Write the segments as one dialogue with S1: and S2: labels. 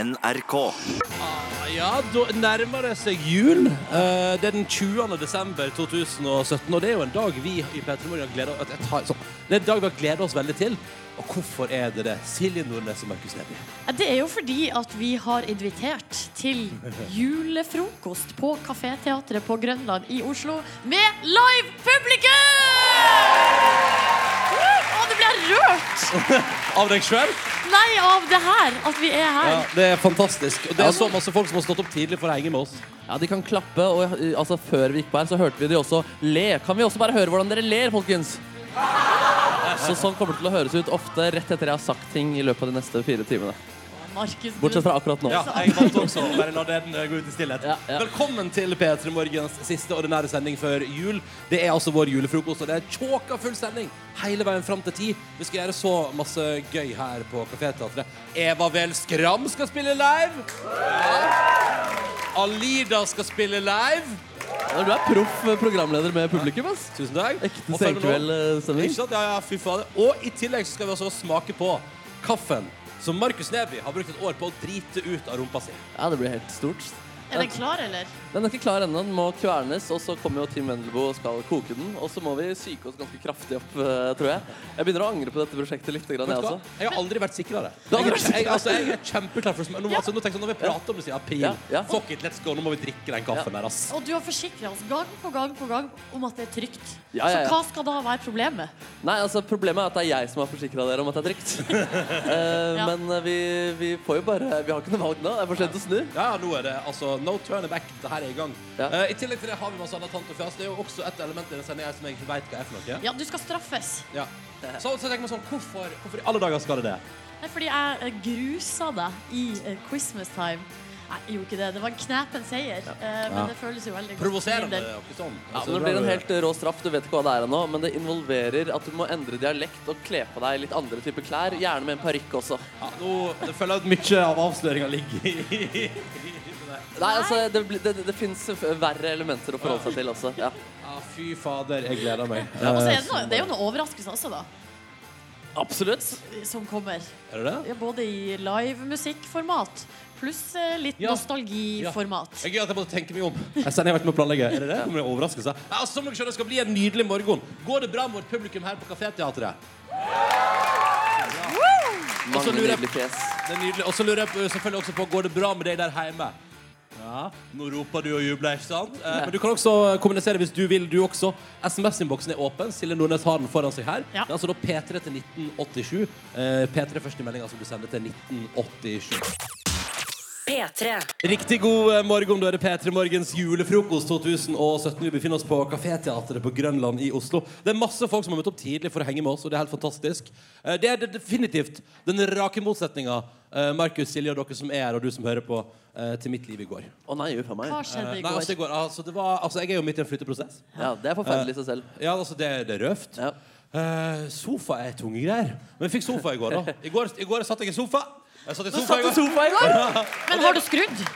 S1: NRK.
S2: Ah, Ja, da nærmer det seg jul. Eh, det er den 20. desember 2017, og det er jo en dag vi i Petremorgen har gleda oss Det er en dag vi har gleda oss veldig til. Og hvorfor er det det? Silje Nordnes og Markus Neby.
S3: Ja, Det er jo fordi at vi har invitert til julefrokost på Kaféteatret på Grønland i Oslo med live publikum! Woo! Å, det ble jeg rørt!
S2: Av deg sjøl?
S3: Nei, av det her, at vi er her.
S2: Ja, det er fantastisk. Og det er så masse folk som har stått opp tidlig for å henge med oss.
S4: Ja, de kan klappe, og eh, altså, før vi gikk på her, så hørte vi de også le. Kan vi også bare høre hvordan dere ler, folkens? Så sånn kommer det til å høres ut ofte rett etter jeg har sagt ting i løpet av de neste fire timene.
S3: Markus, du-
S4: Bortsett fra akkurat nå.
S2: Ja, jeg valgte også å bare la den eh, gå ut i stillhet.
S4: Ja, ja.
S2: Velkommen til P3 Morgens siste ordinære sending før jul. Det er altså vår julefrokost, og det er tjåka full sending hele veien fram til ti. Vi skal gjøre så masse gøy her på Kaféteatret. Eva Vel Skram skal spille live. Ja. Alida skal spille live.
S4: Du er proff programleder med publikum, ass.
S2: Tusen takk.
S4: Ekte eh,
S2: Og følg med nå.
S4: senkveldstemning.
S2: Ikke sant? Ja, ja, fy fader. Og i tillegg så skal vi også smake på kaffen som Markus Neby har brukt et år på å drite ut av rumpa si.
S4: Ja, det blir helt stort.
S3: er den klar, eller?
S4: Den er ikke klar ennå. Den må kvernes, og så kommer jo Team Vendelbo og skal koke den. Og så må vi psyke oss ganske kraftig opp, eh, tror jeg. Jeg begynner å angre på dette prosjektet litt, grann,
S2: Vet
S4: jeg
S2: du hva?
S4: også.
S2: Jeg har aldri vært sikrere.
S4: Du har aldri
S2: Jeg,
S4: vært sikrere?
S2: jeg, altså, jeg er kjempeklar for å smake. Nå, altså, nå tenker jeg sånn, når vi prater om det siden april
S4: Ja, ja.
S2: Fuck it, let's go. Nå må vi drikke den kaffen der, ass.
S3: Og du har forsikra oss gang på gang på gang om at det er trygt.
S4: Ja, ja, ja.
S3: Så hva skal da være problemet?
S4: Nei, altså Problemet er at det er jeg som har forsikra dere om at det er trygt. Eh,
S3: Ja.
S4: Men eh, vi, vi får jo bare Vi har ikke noe valg nå. Det er for sent å snu.
S2: Ja, ja, nå er det altså no turning back. Det her er i gang.
S4: Ja.
S2: Eh, I tillegg til det har vi masse annet tant og fjas. Det er jo også et element i den sendingen her som jeg ikke vet hva er for noe.
S3: Ja, du skal straffes.
S2: Ja. Så, så tenker man sånn, hvorfor, hvorfor i alle dager skal det det?
S3: Nei, fordi jeg eh, grusa deg i eh, Christmas time. Nei, jeg gjorde ikke det. Det var en knepen seier. eh, Men
S2: Ja.
S3: det føles jo veldig godt.
S2: Provoserende.
S3: Min del.
S2: akkurat Sånn.
S4: Ja, men det blir en helt rå straff. Du vet ikke hva det er ennå. Men det involverer at du må endre dialekt og kle på deg litt andre typer klær. Gjerne med en parykk også.
S2: ja, nå jeg føler jeg at mye av avsløringa ligger i
S4: Nei, altså Det, blir- det, det, det fins verre elementer å forholde seg til også. Ja. Eh,
S2: Ja, fy fader, jeg gleder meg.
S3: Og så er det, noe, det er jo noen overraskelser også, da.
S4: Absolutt.
S3: Som kommer.
S2: Er det det?
S3: Ja, både i live musikkformat pluss eh, litt
S2: Ja.
S3: nostalgiformat.
S2: Det er gøy at jeg måtte tenke meg om. Jeg sender jeg har vært med å planlegge. Er det det? Kommer det overraskelse? Ja, altså, som dere skjønner, det skal bli en nydelig morgen. Går det bra med vårt publikum her på Kaféteatret? Og så
S4: Mange
S2: lurer jeg-
S4: nydelige fjes.
S2: Det er nydelig. Og så lurer jeg på- selvfølgelig også på går det bra med deg der hjemme. Ja, Nå roper du og jubler, ikke sant? Eh, men du kan også kommunisere hvis du vil, du også. SMS-innboksen er åpen. Silje Nordnes har den foran seg her.
S3: Ja.
S2: Det er altså da P3 til 1987. Eh, P3 først i meldinga som du sender til 1987.
S5: P3.
S2: Riktig god eh, morgen, da er det P3 Morgens julefrokost 2017. Vi befinner oss på Kaféteatret på Grønland i Oslo. Det er masse folk som har møtt opp tidlig for å henge med oss, og det er helt fantastisk. Eh, Det er det definitivt den rake motsetninga, eh, Markus, Silje og dere som er her, og du som hører på, eh, til mitt liv i går.
S4: Å nei, uff a meg.
S3: Hva
S2: Eh,
S3: skjedde i
S2: Nei, altså, i
S3: går?
S2: går altså, det var, altså, jeg er jo midt i en flytteprosess.
S4: Ja, det er forferdelig i seg selv.
S2: Ja, altså, det, det er røft.
S4: Ja.
S2: Eh, sofa er tunge greier. Men jeg fikk sofa i går, da. I går, i går satt jeg i sofa. Jeg satt i sofa i
S4: Satt i
S2: går.
S4: sofa i går!
S3: Men har du skrudd?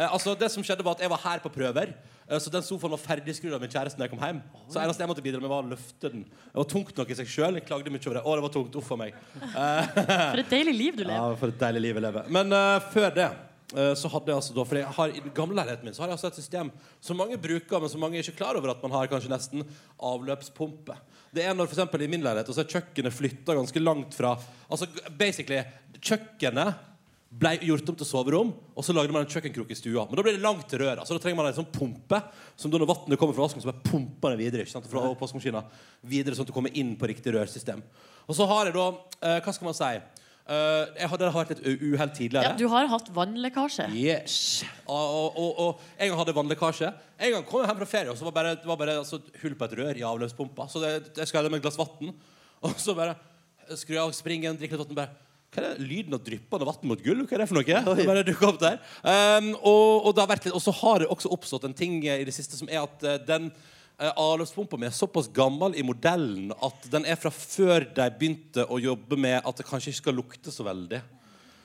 S2: Eh, altså det som skjedde var at Jeg var her på prøver, eh, så den sofaen var ferdig skrudd av min kjæreste da jeg kom hjem. Så eneste jeg måtte bidra med, var å løfte den. Det var tungt nok i seg sjøl. Jeg klagde mye over det. Å, det var tungt. Uff a meg. Eh,
S3: For et deilig liv du lever.
S2: Ja, for et deilig liv jeg lever. Men eh, før det eh, så hadde jeg altså da, for jeg har, I den gamle leiligheten min så har jeg altså et system som mange bruker, men som mange er ikke klar over at man har kanskje nesten avløpspumpe. Det er når for eksempel, I min leilighet og så er kjøkkenet flytta ganske langt fra Altså basically Kjøkkenet ble gjort om til soverom, og så lagde man en kjøkkenkrok i stua. Men da blir det langt til røret. Så da trenger man en sånn pumpe som da når vannet kommer fra vasken, så bare pumper det videre. Ikke sant? Fra oppvaskmaskina videre, sånn at du kommer inn på riktig rørsystem. Og så har jeg da eh, Hva skal man si? Eh, jeg hadde hatt et u- uhell tidligere.
S3: Ja, du har hatt vannlekkasje.
S2: Yes. Og, og, og, og en gang hadde jeg vannlekkasje. En gang kom jeg hjem fra ferie, og så var bare, det var bare altså, et hull på et rør i avløpspumpa. Så det, jeg skulle helle meg et glass vann, og så bare skrur jeg av springen, drikker litt vann, bare hva er det? Lyden av dryppende vann mot gull? Hva er det for noe? Det bare dukket opp der. Um, og, og, det har vært litt, og så har det også oppstått en ting eh, i det siste som er at eh, den eh, avløpspumpa mi er såpass gammel i modellen at den er fra før de begynte å jobbe med at det kanskje ikke skal lukte så veldig.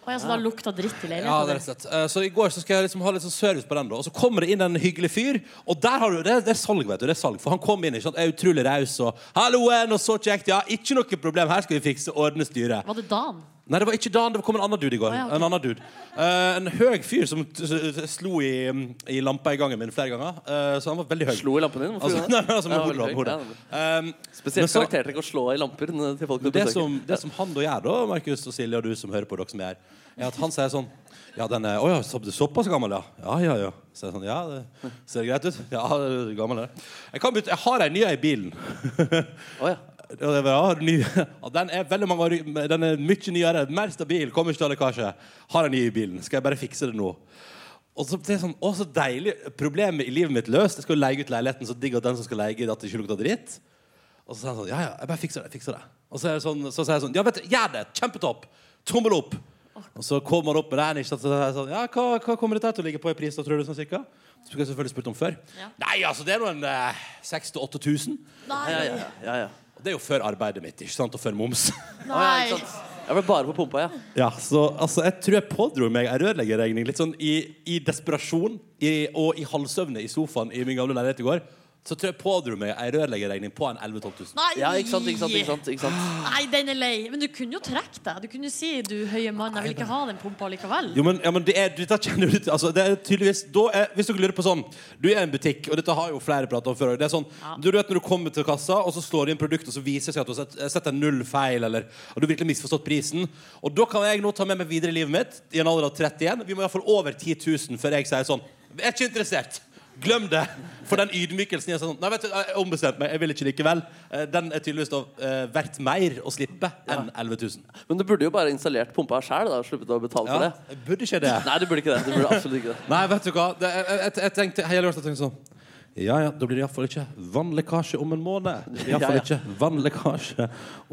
S3: Og jeg, så da lukta dritt i
S2: Ja, det er
S3: leiligheten.
S2: rett og slett. Eh, Så i går så skal jeg liksom ha litt sånn service på den, da. Og så kommer det inn en hyggelig fyr, og der har du Det, det er salg, vet du. Det er salg. For han kom inn, ikke sant. Er eh, utrolig raus og 'Halloen, og så kjekt', ja. Ikke noe problem, her skal vi fikse, ordne, styre.
S3: Var det Dan?
S2: Nei, det var ikke Dan. Det kom en annen dude i går.
S3: Å, ja, ok.
S2: En annen dude. Eh, en høy fyr som t s- slo i, i lampa i gangen min flere ganger. Eh, så han var veldig høy.
S4: Slo i lampen din? Hvorfor
S2: Altså,
S4: gjorde du
S2: nei,
S4: det?
S2: men altså med
S4: Ja,
S2: hodet,
S4: veldig
S2: med hodet.
S4: høyt. Ja,
S2: Um, men
S4: Spesielt
S2: så-
S4: karaktertrekk å slå i lamper n- til folk du
S2: det
S4: besøker.
S2: som, det som han da gjør, da, Markus og Silje og du som hører på, dere som er her, er at han sier sånn Ja, den er Å ja, så, du er såpass gammel, ja. Ja, ja, ja. Så jeg sånn, ja, det ser greit ut. Ja, du er gammel, det. Jeg, kan bytte, jeg har ei ny i bilen.
S4: Å, ja.
S2: Ja, det var- ja, ny, ja, den er veldig mange år Den er mye nyere, mer stabil, kommer ikke til lekkasje. Har en ny i bilen. Skal jeg bare fikse det nå? Og så det er sånn, å, så deilig Problemet i livet mitt løst. Jeg skal jo leie ut leiligheten, så digg at den som skal leie, at det ikke lukter dritt. Og så sier han sånn, ja, ja, jeg bare fikser det, jeg fikser det. Og så, er det sånn, så sier jeg sånn, ja, vet du, gjør det, kjempetopp, tommel opp. Og så kommer han opp med den, ikke sant, så sier jeg sånn, ja, hva, hva kommer dette her til å ligge på i pris da, tror du, sånn cirka? Så skulle jeg selvfølgelig spurt om før.
S3: Ja.
S2: Nei, altså, det er noen eh, 6-8 tusen.
S3: Nei.
S4: Ja, ja, ja, ja, ja.
S2: Og det er jo før arbeidet mitt, ikke sant, og før moms.
S4: Å, ja, ikke sant. Jeg ble bare på pumpa, ja.
S2: ja, så altså, jeg tror jeg pådro meg en rørleggerregning, litt sånn i, i desperasjon, i, og i halvsøvne i sofaen i min gamle leilighet i går, så tror jeg pådro meg en rørleggerregning på en 11-12 tusen.
S3: Nei.
S4: ja ikke sant, ikke sant, ikke sant, ikke sant.
S3: Nei, den er lei. Men du kunne jo trekke deg. Du kunne jo si 'du høye mann, jeg vil ikke ha den pumpa likevel'.
S2: Jo, men, ja, men det er, dette kjenner du til altså, det er tydeligvis, da er, Hvis dere lurer på sånn Du er i en butikk, og dette har jo flere pratet om før og Det er sånn,
S3: Ja.
S2: du, vet når du kommer til kassa Og så slår du inn produkt, og så viser det seg at du har sett, sett en null feil Eller at du virkelig misforstått prisen Og da kan jeg nå ta med meg videre i livet mitt I en alder av 31 Vi må i hvert fall over 10 000 før jeg sier sånn Jeg er ikke interessert Glem det For den ydmykelsen jeg er sånn Nei, vet du, jeg ombestemte meg Jeg vil ikke likevel Eh, Den er tydeligvis da eh, verdt mer å slippe enn 11 000
S4: Men du burde jo bare installert pumpa sjøl og sluppet å betale for
S2: Ja,
S4: det.
S2: burde ikke det
S4: Nei, du burde ikke det. Du burde absolutt ikke det.
S2: Nei, vet du hva? Det, jeg, jeg, jeg tenkte hele lørdag tenkte jeg sånn Ja ja, da blir det iallfall ikke vannlekkasje om en måned. Det blir Iallfall
S4: Ja, ja.
S2: ikke vannlekkasje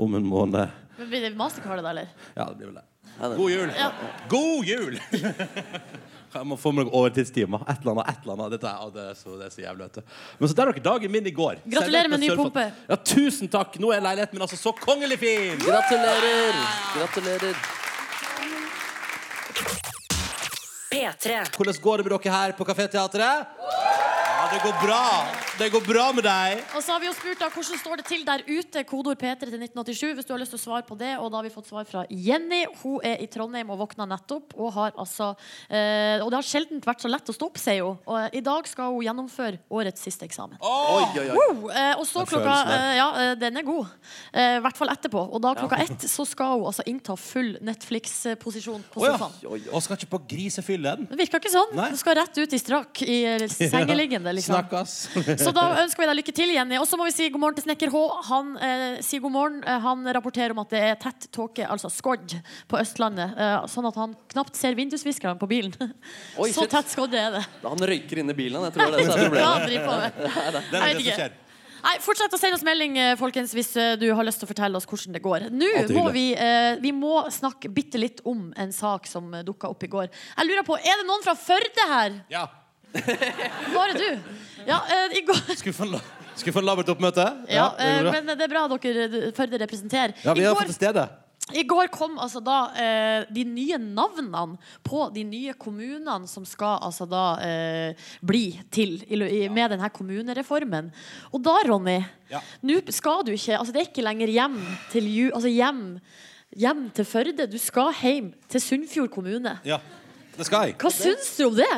S2: om en måned.
S3: Men Blir det mastercardet, da, eller?
S2: Ja, det blir vel det.
S4: Ja, det-
S2: God jul!
S3: Ja.
S2: God jul! Jeg må få meg noen overtidstimer. Et eller annet. et eller annet Dette er, å, det er, så, det er så jævlig, vet du. Men så der dere dagen min i går.
S3: Gratulerer med ny
S2: Servert
S3: pumpe.
S2: Ja, Tusen takk! Nå er leiligheten min altså så kongelig fin!
S4: Gratulerer! Gratulerer.
S5: P3.
S2: Hvordan går det med dere her på Kaféteatret? Ja, det går bra. Det går bra med deg.
S3: Og så har vi jo spurt da, hvordan står det til der ute. Kodeord P3 til 1987 hvis du har lyst til å svare på det. Og da har vi fått svar fra Jenny. Hun er i Trondheim og våkna nettopp. Og, har altså, eh, og det har sjelden vært så lett å stå opp, sier hun. Og eh, i dag skal hun gjennomføre årets siste eksamen.
S4: Oi, oi, oi.
S3: Wow, eh, og så
S2: Den
S3: klokka
S2: følelsen der.
S3: eh, Ja, eh, den er god. Eh, I hvert fall etterpå. Og da klokka ett så skal hun altså innta full Netflix-posisjon på
S2: Å ja.
S3: sofaen.
S4: Oi, oi.
S2: Og skal ikke på grisefyllen.
S3: Det virker ikke sånn.
S2: Nei.
S3: Du skal rett ut i strak i eh, sengeliggende. liksom
S2: Snakkes.
S3: Så da ønsker vi deg lykke til, Jenny. Og så må vi si god morgen til snekker H. Han eh, sier god morgen. Eh, Han rapporterer om at det er tett tåke, altså skodd, på Østlandet. Eh, sånn at han knapt ser vindusviskerne på bilen.
S4: Oi,
S3: så
S4: shit.
S3: tett skodd er det.
S4: Han røyker inn i bilen. Jeg tror det er det som er
S3: Hva
S4: problemet.
S3: han driver på med.
S2: Det er det
S3: Jeg vet
S2: som skjer.
S3: ikke. Nei, Fortsett å sende oss melding eh, folkens, hvis eh, du har lyst til å fortelle oss hvordan det går. Nå
S2: Alltid
S3: må
S2: hyggelig.
S3: vi, eh, vi må snakke bitte litt om en sak som eh, dukka opp i går. Jeg lurer på, Er det noen fra Førde her?
S2: Ja.
S3: Bare du? Ja, eh, i går
S2: Skal vi få en la- skal vi få en labert oppmøte?
S3: Ja,
S2: det
S3: eh,
S2: går bra.
S3: men det er bra dere eh, Førde representerer.
S2: ja vi
S3: I,
S2: er
S3: går,
S2: til stede.
S3: I går kom altså da eh, de nye navnene på de nye kommunene som skal altså da eh, bli til i, lø- i, med denne kommunereformen. Og da, Ronny,
S2: Ja.
S3: nå skal du ikke Altså det er ikke lenger hjem til ju, Altså hjem, hjem til Førde. Du skal hjem til Sunnfjord kommune.
S2: Ja. Det skal jeg.
S3: Hva syns du om det?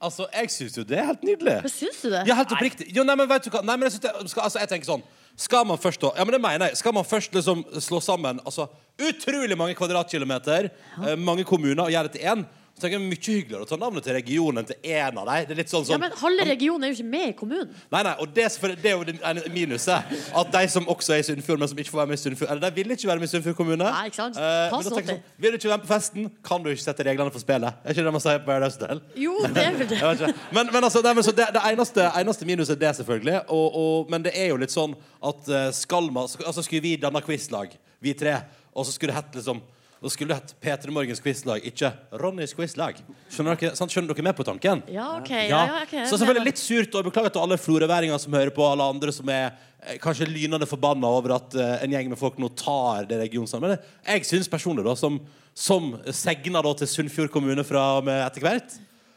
S2: Altså, jeg syns jo det er helt nydelig.
S3: Hva syns du det?
S2: Ja, helt oppriktig. Jo, nei, men vet du hva? Nei, men jeg, synes det, skal, altså, jeg tenker sånn Skal man først da Ja, men det mener jeg. Skal man først liksom slå sammen altså, utrolig mange kvadratkilometer, eh, mange kommuner, og gjøre det til én, så tenker jeg det er mye hyggeligere å ta navnet til regionen enn til én av dem. Det er litt sånn som
S3: Ja, men halve regionen er jo ikke med i kommunen.
S2: Nei, nei, og det, er selvfølgelig- det er jo det ene minuset. At de som også er i Sunnfjord, men som ikke får være med i Sunnfjord Eller de vil ikke være med i Sunnfjord kommune.
S3: Nei, ikke sant?
S2: Eh, men da
S3: Pass
S2: tenker jeg
S3: opp
S2: sånn, vil du ikke være med på festen, kan du ikke sette reglene for spillet. Er ikke det man sier på Paradise Hotel?
S3: Jo, det er vel det.
S2: Jeg vet ikke. Men, men altså, nei, men så det, det eneste, eneste minuset er det, selvfølgelig. Og, og, men det er jo litt sånn at eh, skal man sk- Altså skulle vi danna quizlag, vi tre, og så skulle det hett liksom da skulle det hett P3 Morgens quizlag, ikke Ronnys quizlag. Skjønner dere, sant? Skjønner dere med på tanken?
S3: Ja, OK.
S2: Ja.
S3: Ja, ja, ok, jeg
S2: Så
S3: mener.
S2: selvfølgelig litt surt, og jeg beklager til alle florøværinger som hører på, og alle andre som er eh, kanskje lynende forbanna over at eh, en gjeng med folk nå tar det eh, regionsamarbeidet. Jeg syns personlig, da, som, som segner da til Sunnfjord kommune fra og med etter hvert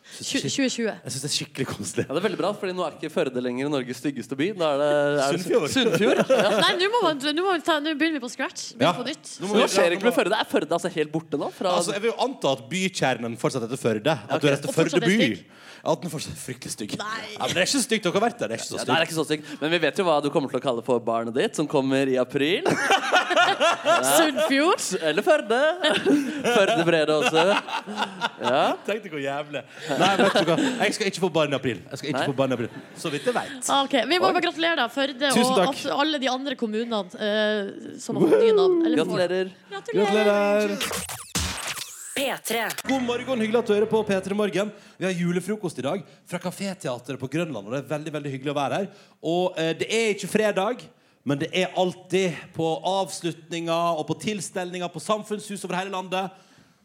S3: Tju- 2020.
S2: Jeg syns det er skikkelig koselig.
S4: Ja, det er veldig bra, fordi nå er ikke Førde lenger Norges styggeste by. Nå er det, er det
S2: Sunnfjord.
S4: Sunnfjord. Ja.
S3: Nei, nå må man- nå må vi ta- nå begynner vi på scratch. Begynner
S2: Ja.
S3: på nytt.
S2: Nå må
S4: Så
S2: vi-
S4: Hva skjer egentlig med Førde? Er Førde altså helt borte nå? Fra
S2: Altså, jeg vil jo anta at bykjernen fortsatt heter Førde. At
S4: Ok.
S2: du er etter
S3: Og
S2: Førde
S3: fortsatt
S2: by.
S3: er stygg.
S2: At den fortsatt er fryktelig stygg.
S3: Nei.
S2: Ja, men det er ikke så stygt. Dere har vært der. Det er ikke så
S4: ja,
S2: stygt.
S4: det er ikke så stygg. Men vi vet jo hva du kommer til å kalle for barnet ditt, som kommer i april.
S3: Sunnfjord.
S4: Eller Førde. Førde Brede også.
S2: Tenk deg hvor jævlig. Nei, vet du hva. Jeg skal ikke få barn i april. Jeg skal ikke
S4: Nei.
S2: få barn i april. Så vidt jeg veit.
S3: Ah, ok. Vi må bare gratulere deg, Førde,
S2: Tusen
S3: og
S2: takk.
S3: abs- alle de andre kommunene eh, som har fått nye navn. Eller får.
S4: Gratulerer.
S2: Gratulerer.
S5: P3.
S2: God morgen, hyggelig at du hører på P3 Morgen. Vi har julefrokost i dag fra Kaféteatret på Grønland. Og det er veldig veldig hyggelig å være her. Og eh, det er ikke fredag, men det er alltid på avslutninger og på tilstelninger på samfunnshus over hele landet,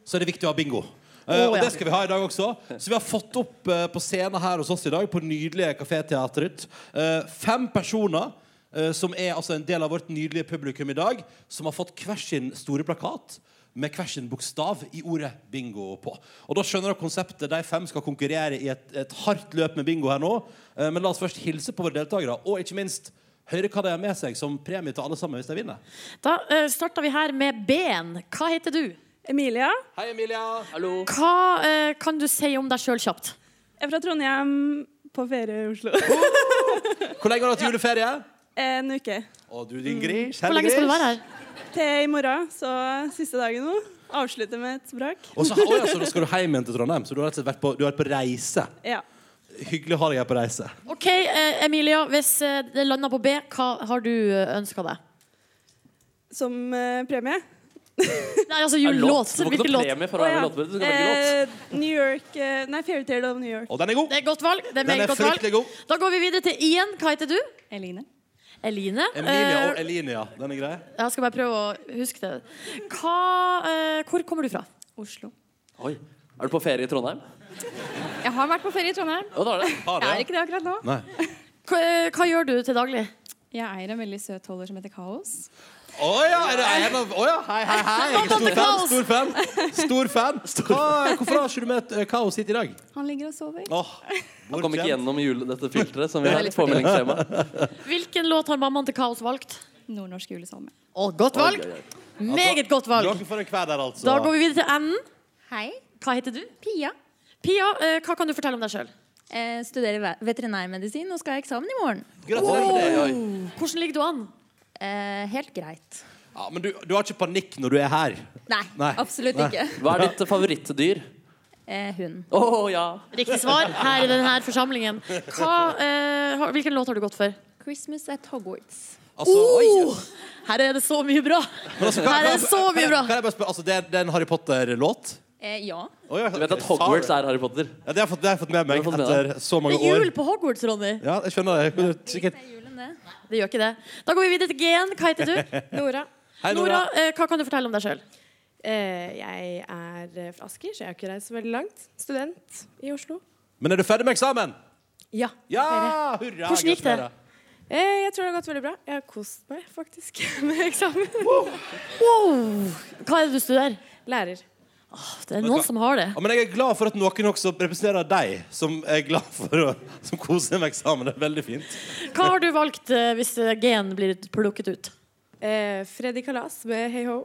S2: så er det viktig å ha bingo. Eh,
S3: Å,
S2: og
S3: ja.
S2: det skal vi ha i dag også. Så vi har fått opp eh, på scenen her hos oss i dag, på nydelige Kaféteatret, eh, fem personer. eh, Som er altså en del av vårt nydelige publikum i dag, som har fått hver sin store plakat med hver sin bokstav i ordet bingo på. Og da skjønner dere konseptet. De fem skal konkurrere i et, et hardt løp med bingo her nå. Eh, Men la oss først hilse på våre deltakere, og ikke minst høre hva de har med seg som premie til alle sammen hvis de vinner.
S3: Da uh, starta vi her med Ben. Hva heter du?
S1: Emilia.
S2: Hei, Emilia!
S4: Hallo.
S3: Hva eh, kan du si om deg sjøl kjapt?
S1: Jeg er fra Trondheim, på ferie i Oslo.
S2: Hvor lenge har du hatt juleferie?
S5: Eh,
S1: En uke.
S2: Og du, din gris.
S3: Hvor lenge skal du være her?
S1: Til i morgen, så siste dagen nå. Avslutte med et brak.
S2: Og så, å ja,
S4: altså-
S2: så da skal du hjem igjen til Trondheim. Så du har rett og slett vært på, du har vært på reise.
S1: Ja.
S2: Hyggelig å ha deg her på reise.
S3: OK, eh, Emilia. Hvis eh, det lander på B, hva har du uh, ønska deg?
S1: Som eh, premie.
S3: Nei, altså
S4: Er det låt?
S3: julelåt.
S4: Du får ikke
S3: Hvilken
S4: noe
S3: låt?
S4: premie for å være
S1: Å, ja.
S4: låtbredt. Du skal velge låt.
S1: Eh, New York eh, Nei, Fairytale of New York.
S2: Og den er god.
S3: Det er et godt valg. Det er
S2: Den
S3: meget
S2: er
S3: godt valg.
S2: fryktelig god.
S3: Da går vi videre til Ian. Hva heter du?
S6: Eline.
S3: Eline.
S2: Emilia
S3: Eh,
S2: og Elinia. Den er grei.
S3: jeg skal bare prøve å huske det. Hva, eh, hvor kommer du fra?
S6: Oslo.
S4: Oi. Er du på ferie i Trondheim?
S6: Jeg har vært på ferie i Trondheim.
S4: Ja, det er det.
S2: Har
S6: Jeg er
S2: det?
S6: ikke det akkurat nå.
S2: Nei.
S3: Hva, eh, hva gjør du til daglig?
S6: Jeg eier en veldig søt holder som heter Kaos.
S2: Å ja, er det en av Å ja, hei, hei, hei. Jeg er stor fan. Stor fan. Stor fan. Hva, hvorfor har ikke du med et eh, kaos hit i dag?
S6: Han ligger og sover.
S2: Åh,
S4: Han kom ikke gjennom jule, dette filteret som vi
S6: Det er
S4: har
S6: litt
S4: påmeldingsskjema.
S3: Hvilken låt har mammaen til Kaos valgt?
S6: Nordnorsk julesalme.
S3: Å, godt valg.
S4: Oi, oi, oi.
S3: Meget godt valg.
S2: Dere får en hver der, altså.
S3: Da går vi videre til enden.
S7: Hei,
S3: Hva heter du?
S7: Pia.
S3: Pia, eh, hva kan du fortelle om deg sjøl?
S7: Eh, studerer ve- veterinærmedisin og skal ha eksamen i morgen.
S2: Gratulerer med det.
S3: Hvordan ligger du an?
S7: Eh, helt greit.
S2: Ja, men du, du har ikke panikk når du er her?
S7: Nei,
S2: Nei.
S7: absolutt ikke.
S4: Hva er ditt favorittdyr?
S7: Eh, hun.
S4: Å ja.
S3: Riktig svar her i denne forsamlingen. Hva, eh, har- hvilken låt har du gått for?
S7: Christmas at Hogwarts.
S2: Altså, oi.
S3: Her er det så mye bra!
S2: Men altså,
S3: Her er det så mye bra.
S2: Kan jeg bare spørre, altså, det, er, det er en Harry Potter-låt?
S7: Eh, ja.
S2: Oh, ja.
S4: Du vet at Hogwarts er Harry Potter?
S2: ja, det, har jeg fått, det har jeg fått med meg
S4: Det har jeg fått med
S2: etter så
S3: Det
S2: mange
S3: er jul
S2: år.
S3: på Hogwarts, Ronny.
S2: Ja, jeg skjønner det. Jeg kunne
S7: Det
S2: Sikkert.
S7: er julen, det.
S3: Det gjør ikke det. Da går vi videre til G-en. Hva heter du?
S8: Nora.
S2: Hei,
S3: Nora,
S2: Nora.
S3: eh, hva kan du fortelle om deg sjøl?
S8: Eh, jeg er eh, fra Asker, så jeg har ikke reist så veldig langt. Student i Oslo.
S2: Men er du ferdig med eksamen?
S8: Ja.
S2: Ja! Hurra!
S3: Hvordan gikk det?
S2: gratulerer.
S8: Eh, jeg tror det har gått veldig bra. Jeg har kost meg faktisk med eksamen.
S3: Hva er det du studerer?
S8: Lærer.
S3: Det er noen som har det.
S2: Ja, men jeg er glad for at noen også representerer deg, som er glad for å som koser med eksamen. Det er veldig fint.
S3: Hva har du valgt eh, hvis eh, G-en blir plukket ut?
S8: Eh, Freddy Kalas med Hey Ho.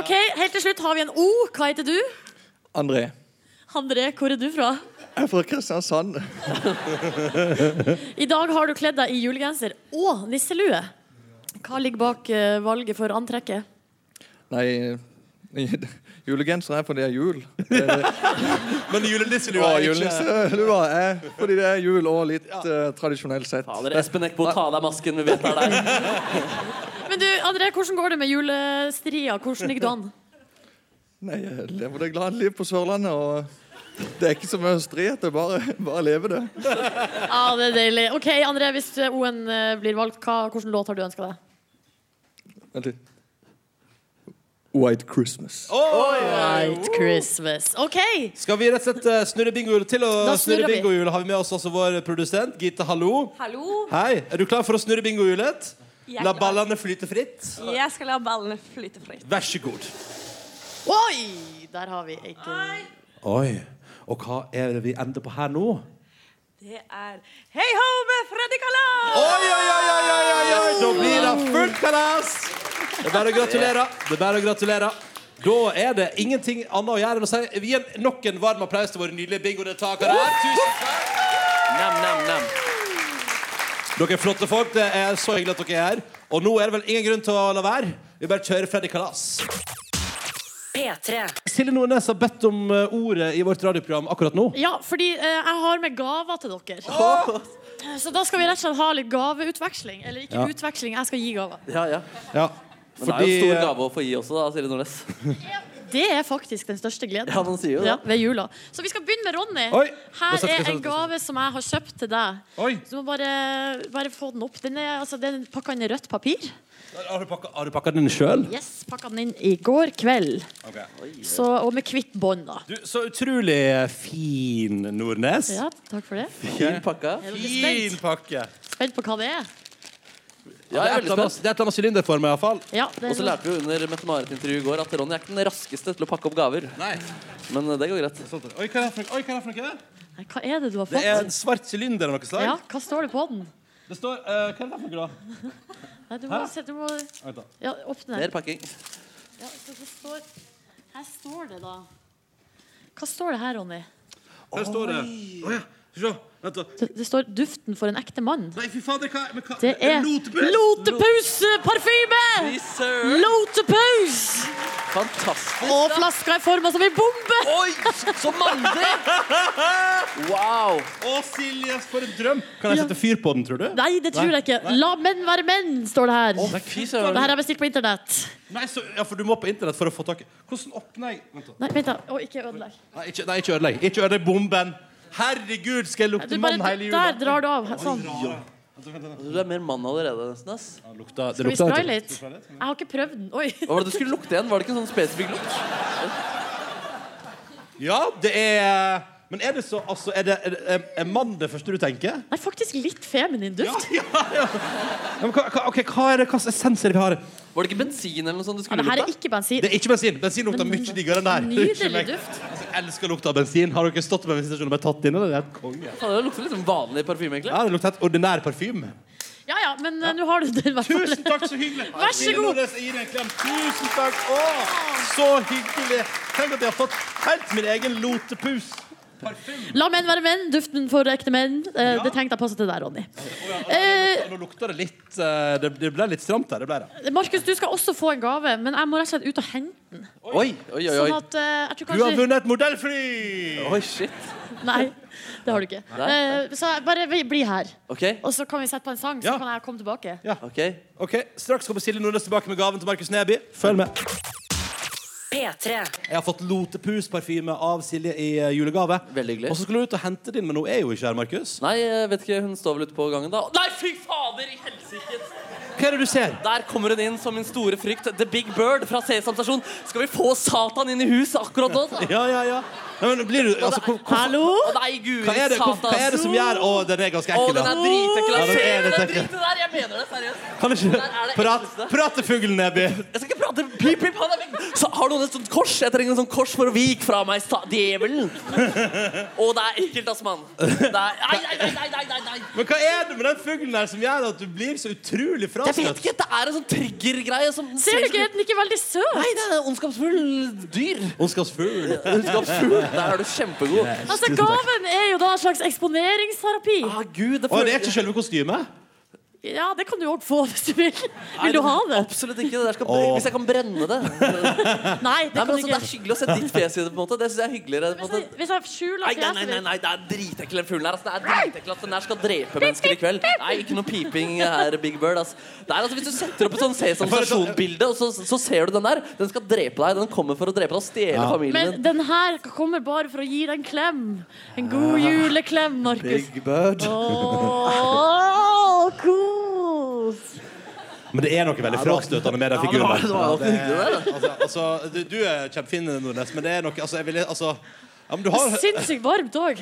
S3: Ok, Helt til slutt har vi en O. Hva heter du?
S9: André.
S3: André, hvor er du fra?
S9: Jeg er fra Kristiansand.
S3: I dag har du kledd deg i julegenser og nisselue. Hva ligger bak eh, valget for antrekket?
S9: Nei, julegenser er fordi det er jul. Det er det.
S2: Men julenisselua
S9: Og
S2: er ikke
S9: julenisselua er fordi det er jul og litt eh, tradisjonelt sett.
S4: Fader, Espen Eckbo, ta av deg masken. Vi vet det er deg.
S3: Men du, André, hvordan går det med julestria? Hvordan ligger du an?
S9: Nei, jeg lever det glade liv på Sørlandet, og det er ikke så mye stri at jeg bare, bare lever det.
S3: Ja, det er deilig. Ok, André, hvis eh, O-en eh, blir valgt, hva, hvilken låt har du ønska deg?
S9: Vent litt. White Christmas.
S3: White Christmas. OK!
S2: Skal vi rett og slett eh, snurre bingohjulet til? Og
S3: Da snurrer
S2: snurre
S3: vi.
S2: bingohjulet har vi med oss også vår produsent Gita Hallo.
S1: Hallo.
S2: Hei, Er du klar for å snurre bingohjulet?
S1: Jeg er
S2: La
S1: klar.
S2: ballene flyte fritt.
S1: Jeg skal la ballene flyte fritt.
S2: Vær så god.
S3: Oi! Der har vi ikke
S2: Oi. Og hva er det vi ender på her nå?
S5: Det er Hei ho med Freddy Kalas!
S2: Oi, oi, oi, oi, oi, oi, oi. Da blir det fullt kalas! Det er bare å gratulere. Det er bare å gratulere. Da er det ingenting annet å gjøre enn å si Vi gir nok en varm applaus til våre nydelige bingodeltakere. Tusen takk!
S4: Nam, nam, nam.
S2: Dere er flotte folk. Det er så hyggelig at dere er her. Og nå er det vel ingen grunn til å la være. Vi bare kjører Freddy Kalas.
S5: P3.
S2: Silje Nordnes har bedt om eh, ordet i vårt radioprogram akkurat nå.
S3: Ja, fordi eh, jeg har med gaver til dere. Så da skal vi rett og slett ha litt gaveutveksling. Eller ikke
S2: Ja.
S3: utveksling, jeg skal gi gaver.
S4: Ja, ja.
S2: Ja.
S4: Men det er jo en
S2: Fordi
S4: stor
S2: eh,
S4: gave å få gi også, da, Silje Nordnes.
S3: Det er faktisk den største gleden.
S4: Ja, man sier jo det.
S3: Ja, ved jula. Så vi skal begynne med Ronny.
S2: Oi! Nå
S3: Her
S2: setter vi
S3: er
S2: sånn-
S3: en gave som jeg har kjøpt til deg.
S2: Oi!
S3: Du må bare, bare få den opp. Den er, altså, den pakka inn i rødt papir.
S2: Har du pakka, har du pakka den sjøl?
S3: Yes, pakka den inn i går kveld. Så, og med hvitt bånd, da.
S2: Du, Så utrolig fin, Nordnes.
S3: Ja, takk for det.
S4: Fin pakka.
S3: Er dere
S2: Fin
S3: spent?
S2: pakke.
S3: spent på hva det er?
S2: Ja, det er
S4: Ja, jeg er
S2: et eller
S4: veldig
S2: annet-
S4: spent.
S2: det er et eller annet sylinderform, iallfall.
S3: Ja, det
S4: Og så lærte vi jo under Mette-Marit-intervjuet i går at Ronny er ikke den raskeste til å pakke opp gaver. Men eh, det går greit.
S2: Sånn, Oi, hva er det for noe?
S3: Nei, Hva er det du har
S2: Det er
S3: fått?
S2: en svart sylinder av noe slag.
S3: Ja, hva står det på den?
S2: Det står eh, Hva er det for noe, da?
S3: Nei, du må
S2: Hæ?
S3: se, du må
S2: Vent da.
S3: Ja, åpne
S4: Mer
S3: den.
S4: pakking.
S3: Ja, så det står Her står det, da. Hva står det her, Ronny?
S2: Der står det. Å ja. Se. Vent, da.
S3: Det, det står 'Duften for en ekte mann'.
S2: Nei, fy fader, hva men hva-
S3: Det er
S2: Lotepus!
S3: Lotepus-parfyme!
S4: Yes, sir.
S3: Lotepus!
S4: Fantastisk.
S3: Og flaska er forma som en bombe!
S4: Oi, så mandig! Wow.
S2: Å, Silje, for en drøm! Kan jeg sette fyr på den, tror du?
S3: Nei, det tror jeg ikke. La menn være menn, står det her.
S4: Å, fy søren.
S3: Det her er bestilt på internett.
S2: Nei, så, ja, for du må på internett for å få tak i Hvordan åpner jeg Vent, da.
S3: Nei, vent, da. Å, ikke ødelegg.
S2: Nei, ikke, nei, ikke ødelegg. Ikke ødelegg bomben. Herregud, skal jeg
S3: Du
S2: lukte mann
S3: bare,
S2: hele jula?
S3: der drar du av. Sånn.
S4: Du er mer mann allerede, nesten. ass.
S2: Ja, lukta, det
S3: Skal vi
S2: lukta-
S3: spraye litt? Jeg har ikke prøvd den. Oi.
S4: Hva var det du skulle lukte igjen? Var det ikke en sånn spesifikk lukt?
S2: Ja, det er Men er det så altså, er, det, er, det, er, er mann det første du tenker?
S3: Nei, faktisk litt feminin
S2: Ja,
S3: duft.
S2: ja, ja. Ja, men hva, hva, ok, hva er det, hva slags essenser vi har?
S4: Var det ikke bensin eller noe sånt du
S3: Ja,
S4: skulle
S3: det her er
S4: lukte?
S3: ikke bensin.
S2: Det er ikke bensin. Bensin lukter mye diggere enn det her. Unnskyld
S3: Nydelig
S2: meg.
S3: duft.
S2: Altså, jeg elsker lukta av bensin. Har dere stått på bensinstasjonen og bare tatt inn? eller? Det er helt konge.
S4: Faen, Det lukter litt som vanlig parfyme, egentlig.
S2: Ja, det lukter helt ordinær parfyme.
S3: Ja ja, men eh, nå har du den. i hvert fall.
S2: Tusen takk, så hyggelig.
S3: Vær så
S2: Silje
S3: god.
S2: Nordnes, jeg gir deg en klem. Tusen takk. Å, så hyggelig. Tenk at jeg har fått helt min egen lotepus.
S3: La menn være menn. Duften for ekte menn. Eh, Det tenkte jeg passet til deg, Ronny. Eh,
S2: Nå lukta det litt eh, Det, det ble litt stramt der. Det ble det.
S3: Markus, du skal også få en gave, men jeg må rett og slett ut og hente den.
S4: Oi, oi, oi.
S3: Sånn
S4: oi.
S3: at eh, jeg tror
S2: Du har
S3: kanskje
S2: vunnet et modellfly!
S4: Oi, shit.
S3: Nei, det har du ikke. Eh, Så jeg- bare vi- bli her.
S4: OK.
S3: Og så kan vi sette på en sang, så
S2: Ja.
S3: kan jeg komme tilbake.
S4: ok
S2: Ok, Straks kommer Silje Nordnes tilbake med gaven til Markus Neby. Følg med.
S5: P3.
S2: Jeg har fått Lotepus-parfyme av Silje i eh, julegave.
S4: Veldig hyggelig.
S2: Og så skulle du ut og hente din, men hun er jo ikke her, Markus.
S4: Nei, jeg vet ikke, hun står vel ute på gangen da Nei, fy fader i helsike
S2: Hva er det du ser?
S4: Der kommer hun inn som min store frykt The Big Bird fra Sesam Stasjon Skal vi få Satan inn i hus akkurat nå? da?
S2: Ja, ja, ja. Nei, men blir du altså, hvor- hvor-
S3: Hallo?
S4: Å nei, guri,
S2: hva, er det, hvor,
S4: Satan
S2: hva er det som gjør Å, den er ganske
S4: Å,
S2: ekkel,
S4: den er
S2: ja.
S4: dritekkel
S2: Ja, den er
S4: Ser du
S2: litt
S4: den
S2: ekkel.
S4: driten der? Jeg mener det, seriøst
S2: Kan du ikke
S4: er det
S2: prate
S4: ekleste.
S2: prat til fuglen, Neby?
S4: Jeg skal ikke prate Pip, pip, han er vekk Så har noen et sånt kors? Jeg trenger en sånn kors for å vike fra meg sta- Djevelen Å, det er ekkelt, ass, mann Det er Nei, nei, nei, nei, nei, nei, nei
S2: Men hva er det med den fuglen der som gjør at du blir så utrolig
S4: Jeg vet
S2: frastøtt?
S4: ikke, det er en sånn trigger-greie som
S3: Ser du ikke, er den ikke veldig søt?
S4: Nei, det er ondskapsfull dyr
S2: Ondskapsfugl.
S4: Ondskapsfull. Der er du kjempegod.
S3: Altså, Gaven er jo da en slags eksponeringsterapi.
S4: Ah, Gud, det
S2: Å,
S4: føler
S2: det er ikke selve kostymet?
S3: Ja, det kan du òg få hvis du vil. Vil du ha det?
S4: Absolutt ikke. Det der skal,
S2: Åh.
S4: Hvis jeg kan brenne det.
S3: Nei, det
S4: Nei, men
S3: kan du
S4: altså, det
S3: ikke.
S4: er hyggelig å se ditt fjes i det. på en måte Det synes jeg er hyggeligere. På en
S3: Hvis jeg-
S4: måte.
S3: Hvis jeg skjuler
S4: Nei, nei, nei,
S3: fjeset
S4: nei,
S3: mitt
S4: nei, det er dritekkel, den fuglen her. Altså, det er dritekkel at den her skal drepe mennesker i kveld. Nei, ikke noe piping her, Big Bird. Altså. Det er, altså, hvis du setter opp et sånn Sesam Stasjon-bilde, og så, så ser du den der, den skal drepe deg. Den kommer for å drepe deg og stjele
S2: Ja.
S4: familien
S3: Men
S4: din.
S3: den her kommer bare for å gi deg en klem. En god
S2: Ah.
S3: juleklem, Markus.
S2: Bird.
S3: Åh, kos!
S2: Men det er noe veldig frastøtende med den
S4: Ja, det
S2: figuren.
S4: var-
S2: der.
S4: det var- det var hyggelig, det.
S2: altså, altså, du, du er kjempefin, Nordnes, men det er noe altså, jeg, ville, altså, jeg Ja, men du har
S3: Sinnssykt varmt òg.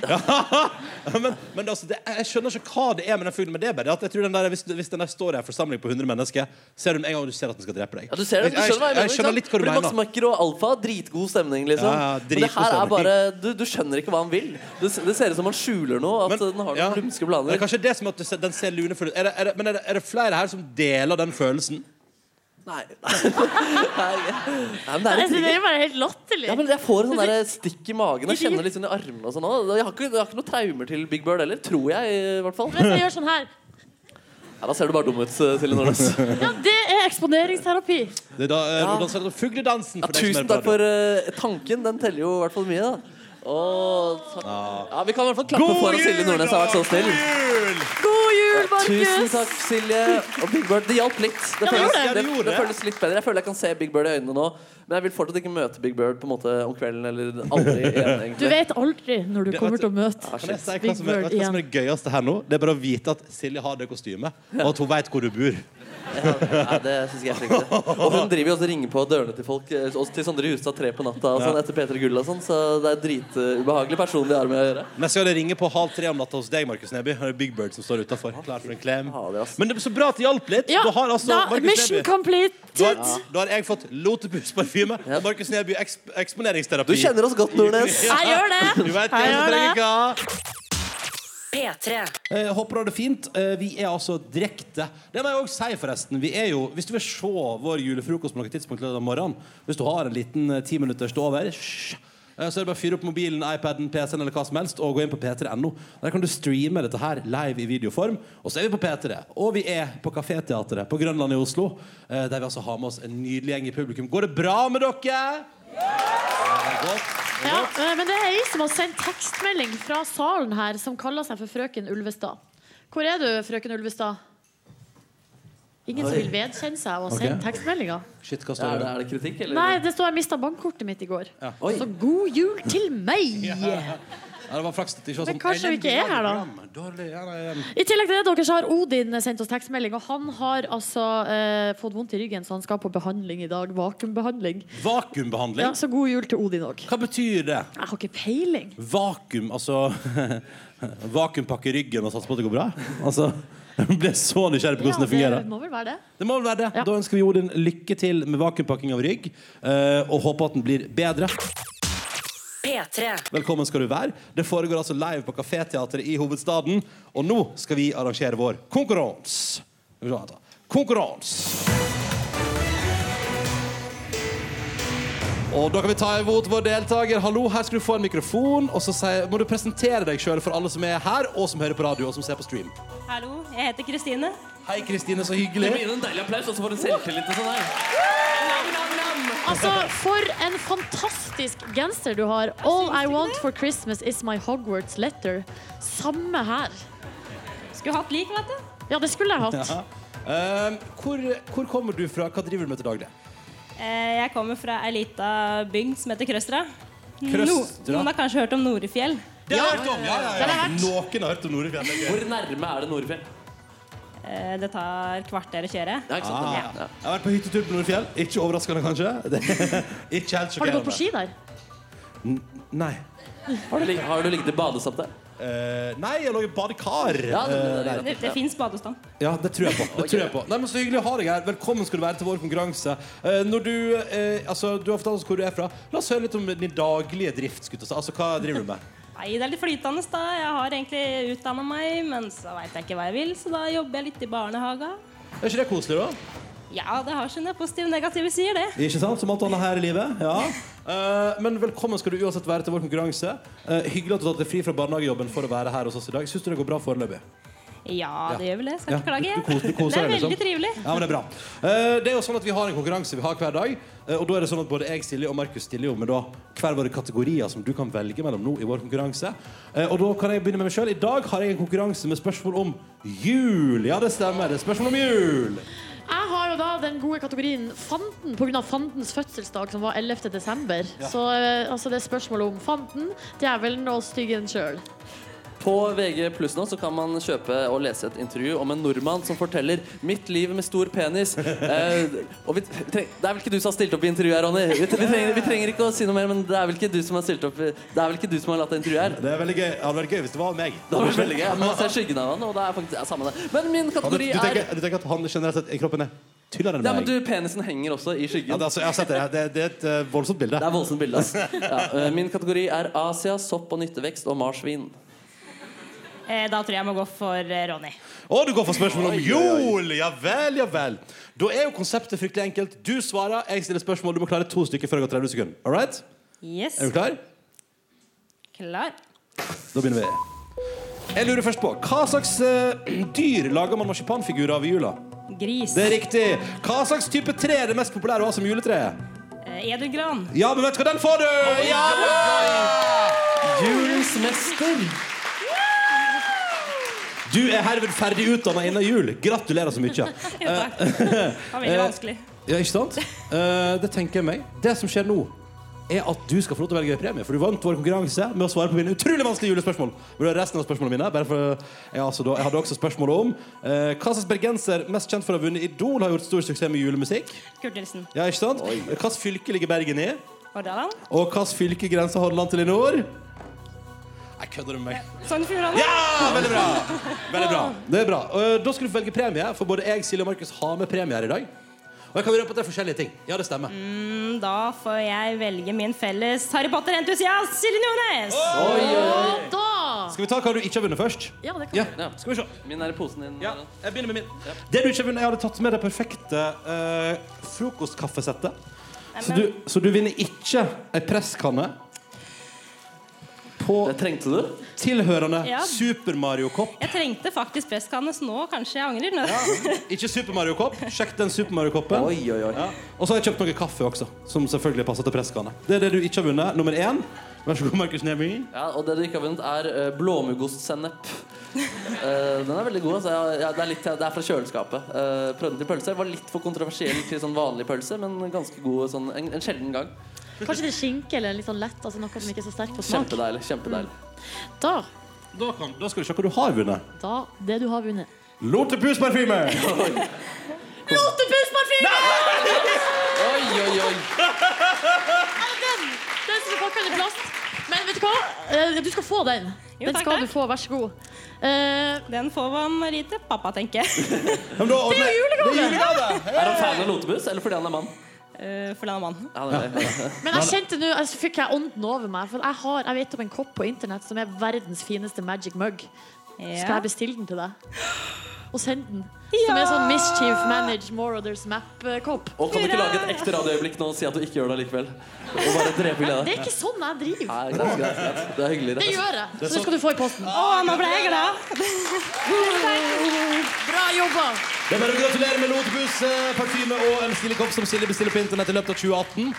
S2: men, men altså, det, jeg skjønner ikke hva det er med den fuglen. Men det er bare at jeg tror den der, hvis, hvis den der står i en forsamling på 100 mennesker, ser du den en gang og du ser at den skal drepe deg.
S4: Ja, du ser det, du skjønner hva
S2: jeg,
S4: jeg mener.
S2: jeg skjønner litt hva du
S4: Fordi Max
S2: mener.
S4: Macker og Alfa, dritgod stemning, liksom.
S2: Ja, ja,
S4: Men det
S2: dritgod
S4: her er
S2: stemning.
S4: bare Du, du skjønner ikke hva han vil. Det, det ser ut som han skjuler noe. At den har noen
S2: ja.
S4: lumske
S2: Men det er
S4: planer.
S2: kanskje det som at du ser, den ser lunefull ut. Er det, er det, men er det, er det flere her som deler den følelsen?
S4: Nei. Nei. Nei, men det er
S3: Det
S4: et
S3: er jo bare helt latterlig.
S4: ja, men Jeg får en sånn der stikk i magen og kjenner litt sånn i armene. og sånn også. Jeg har, ikke, jeg har ikke noe traumer til Big Bird heller, tror jeg. i hvert fall
S3: Hvis jeg gjør sånn her
S4: ja, Da ser du bare dum ut, eh, Silje Nordnes.
S3: Ja, det er eksponeringsterapi.
S2: Det er da, eh,
S4: Ja.
S2: hvordan ser det ut? Fugledansen.
S4: Ja,
S2: for deg som
S4: tusen
S2: hører
S4: takk
S2: på
S4: for eh, tanken. Den teller jo i hvert fall mye, da. Å, takk. Ja, vi kan i hvert fall klappe
S2: Radio.
S4: for at Silje Nordnes har vært så snill.
S2: God jul!
S3: God jul,
S4: Tusen
S3: Markus!
S4: takk, Silje og Big Bird. Det hjalp litt. Det
S3: det
S4: føles,
S2: gjorde det.
S4: det, det føles litt bedre. Jeg føler jeg kan se Big Bird i øynene nå, men jeg vil fortsatt ikke møte Big Bird på en måte om kvelden eller aldri igjen.
S3: Du
S4: egentlig
S3: vet aldri når du
S2: Det-
S3: kommer til å
S4: Ah,
S3: møte.
S2: altså, Kan jeg si hva
S3: Big
S2: som, er,
S3: Bird
S2: vet du hva som er det gøyeste her nå? Det er bare å vite at Silje har det kostymet, og at hun vet hvor du bor.
S4: Nei, det synes jeg er flinkt. Og hun driver jo også og ringer på dørene til folk, eh, også til Sondre Hustad tre på natta og sånn, etter Peter Gull og sånn, så det er dritubehagelig person vi har med å gjøre.
S2: Neste gang det ringer på halv tre om natta hos deg, Markus Neby, er det Big Bird som står utafor, klar for en klem.
S4: Ja, det er ass.
S2: Men det er så bra at det hjalp litt.
S3: Ja,
S2: du har altså
S3: da,
S2: Markus
S3: mission
S2: Neby. Da
S3: completed.
S2: har, da har jeg fått Lotepus-parfyme
S4: Ja.
S2: og Markus Neby eksp eksponeringsterapi.
S4: Du kjenner oss godt, Nordnes.
S3: Jeg gjør
S2: Du
S3: det.
S2: vet hva som
S3: Jeg gjør
S2: trenger
S3: det.
S2: hva. Eh, håper du har det fint. Eh, vi er altså direkte. Det må jeg også si, forresten. Vi er jo, hvis du vil se vår julefrokost på noe tidspunkt lørdag morgen, hvis du har en liten eh, ti minutters stå over hysj, eh, så er det bare å fyre opp mobilen, iPaden, PC-en eller hva som helst og gå inn på p3.no. Der kan du streame dette her live i videoform. Og så er vi på P3. Og vi er på Kaféteatret på Grønland i Oslo, eh, der vi altså har med oss en nydelig gjeng i publikum. Går det bra med dere? Det er godt.
S3: Ja, eh, men det er ei som har sendt tekstmelding fra salen her, som kaller seg for frøken Ulvestad. Hvor er du, frøken Ulvestad? Ingen som vil vedkjenne seg og sende
S2: Ok.
S3: tekstmeldinger?
S2: Shit, hva
S4: Ja,
S2: står
S4: er, det,
S2: det?
S4: er det kritikk, eller?
S3: Nei, det står jeg mista bankkortet mitt i går.
S4: Oi.
S3: Så god jul til meg!
S2: Ja, det var flaks at det ikke var
S3: Men
S2: sånn
S3: kanskje vi ikke er her, da?
S2: Program. Dårlig, ja, nei, ja.
S3: I tillegg til det dere så har Odin sendt oss tekstmelding, og han har altså eh, fått vondt i ryggen, så han skal på behandling i dag. Vakuumbehandling.
S2: Vakuumbehandling?
S3: Ja, så god jul til Odin òg.
S2: Hva betyr det?
S3: Jeg har ikke peiling.
S2: Vakuum, altså Vakuumpakke i ryggen og satse på at det går bra? Altså, jeg ble så nysgjerrig på hvordan det
S3: det
S2: fungerer.
S3: må vel være det.
S2: Det må vel være det.
S3: Ja.
S2: Da ønsker vi Odin lykke til med vakuumpakking av rygg, eh, og håper at den blir bedre. Velkommen skal du være. Det foregår altså live på Kaféteatret i hovedstaden. Og nå skal vi arrangere vår konkurranse. Skal vi se her da. Konkurranse. Og da kan vi ta imot vår deltaker. Hallo, her skal du få en mikrofon. Og så sier- må du presentere deg sjøl for alle som er her, og som hører på radio, og som ser på stream.
S5: Hallo, jeg heter Kristine.
S2: Hei, Kristine, så
S4: Du må
S2: hyggelig.
S4: gi henne en deilig applaus, og så får du selvtillit og sånn her.
S3: Altså, for en fantastisk genser du har. All I want for Christmas is my Hogwarts letter. Samme her.
S5: Skulle hatt lik, vet du.
S3: Ja, det skulle jeg hatt.
S2: Ja. Eh, hvor, hvor kommer du fra? Hva driver du med til daglig?
S5: Eh, Jeg kommer fra ei lita bygd som heter Krøstra.
S2: Krøstra?
S5: noen har kanskje hørt om Norefjell?
S2: Det har jeg hørt om! Ja, ja,
S3: Det har jeg
S2: Noen har hørt om Norefjell.
S4: Hvor nærme er det Norefjell?
S5: Eh, Det tar kvarter å kjøre.
S4: Ja, ikke sant?
S2: Ah.
S4: Ja.
S2: Jeg har vært på hyttetur på Nordfjell. Ikke overraskende, kanskje. Det, ikke helt
S3: Har du
S2: sjokkerende.
S3: gått på ski der?
S2: Nei.
S4: Har, du, lig- har du ligget i badesamte?
S2: Eh, nei, jeg lå i badekar. Eh,
S4: Ja, det, det, det,
S5: Det, det fins badestand.
S2: Ja, det tror jeg på. Det tror jeg på. Nei, men Så hyggelig å ha deg her. Velkommen skal du være til vår konkurranse. Eh, når Du eh, altså, du har fortalt oss hvor du er fra. La oss høre litt om din daglige drift. skulle jeg si. Altså, Hva driver du med?
S5: Nei, det er litt flytende, da. Jeg har egentlig utdanna meg, men så veit jeg ikke hva jeg vil, så da jobber jeg litt i barnehaga.
S2: Er ikke det koselig, da?
S5: Ja, det har sine positive og negative sider, det.
S2: Ikke sant? Som alt annet her i livet. Ja. Eh, men velkommen skal du uansett være til vår konkurranse. Eh, hyggelig at du har tatt deg fri fra barnehagejobben for å være her hos oss i dag. Syns du det går bra foreløpig?
S5: Ja, det gjør vel det. Skal
S2: Ja,
S5: ikke klage.
S2: du- du koser- du koser
S5: det er
S2: deg, liksom.
S5: veldig trivelig.
S2: Ja, men det er bra. Eh, Det er jo sånn at Vi har en konkurranse vi har hver dag. eh, Og da er det sånn at Både jeg Silje og Markus stiller jo med da hver våre kategorier som du kan velge mellom nå i vår konkurranse. Eh, Og da kan jeg begynne med meg selv. I dag har jeg en konkurranse med spørsmål om jul. Ja, det stemmer. Det er spørsmål om jul.
S3: Jeg har jo da den gode kategorien Fanden pga. Fandens fødselsdag, som var 11. desember. Så eh, altså, det er spørsmålet om Fanden, djevelen og styggen sjøl.
S4: På VG pluss nå så kan man kjøpe og lese et intervju om en nordmann som forteller 'Mitt liv med stor penis'. Eh, og vi treng, det er vel ikke du som har stilt opp i intervjuet her, Ronny? Vi, vi, trenger, vi trenger ikke å si noe mer, men det er vel ikke du som har stilt opp i- Det er vel ikke du som har latt det intervjuet her?
S2: Det er veldig gøy. Det hadde vært gøy hvis det var meg.
S4: Det var veldig gøy. Ja, men man ser skyggen av han, og det er faktisk ja, samme det. Men min
S2: Han, du,
S4: kategori
S2: du,
S4: er
S2: tenker, du tenker at han generelt sett i kroppen er tynnere enn
S4: Ja, men
S2: meg?
S4: du, penisen henger også i skyggen.
S2: Ja, det, er altså, jeg har sett det. Det, det er et eh, voldsomt bilde.
S4: Det er voldsomt bilde, ass. Ja, eh, min kategori er Asia, sopp og nyttevekst og marsvin.
S5: Eh, da tror jeg jeg må gå for eh, Ronny.
S2: Og du går for spørsmål om jol! Ja vel, ja vel. Da er jo konseptet fryktelig enkelt. Du svarer, jeg stiller spørsmål. Du må klare to stykker før det går 30 sekunder. All right?
S5: Yes.
S2: Er du klar?
S5: Klar.
S2: Da begynner vi. Jeg lurer først på hva slags eh, dyr lager man marsipanfigurer av i jula?
S5: Gris.
S2: Det er riktig. Hva slags type tre er det mest populære å ha som juletre?
S5: Eh, Edelgran.
S2: Ja, men vet du hva, den får du! Ja!
S4: Julens mester!
S2: Du er herved ferdig utdanna innen jul. Gratulerer så mye.
S5: Ja, takk. Det var veldig
S2: Eh,
S5: vanskelig.
S2: Ja, ikke sant? Eh, det tenker jeg meg. Det som skjer nå, er at du skal få lov til å velge premie. For du vant vår konkurranse med å svare på mine utrolig vanskelige julespørsmål. Men det er resten av spørsmålene mine bare for, jeg, har altså da, jeg hadde også spørsmål om eh, Hva slags bergenser mest kjent for å ha vunnet Idol har gjort stor suksess med julemusikk?
S5: Kurt Nilsen.
S2: Ja, ikke sant? Hvilket fylke ligger Bergen i?
S5: Hordaland.
S2: Og hvilket fylke grenser Hordaland til i nord? Nei, kødder du med meg?
S5: Sogn og Fjordane.
S2: Ja, veldig bra! Veldig bra. Det er bra. Eh, Da skal du få velge premie, for både jeg, Silje og Markus har med premie her i dag. Og jeg kan røpe at det er forskjellige ting. Ja, det stemmer.
S5: Mm, Da får jeg velge min felles Harry Potter-entusiast Silje Nordnes.
S4: Oi, oi, oi.
S3: Og da
S2: Skal vi ta hva du ikke har vunnet først?
S3: Ja, det kan
S2: Ja,
S4: Ja.
S2: skal vi se.
S4: Min er i posen din.
S2: Ja,
S4: Ronny.
S2: jeg begynner med min. Det du ikke har vunnet, Jeg hadde tatt med det perfekte eh, frokostkaffesettet. Så du, så du vinner ikke ei presskanne på
S4: Det trengte du.
S2: tilhørende
S5: Ja.
S2: Super Mario-kopp.
S5: Jeg trengte faktisk presskannes nå, kanskje jeg angrer. nå.
S2: Ikke Super Mario-kopp. Sjekk den Super Mario-koppen.
S4: Oi, oi, oi.
S2: Ja. Og så har jeg kjøpt noe kaffe også, som selvfølgelig passer til presskanne. Det er det du ikke har vunnet. Nummer én. Vær så god, Markus Neby.
S4: Ja, og det du ikke har vunnet, er eh, blåmuggostsennep. Eh, den er veldig god. Altså. Ja, ja, det, er litt, det er fra kjøleskapet. Uh, prøvde den til pølse. Var litt for kontroversiell til sånn vanlig pølse, men ganske god sånn, en, en sjelden gang.
S3: Kanskje det er skinke eller litt sånn lett, altså noe som ikke er så sterk på smak.
S4: Kjempedeilig. kjempedeilig
S3: Da,
S2: Da, kan, da skal du se hva du har vunnet.
S3: da det du har vunnet.
S2: Lotepus-parfyme!
S3: Lotepus-parfyme!
S4: Oi, oi, oi.
S3: Den, den som er pakket i plast. Men vet du hva? Eh, Du skal få den.
S5: Jo,
S3: Den
S5: takk,
S3: skal
S5: takk.
S3: du få, vær så god. Eh,
S5: Den får man Marie til pappa, tenker jeg.
S2: Ja, men da ordner jeg- Det er julegave!
S4: Er han fan av Lotebus, eller fordi han er mann?
S5: Eh, For den er mann.
S4: Ja, han er det. Ja.
S3: Men jeg kjente nå, altså, fikk jeg ånden over meg. For jeg, har, jeg vet om en kopp på internett som er verdens fineste magic mug. Skal
S5: Ja.
S3: jeg bestille den til deg? Og sende den. Som er sånn Mischief Manage Morothers Map-kopp.
S4: Og kan du ikke lage et ekte radioøyeblikk nå og si at du ikke gjør det likevel? Og bare drepe gleden?
S3: Det er ikke sånn jeg driver.
S4: Nei, greit, greit, greit. Det er sånn- hyggelig.
S3: Det
S4: Det.
S3: gjør jeg. Så det skal du få i posten.
S5: Å, nå ble jeg glad!
S3: Bra jobba.
S2: Det er bare å gratulere med Lotepus, eh, parfyme og en stilig kopp som Silje bestiller på internett i løpet av 2018.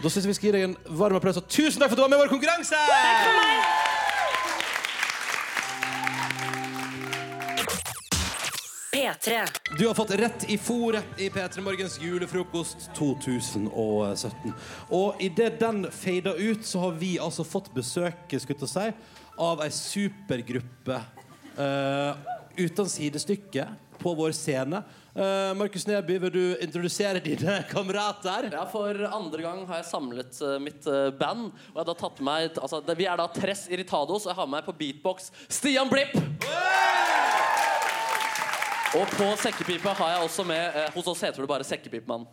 S2: Da syns jeg vi skal gi deg en varm applaus. Og tusen takk for at du var med i vår konkurranse!
S10: P3.
S2: Du har fått rett i fòret i P3 Morgens julefrokost 2017. Og idet den fader ut, så har vi altså fått besøk skulle jeg til å si, av ei supergruppe eh, uten sidestykke på vår scene. Eh, Markus Neby, vil du introdusere dine kamerater?
S4: Ja, For andre gang har jeg samlet eh, mitt eh, band. Og jeg har da tatt med meg, altså, det, Vi er da Tress Irritados, og jeg har med meg på beatbox Stian Blipp. Og på sekkepipa har jeg også med eh, Hos oss heter det bare Sekkepipemann.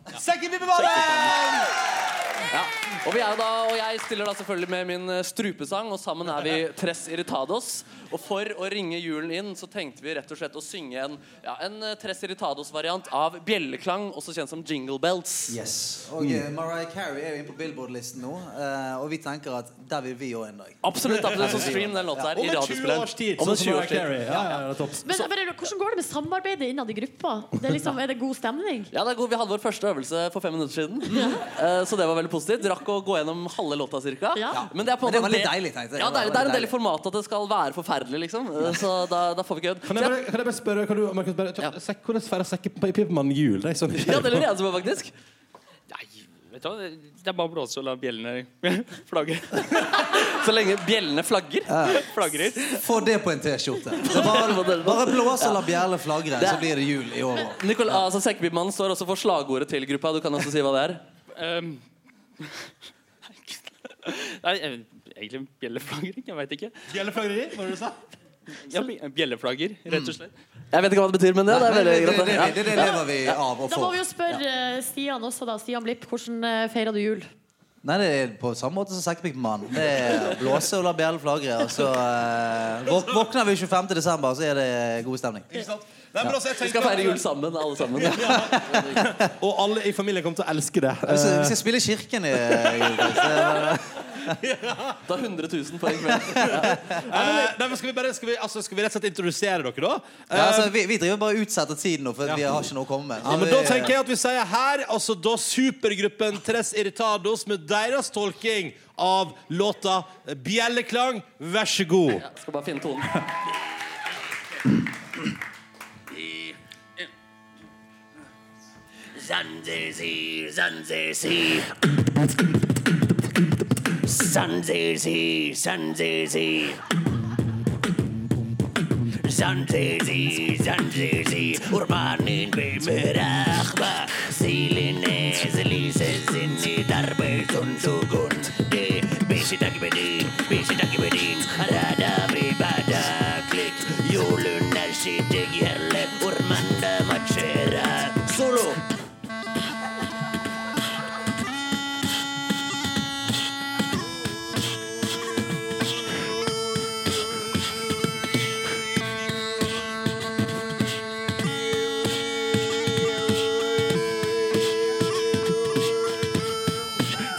S4: Ja. Og, vi er da, og jeg stiller da selvfølgelig med min eh, strupesang, og sammen er vi Tres Irritados. Og for å ringe julen inn, så tenkte vi rett og slett å synge en, ja, en eh, Tres Irritados-variant av bjelleklang, også kjent som jingle bells.
S10: Og eh, Mariah Carey er jo inne på Billboard-listen nå, eh, og vi tenker at der vil vi òg en dag.
S4: Absolutt, absolutt. Så stream den låta her
S2: Om
S4: i
S2: en 20
S4: radiospilleren.
S2: års tid.
S4: Om en
S2: Sånn som
S4: 20
S2: Mariah
S4: års tid.
S2: Carey. Ja, ja, ja, det er topp.
S3: Men jeg bare, hvordan går det med samarbeidet innad i gruppa? Det er, liksom, er det god stemning?
S4: Ja, det er god. Vi hadde vår første øvelse for fem minutter siden. Eh, Så det var veldig positivt. Rakk å gå gjennom halve låta cirka.
S3: Ja.
S4: Men det er på en
S10: Men det
S4: måte
S10: var litt
S4: en
S10: deilig,
S4: del-
S10: tenkte jeg.
S4: Ja, det
S10: Det
S4: er, det
S10: var
S4: er en del i
S10: deilig.
S4: formatet at det skal være forferdelig, liksom. Eh, Så da, da får vi ikke øvd.
S2: Kan jeg bare, kan jeg bare spørre, kan du, Markus, bare, ta-
S4: Ja.
S2: sekk- hvordan feirer sekkepipemannen jul? Det er sånn.
S4: Ja, det lurer jeg også på, faktisk. Nei,
S11: Vet du hva, Det er bare å blåse og la bjellene flagge.
S4: Så lenge bjellene flagger.
S11: Flagrer.
S10: Få det på en T-skjorte. Så Bare, bare blås og la bjellene flagre, så blir det jul i år òg.
S4: Nicol altså, Sekkebibmannen står også for slagordet til gruppa. Du kan også si hva det er.
S11: Ehm, Nei, eh, egentlig bjelleflagring. Jeg veit ikke.
S2: Bjelleflagreri, hva var det du sa?
S11: Ja, bj- bjelleflagger, rett og slett.
S4: Jeg vet ikke hva det betyr, men det, det er veldig
S11: Nei, det-
S4: greit.
S11: det- det- det- det lever vi
S10: av og
S3: Da må
S10: for.
S3: vi jo spørre eh, Stian også, da. Stian Blipp, hvordan eh, feira du jul?
S10: Nei, det er på samme måte som Sekkepikkmannen. Det er blåse og la bjellene flagre. Og så eh, våk- våkner vi 25. desember, så er det god stemning.
S2: Ikke sant? Nei, men altså, jeg
S4: Vi
S2: tenkte
S4: skal
S2: at-
S4: feire jul sammen, alle sammen.
S2: Og alle i familien kommer til å elske det. Eh.
S10: Vi skal, Altså, vi skal spille i kirken i jul. Eh,
S4: Da 100 000 for en kveld.
S2: Eh, nei, men skal vi bare skal vi, altså, skal vi rett og slett introdusere dere, da?
S10: Ja,
S12: Um,
S10: altså, vi, vi driver bare og utsetter tiden nå, for
S2: Ja.
S10: vi har ikke noe å komme med.
S2: Ja, men Da tenker jeg at vi sier her Altså da supergruppen Tres Irritados med deres tolking av låta 'Bjelleklang'. Vær så god.
S4: Skal bare finne tonen.
S13: Sundays Sundays here. Sundays here, Sundays here. زنزيزي زنزيزي ورمانين بمراخبة سيلي نازلي سزني درب زنزوغون دي بيشي داكي بدين بيشي داكي بدين رادا ببادا كليك يولو ناشي تجيرلي ورماندا ماتشيرا سولو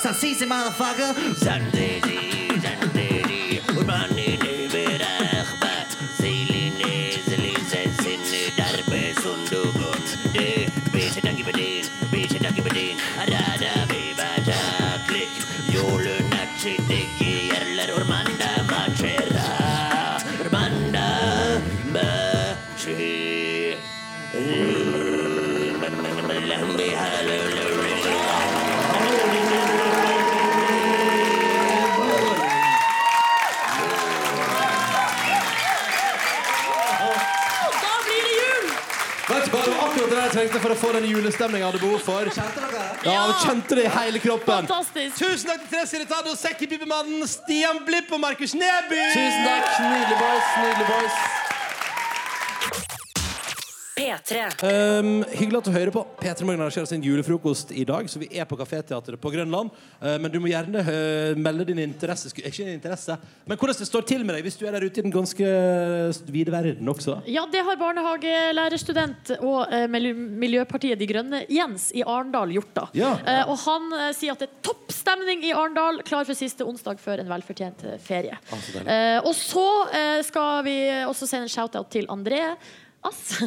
S14: Sassisi, motherfucker.
S13: زنديدي زنديدي ورماني نبر اخبات زيلي نزلي زنزني درب صندوقون دي بيش داكي بدين بيش داكي بدين رادا بيبا تاكليك يولو ناتشي ديكي يرلر ورماندا ماتشيرا ورماندا ماتشي لمبي
S3: Da blir det jul!
S2: Vet du hva, Det var akkurat det jeg trengte for å få den julestemningen jeg hadde behov for. Kjente dere? Ja, jeg kjente det i hele kroppen.
S3: Fantastisk.
S2: Tusen takk til Tres Irritado, Sekkepipemannen, Stian Blipp og Markus Neby.
S4: Tusen takk. Nydelig boys. Nydelig boys.
S5: P3.
S15: Um, hyggelig at du hører på. P3 Morgen arrangerer sin julefrokost i dag, så vi er på Kaféteatret på Grønland. Uh, men du må gjerne uh, melde din interesse. Sku- eh, Ikke din interesse, men hvordan det står til med deg hvis du er der ute i den ganske vide verden også.
S3: Ja, det har barnehagelærerstudent og eh, Mil- Miljøpartiet De Grønne Jens i Arendal gjort. da
S15: Ja.
S3: Eh, Og han eh, sier at det er topp stemning i Arendal, klar for siste onsdag før en velfortjent eh, ferie.
S2: Ah,
S3: Eh, og så eh, skal vi også sende en shout-out til André. Ass.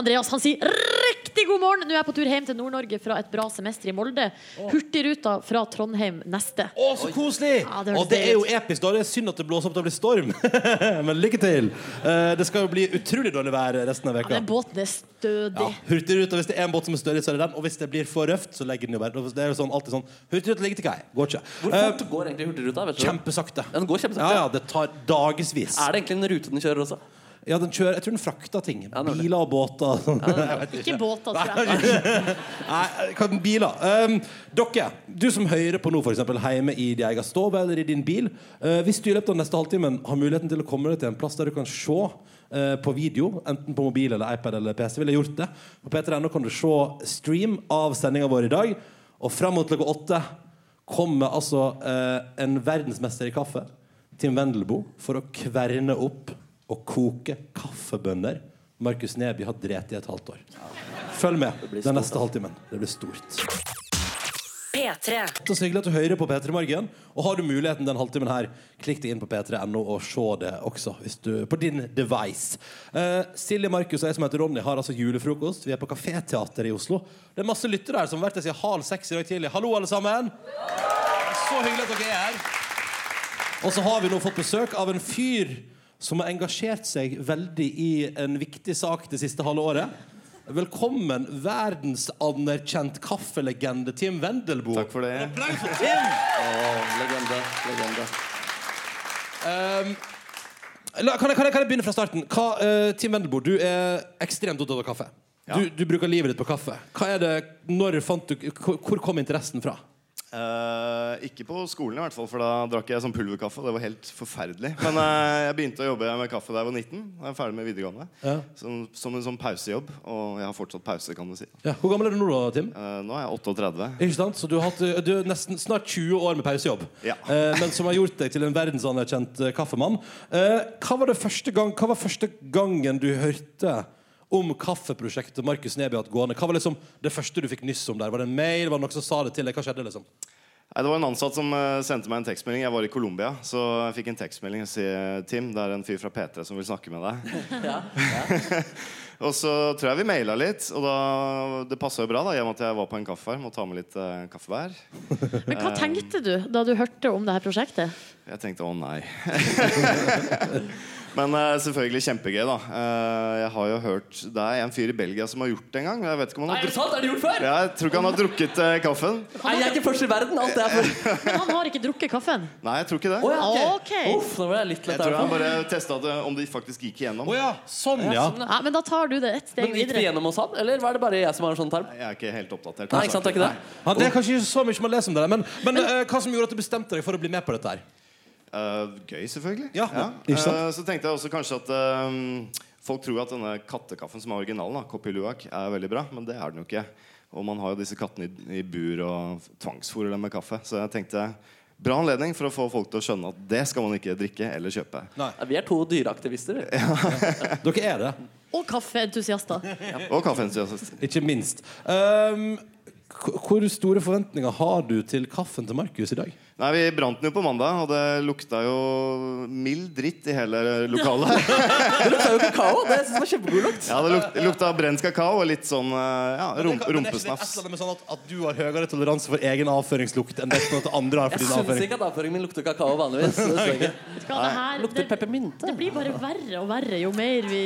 S3: Andreas han sier riktig god morgen! Nå er jeg på tur hjem til Nord-Norge fra et bra semester i Molde. Hurtigruta fra Trondheim neste.
S2: Å, så koselig!
S3: Ja, det
S2: og
S3: høres
S2: det er jo
S3: deilig ut.
S2: episk. da Det er synd at det blåser opp til å bli storm. Men lykke til. Eh, det skal jo bli utrolig dårlig vær resten av
S3: Ja,
S2: veka.
S3: den båten er
S2: Ja,
S3: stødig.
S2: Hurtigruta, hvis det er en båt som er større, så er det den. Og hvis det blir for røft, så legger den jo bare Det er jo sånn, alltid sånn Hurtigruta ligger til kai. Går ikke. Eh,
S4: Hvor fort går egentlig Hurtigruta? vet du?
S2: Kjempesakte.
S4: Ja, den går kjempesakte.
S2: Ja, ja, det tar dagevis.
S4: Er det egentlig en rute den kjører også?
S2: Ja, den kjører, Jeg tror den frakter ting. Biler og båter. og sånn. Jeg vet
S3: Ikke båter, tror jeg.
S2: Nei, hva med biler? Um, dere, du som hører på nå, for eksempel hjemme i din egen stove eller i din bil. eh, hvis du i løpet av neste halvtimen har muligheten til å komme deg til en plass der du kan se eh, på video, enten på mobil eller iPad eller PC, ville jeg gjort det. På p3.no kan du se stream av sendinga vår i dag. Og fram mot klokka åtte kommer altså eh, en verdensmester i kaffe, Tim Wendelbo, for å kverne opp og koke kaffebønner. Markus Neby har drept i et halvt år. Følg med den neste halvtimen. Det blir stort.
S5: P3.
S2: Så hyggelig at du hører på P3 Morgen. Og har du muligheten den halvtimen her, klikk deg inn på p3.no og se det også hvis du, på din device. Eh, Silje, Markus og jeg som heter Ronny, har altså julefrokost. Vi er på Kaféteatret i Oslo. Det er masse lyttere her som har vært der siden halv seks i dag tidlig. Hallo, alle sammen. Så hyggelig at dere er her. Og så har vi nå fått besøk av en fyr som har engasjert seg veldig i en viktig sak det siste halve året. Velkommen, verdensanerkjent kaffelegende Tim Wendelboe. Takk for det. En applaus for Tim!
S16: legende. Legende.
S2: Um, la, kan, jeg, kan, jeg, kan jeg begynne fra starten? Hva, eh, Tim Wendelboe, du er ekstremt opptatt av kaffe. Du, du bruker livet ditt på kaffe. Hva er det, når fant du, hvor hvor kom interessen fra?
S16: Eh, ikke på skolen, i hvert fall, for da drakk jeg sånn pulverkaffe. Og det var helt forferdelig. Men eh, jeg begynte å jobbe med kaffe da jeg var 19. Da jeg var ferdig med videregående.
S2: Ja.
S16: Som, som en sånn pausejobb. Og jeg har fortsatt pause, kan du si.
S2: Ja, hvor gammel er du nå, da, Tim?
S16: Eh, nå er jeg 38.
S2: Ikke sant? Så du har hatt eh, du er nesten snart 20 år med pausejobb, eh, men som har gjort deg til en verdensanerkjent eh, kaffemann. Eh, hva, var det første gang, hva var første gangen du hørte om kaffeprosjektet Markus Neby hatt gående? Hva var liksom det første du fikk nyss om der? Var det en mail? Var det noen som sa det til deg? Hva skjedde? liksom?
S16: Nei, det var en ansatt som eh, sendte meg en tekstmelding. Jeg var i Colombia. Så jeg fikk en tekstmelding og si Tim, det er en fyr fra P3 som vil snakke med deg. og så tror jeg vi maila litt. Og da, det passa jo bra, da, i og med at jeg var på en kaffefarm og ta med litt eh, kaffe hver.
S3: Men
S4: Eh.
S3: hva tenkte du da du hørte om det her prosjektet?
S16: Jeg tenkte å nei. Men eh, selvfølgelig kjempegøy, da. Eh, jeg har jo hørt Det er en fyr i Belgia som har gjort det en gang. Jeg vet ikke om han
S4: Nei,
S16: har
S4: er det sant? Er det gjort før?
S16: Ja, jeg tror ikke han har drukket eh, kaffen.
S4: Nei, jeg er ikke først i verden. Alt det er for
S3: Men han har ikke drukket kaffen.
S16: Nei, jeg tror ikke det.
S3: Å, ja, ok. Ok.
S4: Uff, nå ble jeg litt lett
S16: Jeg tror
S4: her,
S16: han
S4: i hvert
S16: bare
S4: fall.
S16: testa om de faktisk gikk igjennom.
S2: Sånn,
S4: ja.
S3: Ja, men da tar du det ett steg
S4: Men gikk det
S3: videre.
S4: gjennom hos han, eller var det bare jeg som har en sånn tarm?
S16: Jeg er ikke helt oppdatert.
S4: Nei, ikke sant, det er ikke det?
S2: Ja, det er kanskje ikke så mye man leser om det, der, men, men eh, hva som gjorde at du bestemte deg for å bli med på dette? her?
S16: Eh, gøy, selvfølgelig.
S2: Ja, ikke sant?
S16: Eh, så tenkte jeg også kanskje at eh, folk tror at denne kattekaffen som er originalen, da, Kopi Luwak, er veldig bra, men det er den jo ikke. Og man har jo disse kattene i, i bur og tvangsfôrer dem med kaffe. Så jeg tenkte bra anledning for å få folk til å skjønne at det skal man ikke drikke eller kjøpe.
S4: Ja, Vi er to dyreaktivister. vi.
S2: Dere er det.
S3: Og kaffeentusiaster.
S16: Og kaffeentusiast.
S2: Ikke minst. Um, k- hvor store forventninger har du til kaffen til Markus i dag?
S16: Nei, Vi brant den jo på mandag, og det lukta jo mild dritt i hele lokalet.
S4: Det lukta jo kakao. Det synes jeg var kjempegod lukt.
S16: ja, Det lukta, lukta brent kakao og litt sånn eh, ja,
S2: Men det kan- men det er
S16: rump,
S2: ikke det
S16: rumpesnafs.
S2: et eller annet med sånn at, at du har høyere toleranse for egen avføringslukt enn det at andre har for
S4: Jeg
S2: din
S4: syns
S2: avføring?
S4: ikke at avføringen min lukter kakao vanligvis. Det synes jeg ikke.
S3: Vet du hva, det her-
S4: Lukter peppermynte.
S3: Det blir bare verre og verre jo mer vi,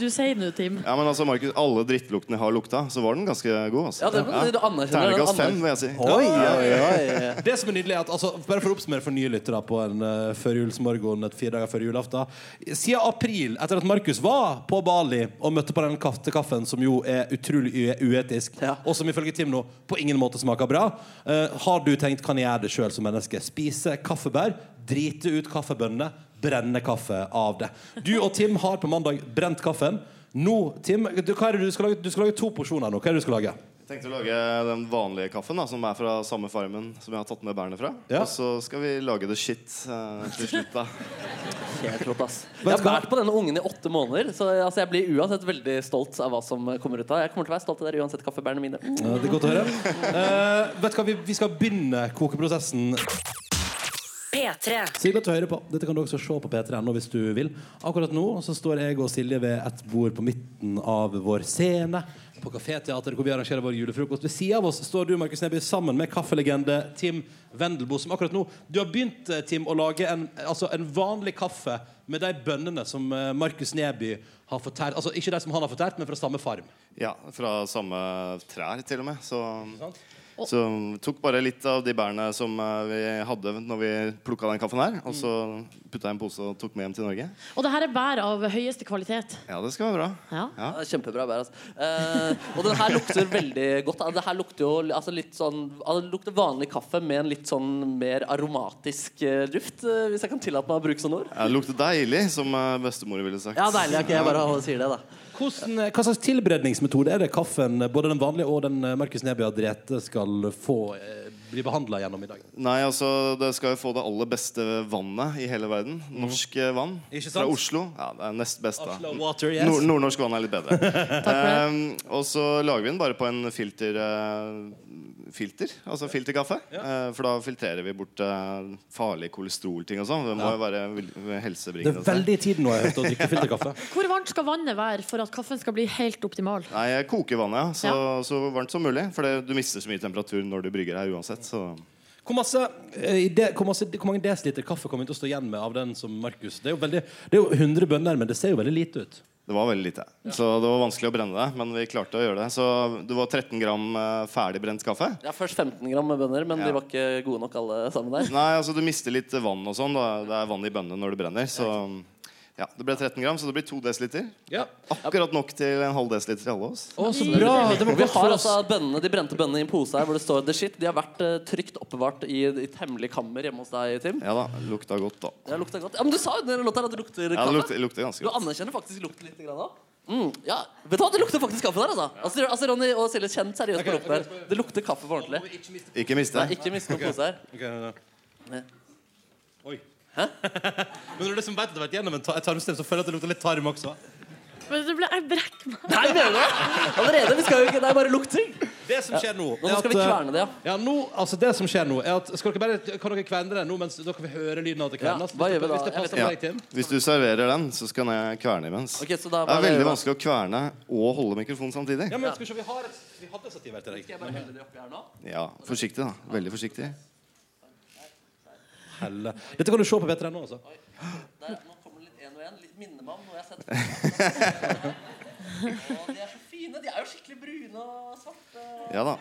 S3: du sier nå, Tim.
S16: Ja, men altså, Markus, Alle drittluktene har lukta, så var den ganske god. altså
S3: Ja, det må du- du anerkjenner
S16: Terningkast
S3: den,
S16: fem, vil jeg si. Ja.
S2: Det som er nydelig er at altså, Bare for å oppsummere for nye lyttere på en uh, førjulsmorgen et fire dager før julaften Siden april, etter at Markus var på Bali og møtte på den kaffekaffen som jo er utrolig ue- uetisk, og som ifølge Tim nå på ingen måte smaker bra, eh, har du tenkt kan jeg gjøre det sjøl som menneske? Spise kaffebær, drite ut kaffebønnene, brenne kaffe av det. Du og Tim har på mandag brent kaffen. Nå, Tim, du, hva er det du skal lage? Du skal lage to porsjoner nå. Hva er det du skal lage?
S16: Jeg tenkte å lage den vanlige kaffen, da, som er fra samme farmen som jeg har tatt med bærene fra. Og så skal vi lage the shit eh, til slutt, da.
S4: Helt rått, ass. Jeg har vært på denne ungen i åtte måneder, så jeg- altså, jeg blir uansett veldig stolt av hva som kommer ut av Jeg kommer til å være stolt av dere uansett kaffebærene mine.
S2: Ja, det er godt å høre. Eh, vet du hva, vi, vi skal begynne kokeprosessen.
S17: P3.
S2: Silje til høyre på. Dette kan du også se på P3.no hvis du vil. Akkurat nå så står jeg og Silje ved et bord på midten av vår scene på Kaféteatret, hvor vi arrangerer vår julefrokost. Ved siden av oss står du Markus Neby, sammen med kaffelegende Tim Wendelboe, som akkurat nå Du har begynt, eh, Tim, å lage en, altså en vanlig kaffe med de bønnene som eh, Markus Neby har fortært. Altså ikke de som han har fortært, men fra samme farm.
S16: Ja, fra samme trær, til og med. Så,
S3: Og-
S16: så tok bare litt av de bærene som eh, vi hadde når vi plukka den kaffen her. Og så
S4: Mm.
S16: putta jeg i en pose og tok med hjem til Norge.
S3: Og det her er bær av høyeste kvalitet.
S16: Ja, det skal være bra.
S3: Ja.
S4: Ja, det er kjempebra bær. Altså. Eh, og den her lukter veldig godt. Altså, Det her lukter jo altså, litt sånn altså, det lukter vanlig kaffe med en litt sånn mer aromatisk eh, duft, eh, hvis jeg kan tillate meg å bruke sånne ord.
S16: Ja, det lukter deilig, som eh, bestemor ville sagt.
S4: Ja, deilig. Ok, jeg bare sier det, da.
S2: Hvordan, eh, hva slags tilberedningsmetode er det kaffen, eh, både den vanlige og den eh, Markus Neby har drept, skal få eh, bli behandla gjennom i dag?
S16: Nei, altså, det skal jo få det aller beste vannet i hele verden. Norsk eh, vann fra Oslo. Ja, det er nest best, da.
S2: Mm. Oslo water, yes.
S16: Nord Nordnorsk vann er litt bedre.
S2: det.
S16: Ehm, og så lager vi den bare på en filter, eh, filter altså filterkaffe. Eh, for da filtrerer vi bort eh, farlige kolesterolting og sånn. Det må
S2: Ja.
S16: jo være vil-
S2: Det er
S16: helsebringende.
S2: veldig i tiden nå jeg har hørt å drikke filterkaffe.
S3: Hvor varmt skal vannet være for at kaffen skal bli helt optimal?
S16: Nei, jeg koker vannet, ja. Så, så varmt som mulig. For det, du mister så mye temperatur når du brygger her uansett. Så.
S2: Hvor, masse, eh, i det, hvor, masse, hvor mange desiliter kaffe kommer vi til å stå igjen med av den som Markus? Det er jo, veldig, det er jo 100 bønner, men det ser jo veldig lite ut.
S16: Det var veldig lite. Så det var vanskelig å brenne det. Men vi klarte å gjøre det. Så det var 13 gram eh, ferdigbrent kaffe.
S4: Ja, først 15 gram med bønner, men
S16: Ja.
S4: de var ikke gode nok alle sammen der.
S16: Nei, altså du mister litt vann og sånn. da. Det er vann i bønnene når det brenner. Så ja, det ble 13 gram, så det blir 2 dl. Akkurat nok til en halv desiliter til alle oss.
S2: Å, så bra! Det var
S4: Mm. vi
S2: godt
S4: har
S2: for oss.
S4: altså bønnene, De brente bønnene i en pose her hvor det står the shit. De har vært eh, trygt oppbevart i i et hemmelig kammer hjemme hos deg, Tim.
S16: Ja da, lukta godt, da.
S4: Det lukta godt. Ja, men du sa jo i den låta her at det lukter
S16: Ja, det
S4: kaffe.
S16: lukter, lukter ganske
S4: Du
S16: godt.
S4: anerkjenner faktisk lukten litt grann òg. Mm, ja. Vet du hva, det lukter faktisk kaffe der, altså. Altså, altså Ronny og Silje, kjent seriøst på lukten her. Det lukter kaffe for ordentlig.
S16: Ikke miste.
S4: Nei, ikke miste noen
S2: Ok.
S4: pose her. Nei.
S2: Oi. Men når du liksom vet at du har vært gjennom en ta- et tarmsystem, så føler jeg at det lukter litt tarm også.
S3: Men det ble, jeg brekk meg.
S4: Nei, mener du det? Allerede? Vi skal jo ikke Det er bare lukting.
S2: Det som skjer nå
S4: Nå skal vi kverne det, ja.
S2: nå, altså det som skjer nå er at, skal dere bare, Kan dere kverne det nå mens da kan vi høre lyden av at det
S4: Ja,
S2: kvernes?
S4: hva gjør vi da?
S2: Hvis det
S4: Jeg
S2: passer
S16: Ja.
S2: for deg, Tim?
S16: Hvis du serverer den, så skal jeg kverne imens.
S4: Ok, så da-
S16: det
S4: hva
S16: er veldig
S4: gjør
S16: vanskelig å kverne og holde mikrofonen samtidig.
S2: Ja, men skal vi se, vi, har et, vi hadde et stativ her til deg.
S4: Skal jeg bare helle det oppi her nå?
S16: Ja, Forsiktig, da. Veldig forsiktig.
S2: Helle. Dette kan du se på bedre enn nå, altså.
S4: Der, nå kommer det litt en og en. Litt minner meg om noe jeg har sett. Å, de er så fine. De er jo skikkelig brune og svarte.
S16: Ja da.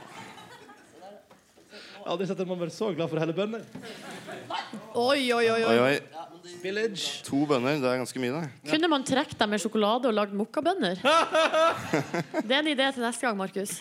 S2: Jeg har aldri sett en mann være så glad for å helle bønner.
S3: Oi, oi, oi.
S16: Oi, oi.
S2: Village.
S16: To bønner, det er ganske mye, det.
S3: Kunne man trukket dem med sjokolade og lagd mokkabønner? Det er en idé til neste gang, Markus.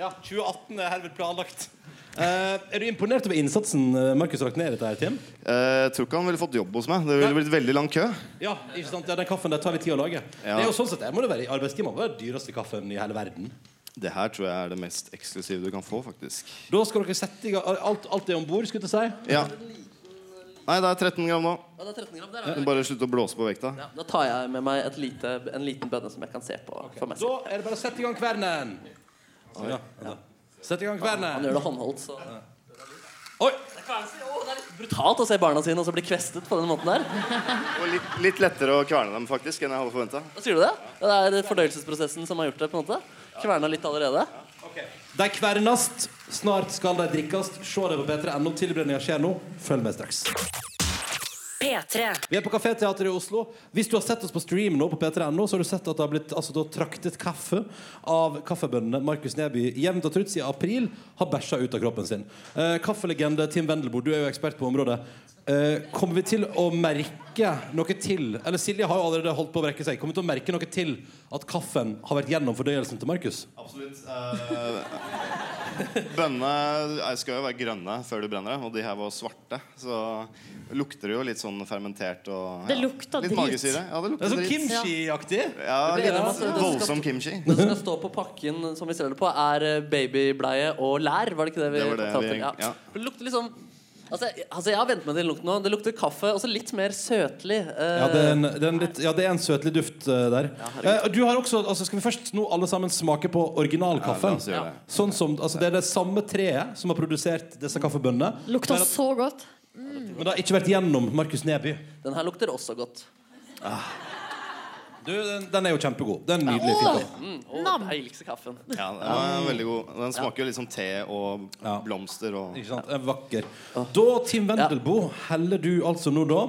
S2: Ja, 2018 er herved planlagt. Eh, er du imponert over innsatsen eh, Markus har lagt ned i dette her, Tim?
S16: Eh, Jeg tror ikke han ville fått jobb hos meg. Det ville blitt veldig lang kø.
S2: Ja, ikke sant? ja, den kaffen der tar litt tid å lage. Det
S16: Ja.
S2: er jo sånn sett, det må det være i arbeidstimer. Det er den dyreste kaffen i hele verden.
S16: Det her tror jeg er det mest eksklusive du kan få, faktisk.
S2: Da skal dere sette i gang Alt, alt er om bord, skulle jeg til å si.
S16: Ja. Nei, det er 13 gram nå.
S4: Ja, det er 13 gram der.
S16: Du
S4: er
S16: må
S4: det.
S16: Bare slutt å blåse på vekta.
S4: Ja, da tar jeg med meg et lite, en liten bønne som jeg kan se på. For meg.
S2: Da er det bare å sette i gang kvernen. Sånn, ja. ja. Sett i gang kvernen.
S4: Han gjør det håndholdt, så
S2: Oi!
S4: Det kan jeg si. Å, det er litt brutalt å se barna sine og så bli kvestet på den måten der.
S16: Og litt, litt lettere å kverne dem faktisk enn jeg hadde forventa.
S4: Hva sier du det? Det er fordøyelsesprosessen som har gjort det, på en måte? Kverna litt allerede?
S2: De kvernast, snart skal de drikkast. Se det på p3.no. Tilberedninga skjer nå. Følg med straks.
S17: P3.
S2: Vi er på Café Teater i Oslo. Hvis du har sett oss på stream nå, på p3.no, så har du sett at det har blitt altså, da, traktet kaffe av kaffebøndene Markus Neby jevnt og trutt siden april har bæsja ut av kroppen sin. Eh, kaffelegende Tim Wendelboe, du er jo ekspert på området. Eh, kommer vi til å merke noe til Eller Silje har jo allerede holdt på å brekke seg. Kommer vi til å merke noe til at kaffen har vært gjennom fordøyelsen til Markus?
S16: Absolutt. Eh, Bønnene eh, skal jo være grønne før du brenner dem, og de her var svarte. Så lukter det jo litt sånn fermentert og
S3: Det lukta
S16: Litt
S3: drit.
S16: magesyre. Ja,
S2: Det
S16: det
S2: er
S16: lukter
S2: sånn
S16: drit.
S2: kimchi-aktig.
S16: Ja,
S4: Det blir-
S16: litt
S4: det- det skal-
S16: voldsom kimchi.
S4: Det som skal stå på pakken som vi selger det på, er eh, babybleie og lær. Var det ikke det vi
S16: Det var det
S4: kom fram
S16: vi-
S4: til? Ja.
S16: ja.
S4: For Det lukter liksom Altså, jeg- altså Jeg har vent meg til den lukten nå. Det lukter kaffe, og så litt mer søtlig. eh,
S2: Ja, det er en, det er en, litt, ja, det er en søtlig duft eh, der.
S4: herregud.
S2: Eh, du har også, altså, skal vi først nå alle sammen smake på
S16: Ja, la
S2: originalkaffen?
S16: oss gjøre det.
S2: sånn som, altså, det er det samme treet som har produsert disse kaffebønnene.
S3: Lukta
S2: men,
S3: så godt.
S2: at-
S4: sånn-
S2: men det har ikke vært gjennom Markus Neby. Ah.
S4: Den her lukter også godt.
S2: Du, den, den er jo kjempegod. Den er nydelig.
S4: Åh,
S2: Fint.
S4: mm, åh,
S3: Nam.
S4: deiligste kaffen.
S16: Ja, den var veldig god. Den smaker jo litt sånn te og blomster og
S2: Ikke sant? Den er Vakker. Da, Tim Wendelboe, heller du altså nå da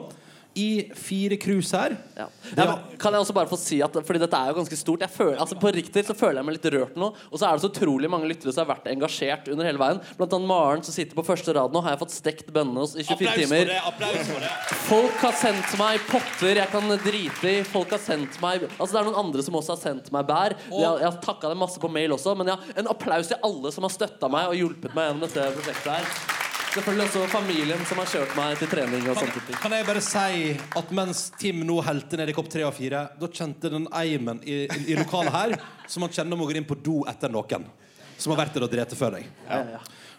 S2: i fire krus her.
S4: Nei, men, kan jeg også bare få si at Fordi dette er jo ganske stort. Jeg føler, altså På Riktig så føler jeg meg litt rørt nå. Og så er det så utrolig mange lyttere som har vært engasjert under hele veien. Blant annet Maren som sitter på første rad nå. Har jeg fått stekt bønnene hos i 24 timer.
S2: Applaus for det!
S4: Folk har sendt meg potter jeg kan drite i. Folk har sendt meg Altså Det er noen andre som også har sendt meg bær. Jeg, jeg har takka dem masse på mail også, men ja, en applaus til alle som har støtta meg og hjulpet meg gjennom dette prosjektet her. Selvfølgelig også familien som har kjørt meg til trening og sånne ting.
S2: Kan jeg bare si at mens Tim nå helte ned i kopp tre og fire, da kjente den eimen i, i lokalet her som han kjenner må gå inn på do etter noen som har vært der og drete før deg.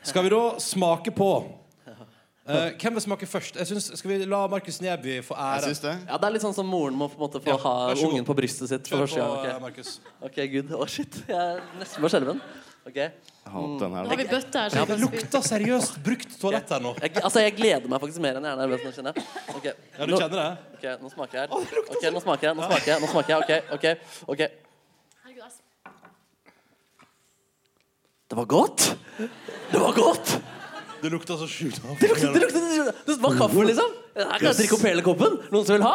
S2: Skal vi da smake på eh, Hvem vil smake først? Jeg synes, skal vi la Markus Neby få ære?
S4: Ja, det er litt sånn som moren må på en måte få
S2: Ja,
S4: ha
S2: vær så god.
S4: ungen på brystet sitt
S2: Kjør
S4: for første gang.
S2: på,
S4: ok?
S2: eh, Markus.
S4: Ok, good. Å, shit. Jeg er nesten på skjelven. Ok.
S16: Ha opp den her,
S3: Da
S16: da.
S3: har vi bøtte her.
S2: Ja, det lukter seriøst brukt toalett her nå.
S4: Jeg, altså, jeg gleder meg faktisk mer enn jeg er nervøs. Nå kjenner jeg. Ok.
S2: Ja, du
S4: Nå-
S2: kjenner det?
S4: Ok, nå smaker jeg her. Ok, nå smaker
S2: sånn.
S4: jeg, nå smaker jeg. Nå smaker jeg. Ok, ok. ok Det var godt! Det var godt!
S2: Det lukter så sjukt.
S4: liksom? Det lukter, det lukter, det lukter- det var kaffe, liksom. Her kan jeg drikke opp hele koppen. Noen som vil ha?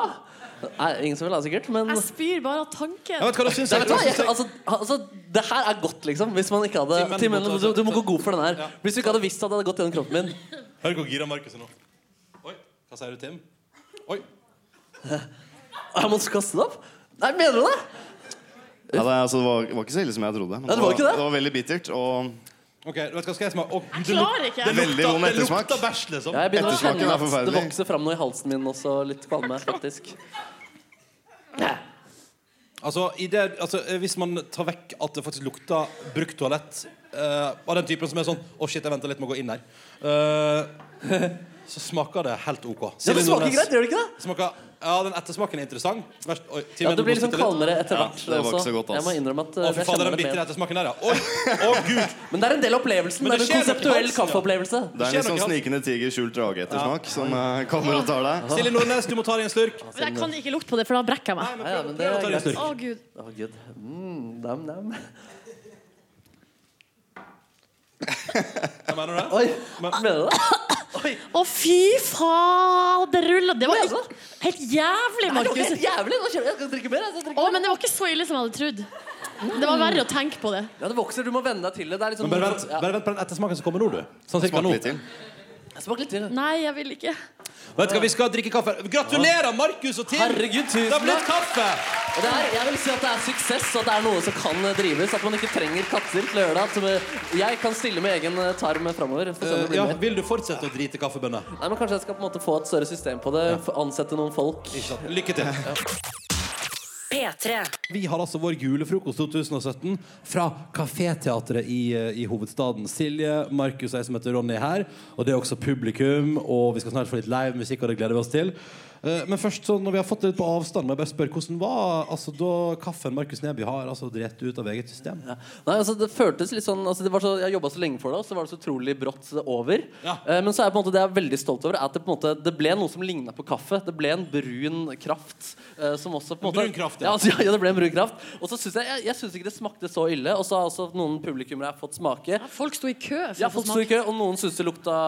S4: Nei, ingen som vil ha, sikkert. Men
S3: Jeg spyr bare av tanken.
S4: Ja, vet du hva, da syns jeg- Nei, vet du hva, jeg- altså- altså, det her er godt, liksom. Hvis man ikke hadde
S2: Timen
S4: Tim Henley,
S2: mot-
S4: du, du må gå god for den her. Hvis du ikke hadde visst at det hadde gått gjennom kroppen min
S2: Hør hvor gira Markus er nå. Oi, hva sier du, Tim? Oi.
S4: Jeg måtte kaste det opp? Nei, mener du det?
S16: Ja, det, er- altså, det var, det var ikke så ille som jeg trodde. men
S4: Nei, det var ikke det.
S16: det var veldig bittert. Og
S2: Ok, vet du hva skal jeg smake? Å,
S3: Jeg
S2: det luk-
S3: klarer ikke.
S2: Det
S16: Veldig vond
S2: lukta, det
S16: ettersmak.
S2: lukta bæsj, liksom.
S4: Ja, jeg begynner å
S16: Ettersmaken
S4: kjenne
S16: er
S4: at det
S16: forferdelig.
S4: vokser fram noe i halsen min også. Litt kvalme, faktisk.
S2: Altså, i det, altså, eh, hvis man tar vekk at det faktisk lukta brukt toalett eh, Av den typen som er sånn Å, shit, jeg venter litt med å gå inn her. Eh, så smaker det helt OK.
S4: Ja, det
S2: Silje
S4: smaker
S2: Nordnes.
S4: greit, gjør det ikke det?
S2: Smaker, ja, den ettersmaken er interessant. Vær- oi, Tim,
S4: Ja, det
S2: du
S4: blir
S2: må
S4: liksom
S2: spytte litt.
S4: kaldere etter hvert.
S2: det var
S4: også.
S2: ikke så godt, ass.
S4: Jeg må innrømme at uh,
S2: Å, fy
S4: jeg
S2: faen, det er
S4: kjenner
S2: den bitre
S4: mer.
S2: ettersmaken der, ja. Oi, å, gud.
S4: Men det er en del av opplevelsen.
S2: Men
S4: Det
S2: det skjer
S4: er en
S2: nok i
S4: konseptuell
S2: halsen, ja.
S4: kaffeopplevelse.
S16: det er litt sånn snikende tiger skjult drage-ettersmak som eh, kommer og tar deg.
S2: Silje Nordnes, du må ta deg en slurk.
S3: Men jeg kan ikke lukte på det, for da brekker jeg meg.
S4: Nei, ja, men det er greit.
S3: Å, Gud.
S4: Å, Gud. Mm, nam, nam.
S2: Hva mener du?
S4: Oi, mener du det?
S3: Å, fy faderullan! Det var ikke helt
S4: altså. Nei, det
S3: jævlig,
S4: var
S3: Markus.
S4: helt jævlig. Nå kjenner jeg- jeg skal drikke mer. Jeg skal drikke
S3: Å, men det var ikke så ille som jeg hadde trodd. Det var verre å tenke på det.
S4: Ja, det vokser. Du må venne deg til det. det er litt sånn
S2: Men bare vent, bare vent på den ettersmaken som kommer nå, du. Sånn cirka nå.
S4: Ja. Smak litt til.
S3: Nei, jeg vil ikke.
S2: Vet du hva, vi skal drikke kaffe. Gratulerer, Markus og Tim!
S4: Herregud, tusen
S2: Det har blitt
S4: takk.
S2: kaffe!
S4: Og det er, jeg vil si at det er suksess, og at det er noe som kan eh, drives. At man ikke trenger katter til å gjøre det. At eh, jeg kan stille med egen eh, tarm framover.
S2: Eh, ja, vil du fortsette å drite i kaffebønner?
S4: Nei, men Kanskje jeg skal på en måte få et større system på det. få Ansette noen folk.
S2: Lykke til.
S17: P3.
S2: Vi har altså vår julefrokost 2017 fra Kaféteatret i, eh, i hovedstaden. Silje, Markus og jeg som heter Ronny er her. Og det er også publikum. Og vi skal snart få litt live musikk, og det gleder vi oss til. Eh, Men først sånn, når vi har fått det litt på avstand, må jeg bare spørre hvordan var altså, da kaffen Markus Neby har altså, drept ut av eget system?
S4: Nei, altså det føltes litt sånn altså det var så, Jeg jobba så lenge for det, og så var det så utrolig brått over. Eh, men så er på en måte det jeg er veldig stolt over, er at det på en måte Det ble noe som ligna på kaffe. Det ble en brun kraft. eh, som også på en måte
S2: Brun kraft,
S4: ja.
S2: ja.
S4: altså, ja, det ble en brun kraft. Og så syns jeg, jeg, jeg synes ikke det smakte så ille. Og så har også noen publikummere jeg fått smake.
S3: Folk sto i kø. for
S4: Ja,
S3: å få
S4: folk sto
S3: smake.
S4: i kø, og noen syns det lukta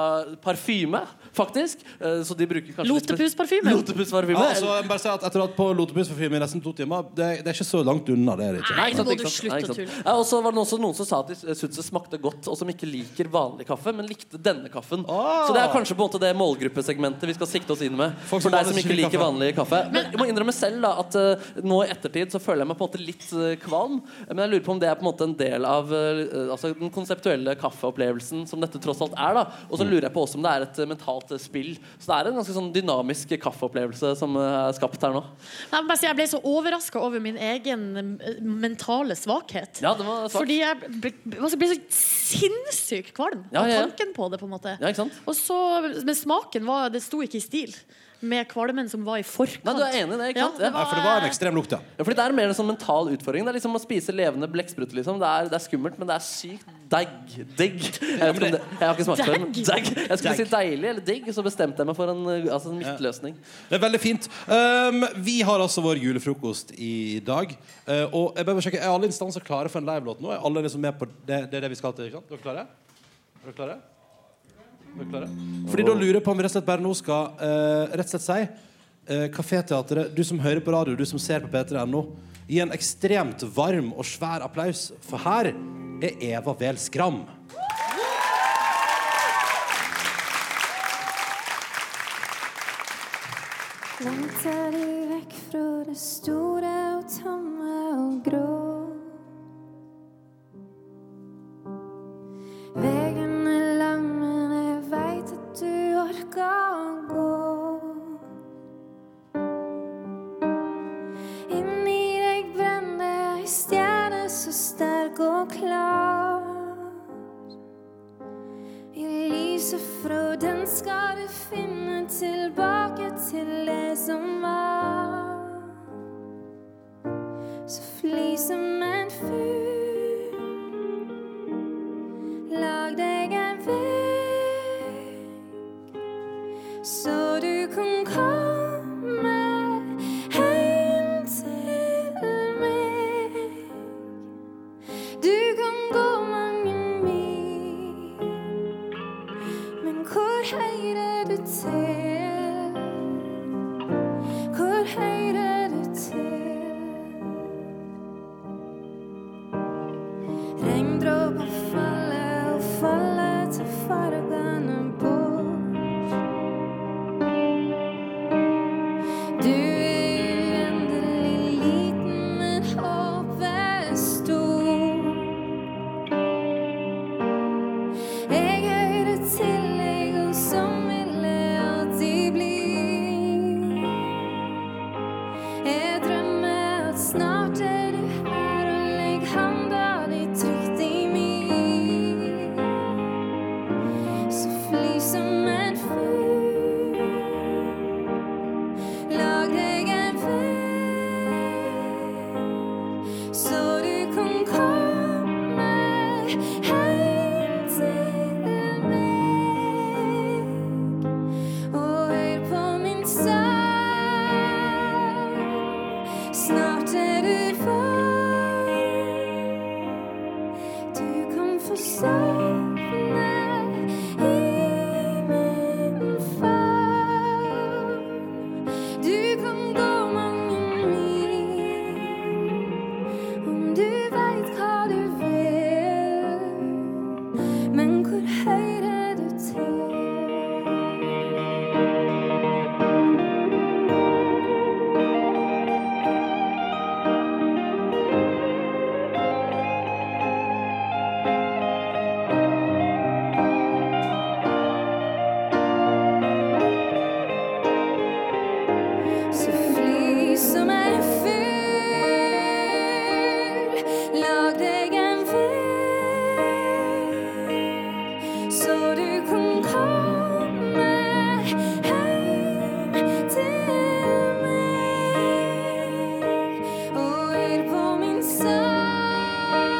S4: parfyme, faktisk. Eh, Så de bruker kanskje litt-
S3: Lotepusparfyme.
S4: Lotepusparfyme.
S2: Ja, altså, jeg må bare si at Etter å ha hatt på lotepusparfyme i nesten to timer, det, det er ikke så langt unna. det er det ikke.
S4: Nei, ikke sant, ikke sant. Nei, ikke sant. Ja, og så var det også noen som sa at de syntes det smakte godt, og som ikke liker vanlig kaffe, men likte denne kaffen. Så det er kanskje på en måte det målgruppesegmentet vi skal sikte oss inn med.
S2: Ah. Folk som
S4: for deg
S2: vanligvis
S4: som ikke
S2: liker
S4: liker
S2: kaffe.
S4: vanlig kaffe. Men jeg må innrømme selv da at eh, nå i ettertid så føler jeg meg på en måte litt eh, kvalm. Men jeg lurer på om det er på en måte en del av eh, altså den konseptuelle kaffeopplevelsen som dette tross alt er. da Og så lurer jeg på også om det er et eh, mentalt eh, spill. Så det er en ganske sånn dynamisk kaffeopplevelse som eh, er skapt her nå.
S3: Nei, men bare si, jeg ble så overraska over min egen eh, mentale svakhet.
S4: Ja, den var svak.
S3: Fordi jeg ble, altså, ble så sinnssykt kvalm
S4: Ja,
S3: av
S4: ja, ja.
S3: tanken på det. på en måte
S4: Ja, ikke sant?
S3: Og så, Men smaken var, det sto ikke i stil med kvalmen som var i forkant.
S4: Nei, du er enig i det, ikke sant?
S3: Ja, det
S2: Nei,
S3: var,
S2: for det var en ekstrem lukt, ja.
S4: Ja, fordi Det er mer en sånn mental utfordring. Det er liksom å spise levende blekkspruter. Liksom. Det, er- det er skummelt, men det er sykt deig. Digg. Jeg, vet ikke om det- jeg har ikke smakt på det. men
S2: Deig?
S4: Deig. Jeg skulle
S2: Deig.
S4: si deilig eller digg, så bestemte jeg meg for en, eh, altså, en midtløsning.
S2: Det er veldig fint. Um, vi har altså vår julefrokost i dag. Uh, og jeg bare må sjekke, Er alle instanser klare for en livelåt nå? Er alle liksom med på det, det er det vi skal til? ikke sant? Dere klare? Er dere klare? Er dere klare? Fordi da lurer jeg på om vi rett og slett bare nå skal eh, rett og slett si uh, Kaféteatret, du som hører på radio, du som ser på p3.no, gi en ekstremt varm og svær applaus, for her er Eva Wehl Skram.
S18: Langt er de vekk fra det store og tamme og grå. Vegen er lang, men jeg veit at du orker å gå. Inni deg brenner ei stjerne så sterk og klar. I lyset fra den skal du finne tilbake til det som var. Så fly som en fugl. Lag deg en vegg, så du kan komme hjem til meg. Du kan gå mange mil. Men hvor hører du til? Så fly som en fugl, lag deg en vei, så du kan komme hjem til meg. Og hør på min sang,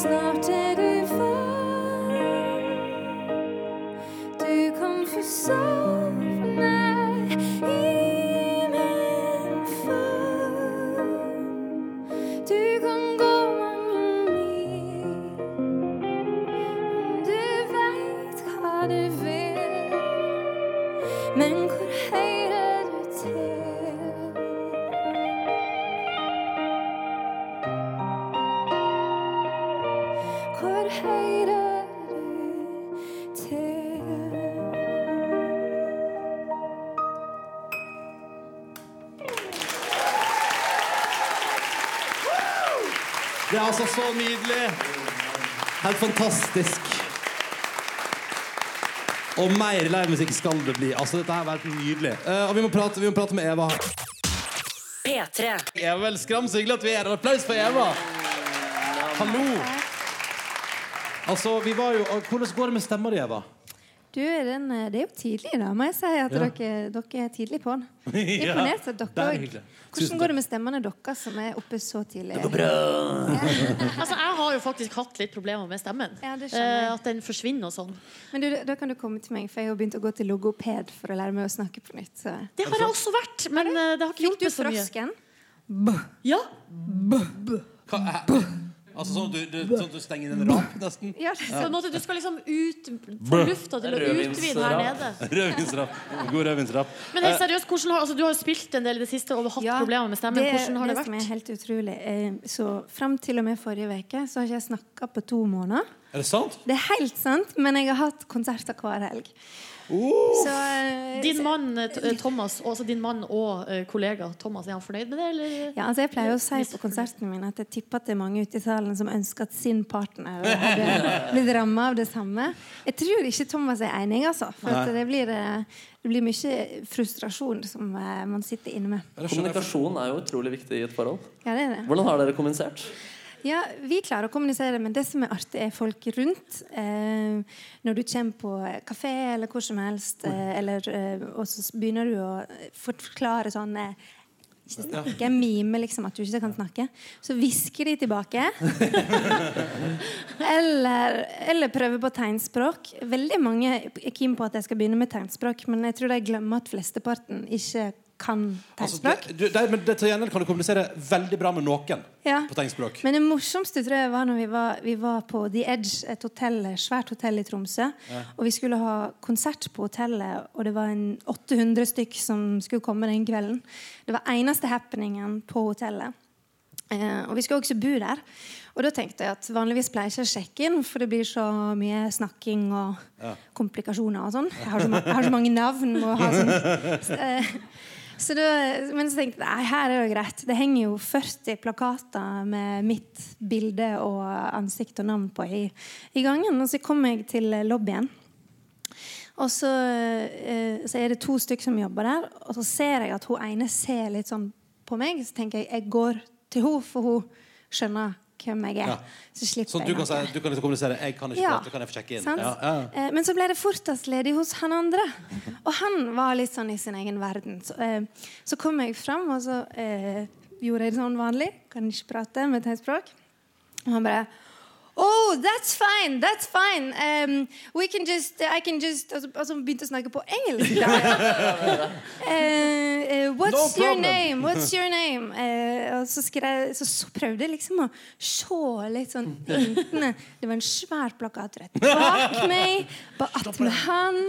S18: snart er du varm. Du kan få sovne i min favn. Du kan gå mange mil. Du veit hva du vil, men hvor hører du til? Hvor hører du til?
S12: Det er altså så nydelig. Helt fantastisk. Og mer livemusikk skal det bli. Altså, Dette her var helt nydelig. Eh, og vi må, prate, vi må prate med Eva.
S17: P3.
S12: Eva vel Skram, så hyggelig at vi er her. En Applaus for Eva. Hallo. Altså, vi var jo Hvordan går det med stemma di, Eva?
S19: Du, den, eh, det er jo tidlig, da, må jeg si. At
S12: Ja.
S19: dere, dere er tidlig på den.
S12: Ja,
S19: Imponert av
S12: det
S19: dere
S12: er
S19: òg.
S12: hyggelig. Tusen
S19: Hvordan går det med stemmene deres som er oppe så tidlig?
S12: Det går bra.
S3: Altså, jeg har jo faktisk hatt litt problemer med stemmen.
S19: det skjønner jeg.
S3: Eh, At den forsvinner og sånn.
S19: Men du, da kan du komme til meg, for jeg har begynt å gå til logoped for å lære meg å snakke på nytt. Så.
S3: Det har jeg også vært, men eh, det har ikke
S19: Fikk du
S3: hjulpet så mye.
S19: frosken?
S3: Ja.
S12: Hva, hæ? altså sånn at du, du, sånn at du stenger en rap, nesten?
S19: Ja, sånn
S3: På en måte, du skal liksom ut, få lufta til å utvide her nede.
S12: Rødvinsrap. God rødvinsrap.
S3: Men helt
S12: Eh,
S3: seriøst, hvordan har, altså, du har jo spilt en del i det siste og hatt problemer med stemmen.
S19: Det,
S3: Hvordan har det
S19: det
S3: vært?
S19: som er helt utrolig. eh, Så fram til og med forrige uke så har ikke jeg snakka på to måneder.
S12: Er det sant?
S19: Det er helt sant, men jeg har hatt konserter hver helg. Så, eh,
S3: din mann eh, T- eh, Thomas, og- altså din mann og eh, kollega Thomas, er han fornøyd med det, eller?
S19: Ja, altså jeg pleier å si på konsertene mine at jeg tipper at det er mange ute i salen som ønsker at sin partner hadde blitt ramma av det samme. Jeg tror ikke Thomas er enig, altså. For at
S4: Nei.
S19: det, blir, eh, det blir mye frustrasjon som eh, man sitter inne med.
S4: Kommunikasjon er jo utrolig viktig i et forhold.
S19: Ja, det er det.
S4: Hvordan har dere kommunisert?
S19: Ja, Vi klarer å kommunisere, men det som er artig, er folk rundt. Eh, når du kommer på kafé eller hvor som helst, eh, eller, eh, og så s- begynner du å forklare sånn eh, ikke snakke, mime liksom at du ikke kan snakke. Så hvisker de tilbake. eller, eller prøve på tegnspråk. Veldig mange er keen på at jeg skal begynne med tegnspråk, men jeg tror de glemmer at flesteparten ikke kan
S12: altså,
S19: tegnspråk.
S12: det- du, det- men det, til gjengjeld kan du kommunisere veldig bra med noen
S19: Ja.
S12: på tegnspråk.
S19: Men det morsomste tror jeg var når vi var, vi var på The Edge, et hotell, et svært hotell i Tromsø.
S12: Ja.
S19: Og vi skulle ha konsert på hotellet, og det var en 800 stykk som skulle komme den kvelden. Det var eneste happeningen på hotellet. Eh, og vi skulle også bo der. Og da tenkte jeg at vanligvis pleier jeg ikke å sjekke inn, for det blir så mye snakking og komplikasjoner og sånn. Jeg har så, ma jeg har så mange navn. Og har sånn Eh, så da, men så tenkte jeg nei, her er det jo greit. Det henger jo 40 plakater med mitt bilde og ansikt og navn på i, i gangen. Og så kom jeg til lobbyen. Og så, eh, så er det to stykker som jobber der. Og så ser jeg at hun ene ser litt sånn på meg. Så tenker jeg jeg går til henne, for hun skjønner hvem jeg er.
S12: Ja.
S19: Så slipper
S12: Sånn at du
S19: jeg
S12: kan,
S19: noe.
S12: si, du kan liksom kommunisere 'jeg kan ikke
S19: Ja.
S12: prate, kan jeg få sjekke inn'?
S19: Sant?
S12: Ja, ja.
S19: Eh, Men så ble det fortest ledig hos han andre. Og han var litt sånn i sin egen verden. Så, eh, så kom jeg fram, og så eh, gjorde jeg det sånn vanlig. Kan ikke prate med tegnspråk. Og han bare Oh, that's fine, that's fine. Um, we can just, I can just Og så og så begynte å snakke på engelsk. Eh, eh, what's
S13: No
S19: your
S13: problem.
S19: name? What's your name? Eh, og så, skrev, så, så prøvde jeg liksom å se litt sånn intene. Det var en svær plakat rett bak meg, på attmed han.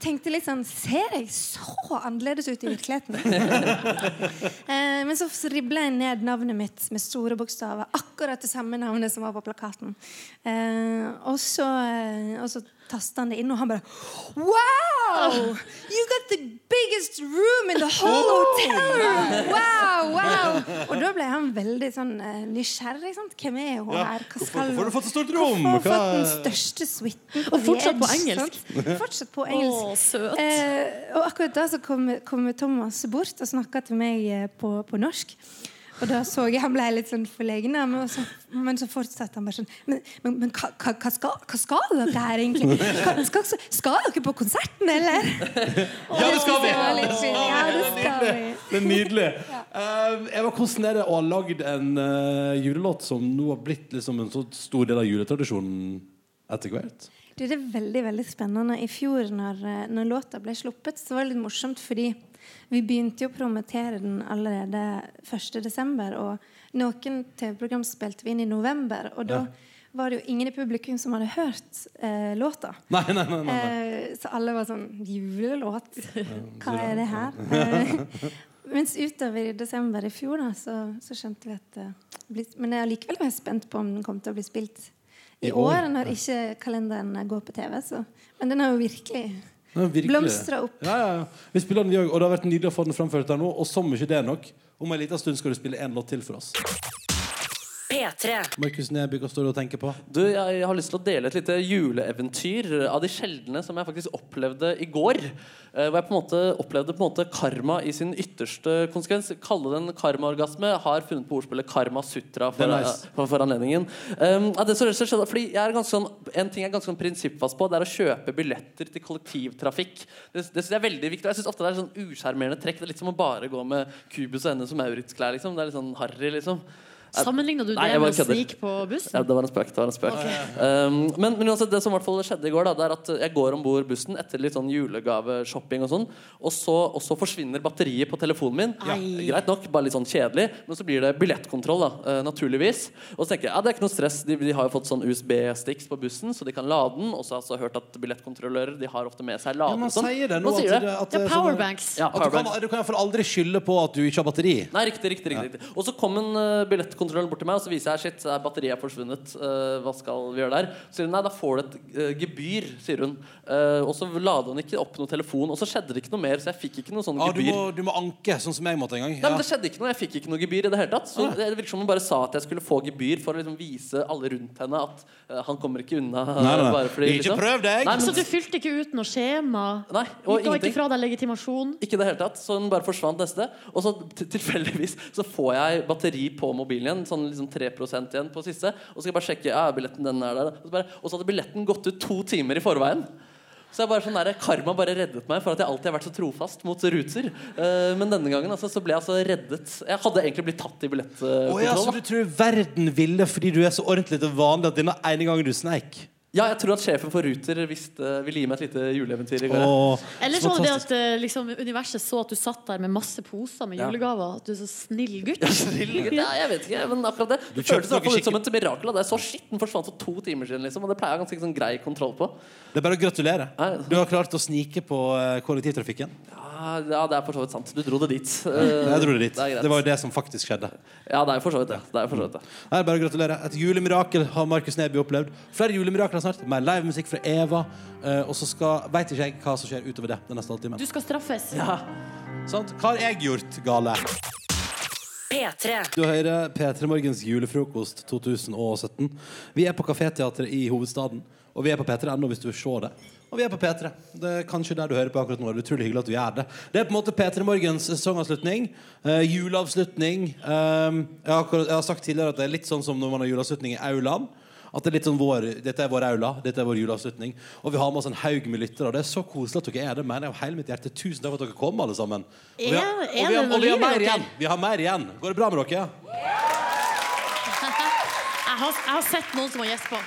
S19: Tenkte litt sånn Ser jeg så annerledes ut i virkeligheten? Eh, men så ribla jeg ned navnet mitt med store bokstaver. Akkurat det samme navnet som var på plakaten. Eh, og så, eh, og så tasta han det inn, og han bare Wow! You got the biggest room in the whole hotel room! Wow, wow! Og da ble han veldig sånn eh, nysgjerrig. Sant? Hvem er hun
S2: Ja.
S19: her? Hva
S2: Hvorfor
S19: skal
S2: hvorfor har du
S19: hun?
S2: fått så stort rom?
S19: Hvorfor har
S2: Hva-
S19: hun fått den største suiten på
S3: Og fortsatt på
S19: Liege,
S3: engelsk.
S19: sant? Fortsatt på engelsk.
S3: Å, søt.
S19: Eh, og akkurat da så kom, kom Thomas bort og snakka til meg eh, på, på norsk. Og da så jeg han ble litt sånn forlegen, da, men så, men så fortsatte han bare sånn Men, men, men hva, hva, hva, skal, hva skal dere her, egentlig? Hva, skal, skal dere på konserten, eller?
S2: Ja, det skal vi!
S19: var litt fint. Ja, det skal vi.
S2: Det er nydelig. Eh, Eva, hvordan er det å ha lagd en eh, julelåt som nå har blitt liksom en så stor del av juletradisjonen etter hvert?
S19: Du, det er veldig veldig spennende. I fjor, når, eh, når låta ble sluppet, så var det litt morsomt fordi vi begynte jo å promotere den allerede 1.12. Og noen TV-program spilte vi inn i november, og da
S2: Ja.
S19: var det jo ingen i publikum som hadde hørt eh, låta.
S2: Nei, nei, nei. nei, nei.
S19: Eh, så alle var sånn Julelåt? Hva er det her? Eh, mens utover i desember i fjor, da, så, så skjønte vi at det ble, Men jeg er likevel mer spent på om den kom til å bli spilt i,
S2: I år,
S19: år, når ikke kalenderen går på TV. Så. Men den har jo virkelig
S2: Den er virkelig-
S19: blomstra opp.
S2: Ja, ja, ja. Vi spiller den i dag, og det har vært nydelig å få den framført her nå. Og som ikke det er nok, om en liten stund skal du spille en låt til for oss.
S17: P3.
S2: Markus Neby, hva står du og tenker på?
S4: Du, jeg har lyst til å dele et lite juleeventyr av de sjeldne som jeg faktisk opplevde i går. Eh, Hvor jeg på en måte opplevde på en måte karma i sin ytterste konsekvens. Kalle den karmaorgasme. Har funnet på ordspillet Karma Sutra for,
S2: Det er nice.
S4: for, for anledningen. Um, ja, det som skjedde, skjedde- fordi jeg er ganske sånn, en ting jeg er ganske sånn prinsippfast på, det er å kjøpe billetter til kollektivtrafikk. Det, det synes jeg er veldig viktig. Og jeg synes ofte det er sånn usjarmerende trekk. Det er litt som å bare gå med Cubus og henne som Maurits-klær. Liksom. Det er litt sånn harry, liksom.
S3: Sammenligna du
S4: Nei,
S3: det
S4: jeg
S3: med
S4: bare
S3: å
S4: kødder.
S3: snike på
S4: Ja,
S3: bussen?
S4: det var en spøk. Det var en spøk. Um, men, men uansett, det som i hvert fall skjedde i går, da, det er at jeg går om bord bussen etter litt sånn julegaveshopping og sånn, og så, og så forsvinner batteriet på telefonen min.
S13: Ai.
S4: Greit nok, bare litt sånn kjedelig, men så blir det billettkontroll, da, eh, naturligvis. Og så tenker jeg ja, det er ikke noe stress, de, de har jo fått sånn USB-sticks på bussen, så de kan lade den. Og så har jeg altså hørt at billettkontrollører de har ofte med seg lader.
S2: man
S4: og sånn.
S2: sier det nå,
S4: Man
S2: at
S4: sier det.
S2: det- at det er sånn- At du
S4: Ja,
S2: kan,
S4: powerbanks.
S2: du kan i hvert fall aldri skylde på at du ikke har batteri.
S4: Nei, riktig, riktig, riktig, riktig. Og så kom en uh, billettkontroll bort til meg, og så viser jeg shit, eh, batteriet er forsvunnet. Eh, hva skal vi gjøre der? Så sier hun nei, da får du et eh, gebyr, sier hun. Eh, og så lada hun ikke opp noe telefon, og så skjedde det ikke noe mer, så jeg fikk ikke noe sånn
S2: Ja, du,
S4: gebyr.
S2: må, du må anke, sånn som jeg måtte en gang.
S4: Nei, men Det skjedde ikke noe. Jeg fikk ikke noe gebyr. i det hele tatt Så
S2: Nei.
S4: Det virker som hun bare sa at jeg skulle få gebyr for å liksom vise alle rundt henne at eh, han kommer ikke unna. eh,
S2: Nei, nei.
S4: bare fordi,
S2: Ikke prøv deg!
S4: Nei, men-
S3: Så Altså, du fylte ikke ut noe skjema?
S4: Nei,
S3: Du
S4: og
S3: ga ikke
S4: ingenting.
S3: fra deg legitimasjon?
S4: Ikke i det hele tatt, så den bare forsvant neste. Og så til- tilfeldigvis så får jeg batteri på mobilen igjen, sånn liksom 3 igjen på siste. Og så skal jeg bare sjekke, ja, billetten den er der. Og så, bare, og så hadde billetten gått ut to timer i forveien. Så jeg bare sånn der, Karma bare reddet meg for at jeg alltid har vært så trofast mot ruter. Eh, men denne gangen altså, så ble jeg altså reddet. Jeg hadde egentlig blitt tatt i
S3: Eh,
S4: billettkontroll.
S2: Å ja, så du tror verden ville fordi du er så ordentlig til vanlig at denne ene gangen du sneik
S4: ja, jeg tror at sjefen for Ruter visste, ville gi meg et lite juleeventyr i går.
S2: Åh,
S3: Eller så var det det at eh, liksom, universet så at du satt der med masse poser med
S4: Ja.
S3: julegaver. At du er så snill gutt.
S4: Snill gutt. Ja, jeg vet ikke, men akkurat det Det
S2: kjøpte
S4: føltes i hvert fall
S2: noe
S4: ut som et mirakel. Da. Jeg så shit, den forsvant for to timer siden, liksom, og det pleier jeg å ha ganske sånn grei kontroll på.
S2: Det er bare å gratulere. Du har klart å snike på eh, kollektivtrafikken.
S4: Ja, ja, det er for så vidt sant. Du dro det dit. Eh,
S2: Jeg dro det dit.
S4: er greit.
S2: Det var jo det som faktisk skjedde.
S4: Ja, det er jo for så vidt det. det, er jo for så vidt det.
S2: Nei, det er bare å gratulere. Et julemirakel har Markus Neby opplevd. Flere julemirakler snart. Mer livemusikk fra Eva. eh, og så skal veit ikke jeg hva som skjer utover det den neste halvtimen.
S3: Du skal straffes.
S2: Sant? Hva har jeg gjort gale?
S17: P3.
S2: Du hører P3 Morgens julefrokost 2017. Vi er på Kaféteatret i hovedstaden. Og vi er på p3.no hvis du vil se det. Og vi er på P3. Det er kanskje der du hører på akkurat nå. Det er utrolig hyggelig at du gjør det. Det er på en måte P3 Morgens sesongavslutning. eh, juleavslutning. Eh, jeg, har akkurat, jeg har sagt tidligere at det er litt sånn som når man har juleavslutning i aulaen. At det er litt sånn vår, Dette er vår aula, dette er vår juleavslutning. Og vi har med oss en haug med lyttere. Og det er så koselig at dere er det. Mener jeg av hele mitt hjerte. Tusen takk for at dere kom, alle sammen. Og vi har, og
S3: Er- er
S2: vi har,
S3: det
S2: og
S3: noe
S2: vi har
S3: liv i
S2: mer
S3: dere?
S2: igjen. Vi har mer igjen. Går det bra med dere?
S3: Jeg har, jeg har sett noen som har gjespa.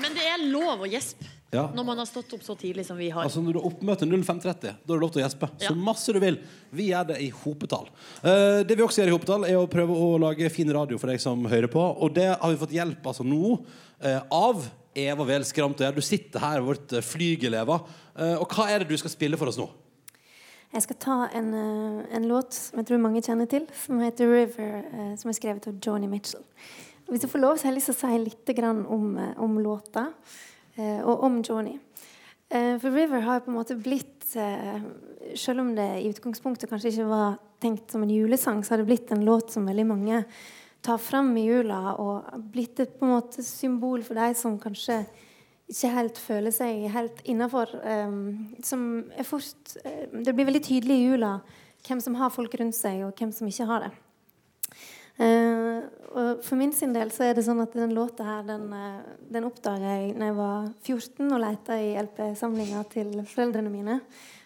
S3: Men det er lov å gjespe
S2: Ja.
S3: når man har stått opp så tidlig som vi har.
S2: Altså Når du oppmøter 0530, da er det lov til å gjespe.
S3: Ja.
S2: Så masse du vil. Vi gjør det i hopetall. Eh, det vi også gjør i hopetall, er å prøve å lage fin radio for deg som hører på. Og det har vi fått hjelp altså nå eh, av Eva Vel Skramtøy. Du sitter her, vårt eh, flygeleva. Eh, og hva er det du skal spille for oss nå?
S19: Jeg skal ta en, eh, en låt som jeg tror mange kjenner til, som heter 'River', eh, som er skrevet av Joni Mitchell. Hvis du får lov, så har jeg lyst til å si litt grann om, eh, om låta, eh, og om Joni. Eh, Eh, For River har jo på en måte blitt eh, Selv om det i utgangspunktet kanskje ikke var tenkt som en julesang, så har det blitt en låt som veldig mange tar fram i jula, og blitt et på en måte symbol for de som kanskje ikke helt føler seg helt innafor. ehm, som er fort eh, Det blir veldig tydelig i jula hvem som har folk rundt seg, og hvem som ikke har det. Eh, og for min sin del så er det sånn at den låta her den, eh, den oppdaga jeg da jeg var 14 og leita i LP-samlinga til foreldrene mine.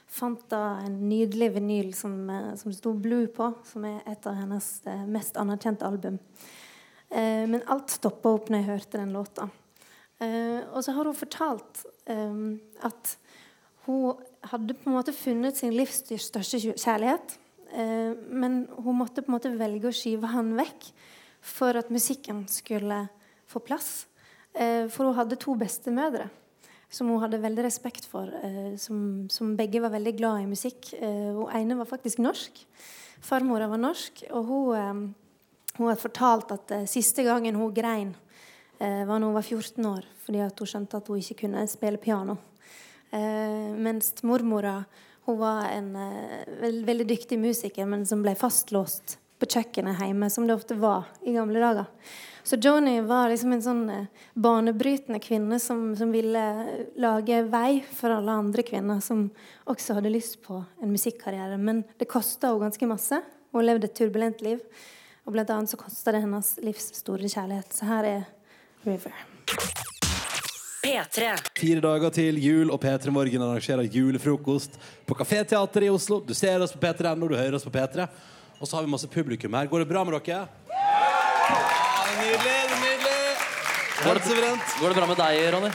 S19: Fant da en nydelig vinyl som, eh, som det sto 'Blue' på, som er et av hennes eh, mest anerkjente album. Eh, men alt stoppa opp når jeg hørte den låta. Eh, og så har hun fortalt eh, at hun hadde på en måte funnet sin livs største kjø- kjærlighet. Eh, men hun måtte på en måte velge å skyve han vekk for at musikken skulle få plass. Eh, for hun hadde to bestemødre som hun hadde veldig respekt for, eh, som, som begge var veldig glad i musikk. Eh, hun ene var faktisk norsk. Farmora var norsk, og hun, eh, hun har fortalt at eh, siste gangen hun grein, eh, var når hun var 14 år, fordi at hun skjønte at hun ikke kunne spille piano. Eh, mens mormora hun var en eh, veld, veldig dyktig musiker, men som ble fastlåst på kjøkkenet hjemme, som det ofte var i gamle dager. Så Joni var liksom en sånn eh, banebrytende kvinne som, som ville eh, lage vei for alle andre kvinner som også hadde lyst på en musikkarriere. Men det kosta henne ganske masse. Hun levde et turbulent liv. Og blant annet så kosta det hennes livs store kjærlighet. Så her er River.
S17: P3.
S12: Fire dager til jul, og P3 Morgen arrangerer julefrokost på Kafé Teater i Oslo. Du ser oss på p3.no, du hører oss på P3. Og så har vi masse publikum her. Går det bra med dere? Nydelig, nydelig.
S4: Går det, går det bra med deg, Ronny?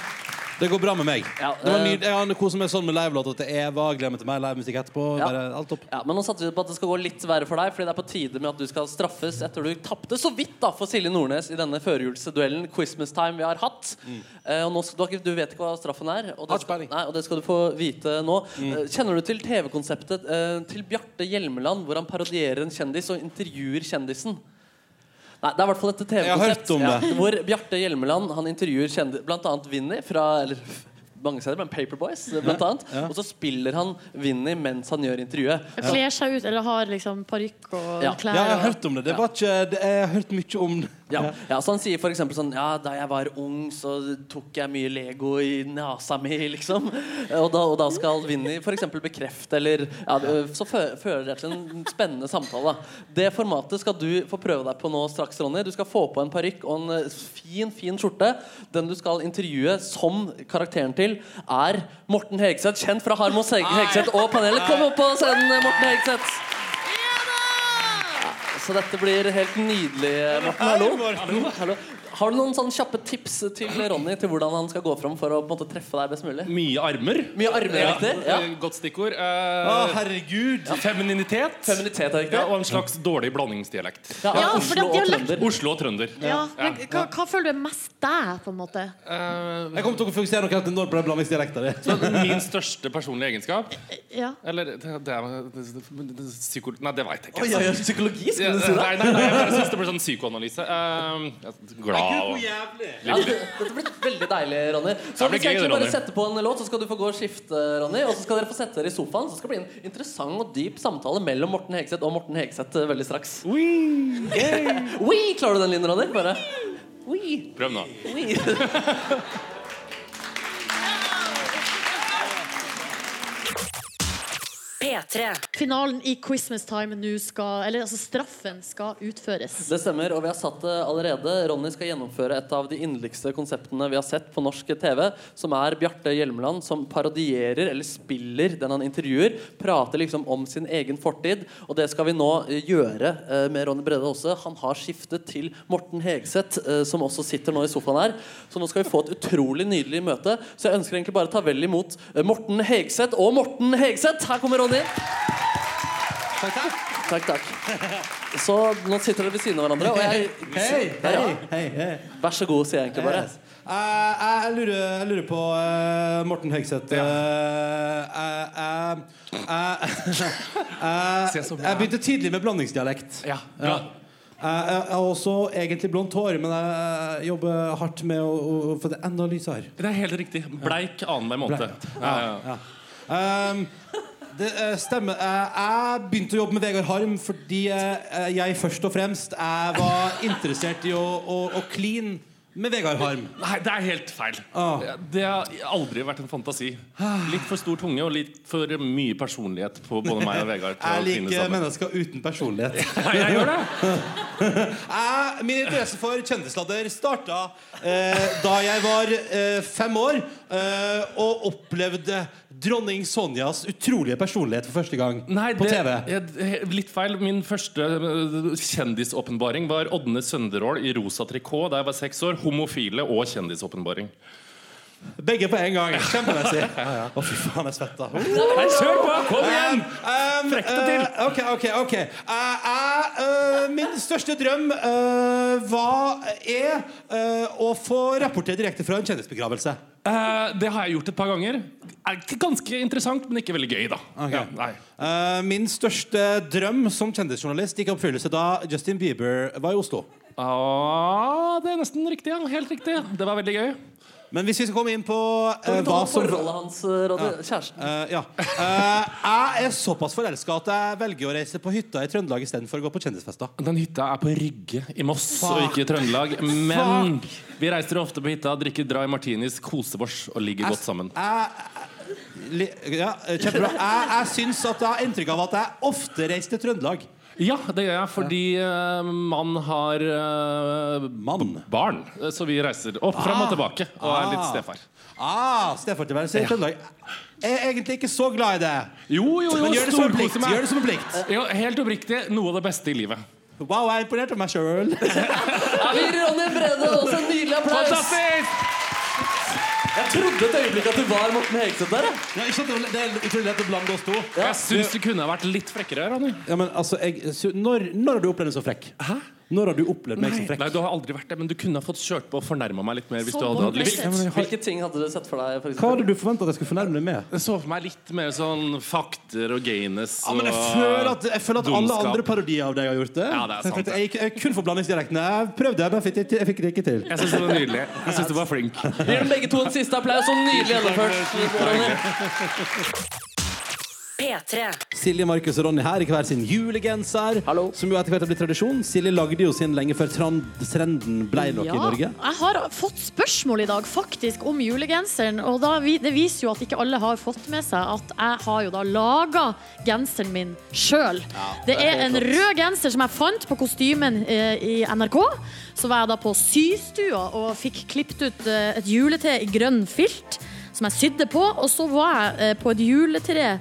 S12: Det går bra med meg. det var
S4: eh,
S12: nydelig. Jeg har kost meg sånn med livelåta til Eva. Gleder meg til mer livemusikk etterpå. Bare alt opp.
S4: Ja, men nå satser vi på at det skal gå litt verre for deg, Fordi det er på tide med at du skal straffes etter du tapte så vidt da for Silje Nordnes i denne førjulsduellen Christmas time vi har hatt. Eh, og nå skal, du, har ikke- du vet ikke hva straffen er, og det, skal, nei, og det skal du få vite nå.
S12: Mm.
S4: Eh, kjenner du til TV-konseptet eh, til Bjarte Hjelmeland, hvor han parodierer en kjendis og intervjuer kjendisen? Nei, det er i hvert fall et TV-konsept
S12: Jeg har hørt om det.
S4: Hvor Bjarte Hjelmeland han intervjuer kjendis, blant annet Vinni fra eller, mange steder, men Paperboys blant annet. Og så spiller han Vinni mens han gjør intervjuet.
S3: Kler seg ut, eller har liksom parykk og
S4: Ja.
S3: klær.
S4: Ja, jeg har
S3: og-
S4: hørt
S12: om det. Det var ikke det, Jeg har hørt mye om det.
S4: Ja. ja, så Han sier for eksempel sånn Ja, da jeg var ung, så tok jeg mye Lego i nesa mi, liksom. Og da, og da skal Vinni for eksempel bekrefte, eller ja, Så fø- fører det til en spennende samtale. da. Det formatet skal du få prøve deg på nå straks, Ronny. Du skal få på en parykk og en eh, fin, fin skjorte. Den du skal intervjue som karakteren til, er Morten Hegseth, kjent fra Harmos Heg- Hegseth og panelet. Kom opp på scenen, Morten Hegseth. Så dette blir helt nydelig, Morten. Hallo. Hallo. Har du noen sånne kjappe tips til Ronny til hvordan han skal gå fram for å på en måte, treffe deg best mulig?
S20: Mye armer.
S4: Mye armer, er riktig, ja.
S20: Godt stikkord. Eh,
S4: Å, herregud.
S20: Femininitet.
S4: Femininitet er riktig.
S20: Ja, og en slags dårlig blandingsdialekt.
S3: Ja, Ja, for det er
S20: Oslo, og
S3: dialekt-
S20: trønder. Oslo og trønder.
S3: Ja, men hva, hva føler du er mest deg, på en måte?
S12: Jeg kommer til å fokusere noe helt enormt på den blandingsdialekta di.
S20: Eh, Så min største personlige egenskap
S3: Ja.
S20: Eller det, det, er- det, det, det, psyko, Nei, det veit jeg ikke.
S4: Oi, oi, oi, psykologi, skulle du si det?
S20: Nei, nei, nei, jeg bare synes det blir sånn psykoanalyse. Eh, jeg er glad og
S4: Ja, det- dette blir veldig deilig, Ronny. Så
S20: Det
S4: vi skal
S20: blir gøy,
S4: egentlig
S20: Ronny.
S4: bare sette på en låt, så skal du få gå og skifte, Ronny. Og så skal dere få sette dere i sofaen. Så skal det bli en interessant og dyp samtale mellom Morten Hegseth og Morten Hegseth eh, veldig straks. Oi, Klarer du den lyden, Ronny? Bare Oi.
S20: Prøv nå.
S4: Oi.
S17: P3.
S3: Finalen i Christmas time nå skal Eller altså, straffen skal utføres.
S4: Det stemmer, og vi har satt det allerede. Ronny skal gjennomføre et av de inderligste konseptene vi har sett på norsk TV, som er Bjarte Hjelmeland som parodierer eller spiller den han intervjuer. Prater liksom om sin egen fortid, og det skal vi nå eh, gjøre eh, med Ronny Brede også. Han har skiftet til Morten Hegseth, eh, som også sitter nå i sofaen her. Så nå skal vi få et utrolig nydelig møte. Så jeg ønsker egentlig bare å ta vel imot eh, Morten Hegseth og Morten Hegseth. Her kommer Ronny. Takk, takk. Takk, Så nå sitter dere ved siden av hverandre, og jeg
S12: Hei, hei,
S4: Ja, ja.
S12: hei, hei.
S4: Vær så god, sier jeg egentlig bare.
S12: Yes. Eh, jeg, jeg, lurer, jeg lurer på eh, Morten Høgseth
S2: eh,
S12: jeg, jeg, jeg, jeg, jeg begynte tidlig med blandingsdialekt.
S20: Ja,
S12: Ja.
S2: Jeg jeg har også egentlig blondt hår, men jeg jobber hardt med å, å få det enda lysere.
S20: Det er helt riktig. Bleik annenhver måned. Ja, ja.
S2: Um, det eh, stemmer. Eh, jeg begynte å jobbe med Vegard Harm fordi eh, jeg først og fremst jeg var interessert i å, å, å clean med Vegard Harm.
S20: Nei, det er helt feil.
S2: Ah.
S20: Det har aldri vært en fantasi. Litt for stor tunge og litt for mye personlighet på både meg og Vegard. til å
S2: Jeg
S20: finne
S2: liker
S20: sammen.
S2: mennesker uten personlighet.
S20: jeg gjør
S2: Jeg, min interesse for kjendisladder starta eh, da jeg var eh, fem år eh, og opplevde dronning Sonjas utrolige personlighet for første gang på
S20: det-
S2: TV.
S20: jeg- Litt feil. Min første øh, kjendisåpenbaring var Ådne Sønderål i rosa trikot da jeg var seks år. Homofile og kjendisåpenbaring.
S2: Begge på en gang. Kjempemessig. Å, fy faen, jeg svetter.
S20: Nei, kjør på! Kom igjen!
S2: Um, um,
S20: Frekk det til.
S2: eh, ok, ok, ok. Eh, jeg, eh, min største drøm eh, var, er eh, å få rapportere direkte fra en kjendisbegravelse.
S20: Eh, det har jeg gjort et par ganger. Er ikke ganske interessant, men ikke veldig gøy, da. Ja, nei.
S2: Eh, min største drøm som kjendisjournalist gikk i oppfyllelse da Justin Bieber var i Oslo.
S20: Ah, det er nesten riktig. ja, Helt riktig. Det var veldig gøy.
S2: Men hvis vi skal komme inn på
S20: Kan
S2: eh,
S20: vi ta
S2: hva
S20: opp
S2: som
S20: forholdet
S4: hans, eh, Ronny? Kjæresten.
S2: Eh, ja. Eh, jeg er såpass forelska at jeg velger å reise på hytta i Trøndelag istedenfor å gå på kjendisfester.
S20: Den hytta er på Rygge i Moss og
S2: Fuck.
S20: ikke i Trøndelag. Men vi reiser ofte på hytta, drikker dry martinis, koser oss og ligger godt sammen.
S2: Li ja, eh, kjempebra. Jeg, jeg syns at jeg har inntrykk av at jeg ofte reiser til Trøndelag.
S20: Ja, det gjør jeg fordi eh, man har eh, b- barn. Eh, Så vi reiser opp, fram
S2: Ah.
S20: og tilbake og er litt stefar.
S2: Ah, Stefartilværelse i
S20: Ja.
S2: Trøndelag. Jeg er egentlig ikke så glad i det.
S20: Jo, jo, jo,
S2: Men gjør det som en
S20: storkose
S2: plikt.
S20: meg.
S2: Gjør det som en plikt.
S20: Jo, helt oppriktig noe av det beste i livet.
S2: Wow, jeg er imponert over meg sjøl.
S4: Gir Ronny Brede også en nydelig applaus.
S20: Fantastisk!
S4: Jeg trodde et øyeblikk at du var Morten Hegseth der.
S2: Ja, ikke sant? Det er utrolig lett å blande oss to.
S20: Jeg syns du kunne ha vært litt frekkere, Ronny.
S2: Ja, men altså, jeg, sy- når, når har du opplevd meg så frekk? Hæ? Når har du opplevd meg
S20: Nei.
S2: som frekk?
S20: Nei, du har aldri vært det, men du kunne ha fått kjørt på og fornærma meg litt mer. Hvis
S4: Så
S20: du hadde hatt lyst
S4: Morten Hegseth. Hvilke ting hadde du sett for deg? For
S2: Hva hadde du forventa at jeg skulle fornærme deg med?
S20: Jeg så for meg litt mer sånn fakter og gayness
S2: Ja, men jeg
S20: og
S2: føler at, jeg føler at alle
S20: dumskap.
S2: andre parodier av deg har gjort det.
S20: Ja, det er sant, det.
S2: Jeg, gikk- jeg kun for blandingsdialekten. Jeg prøvde, men jeg fikk, det til- jeg fikk det ikke til.
S20: Jeg syns det var nydelig. Jeg synes du var flink.
S4: Gi dem begge to en siste applaus. Så nydelig gjennomført. Ronny.
S17: P3.
S2: Silje, Markus og Ronny her i hver sin julegenser, som jo etter hvert har blitt tradisjon. Silje lagde jo sin lenge før tran- trenden blei noe
S3: Ja,
S2: i Norge.
S3: jeg har fått spørsmål i dag faktisk om julegenseren. Og da, vi- det viser jo at ikke alle har fått med seg at jeg har jo da laga genseren min sjøl. det,
S7: det er
S3: er en
S7: helt rått.
S3: rød genser som jeg fant på kostymen eh, i NRK. Så var jeg da på systua og fikk klippet ut eh, et julete i grønn filt som jeg sydde på. Og så var jeg eh, på et juletre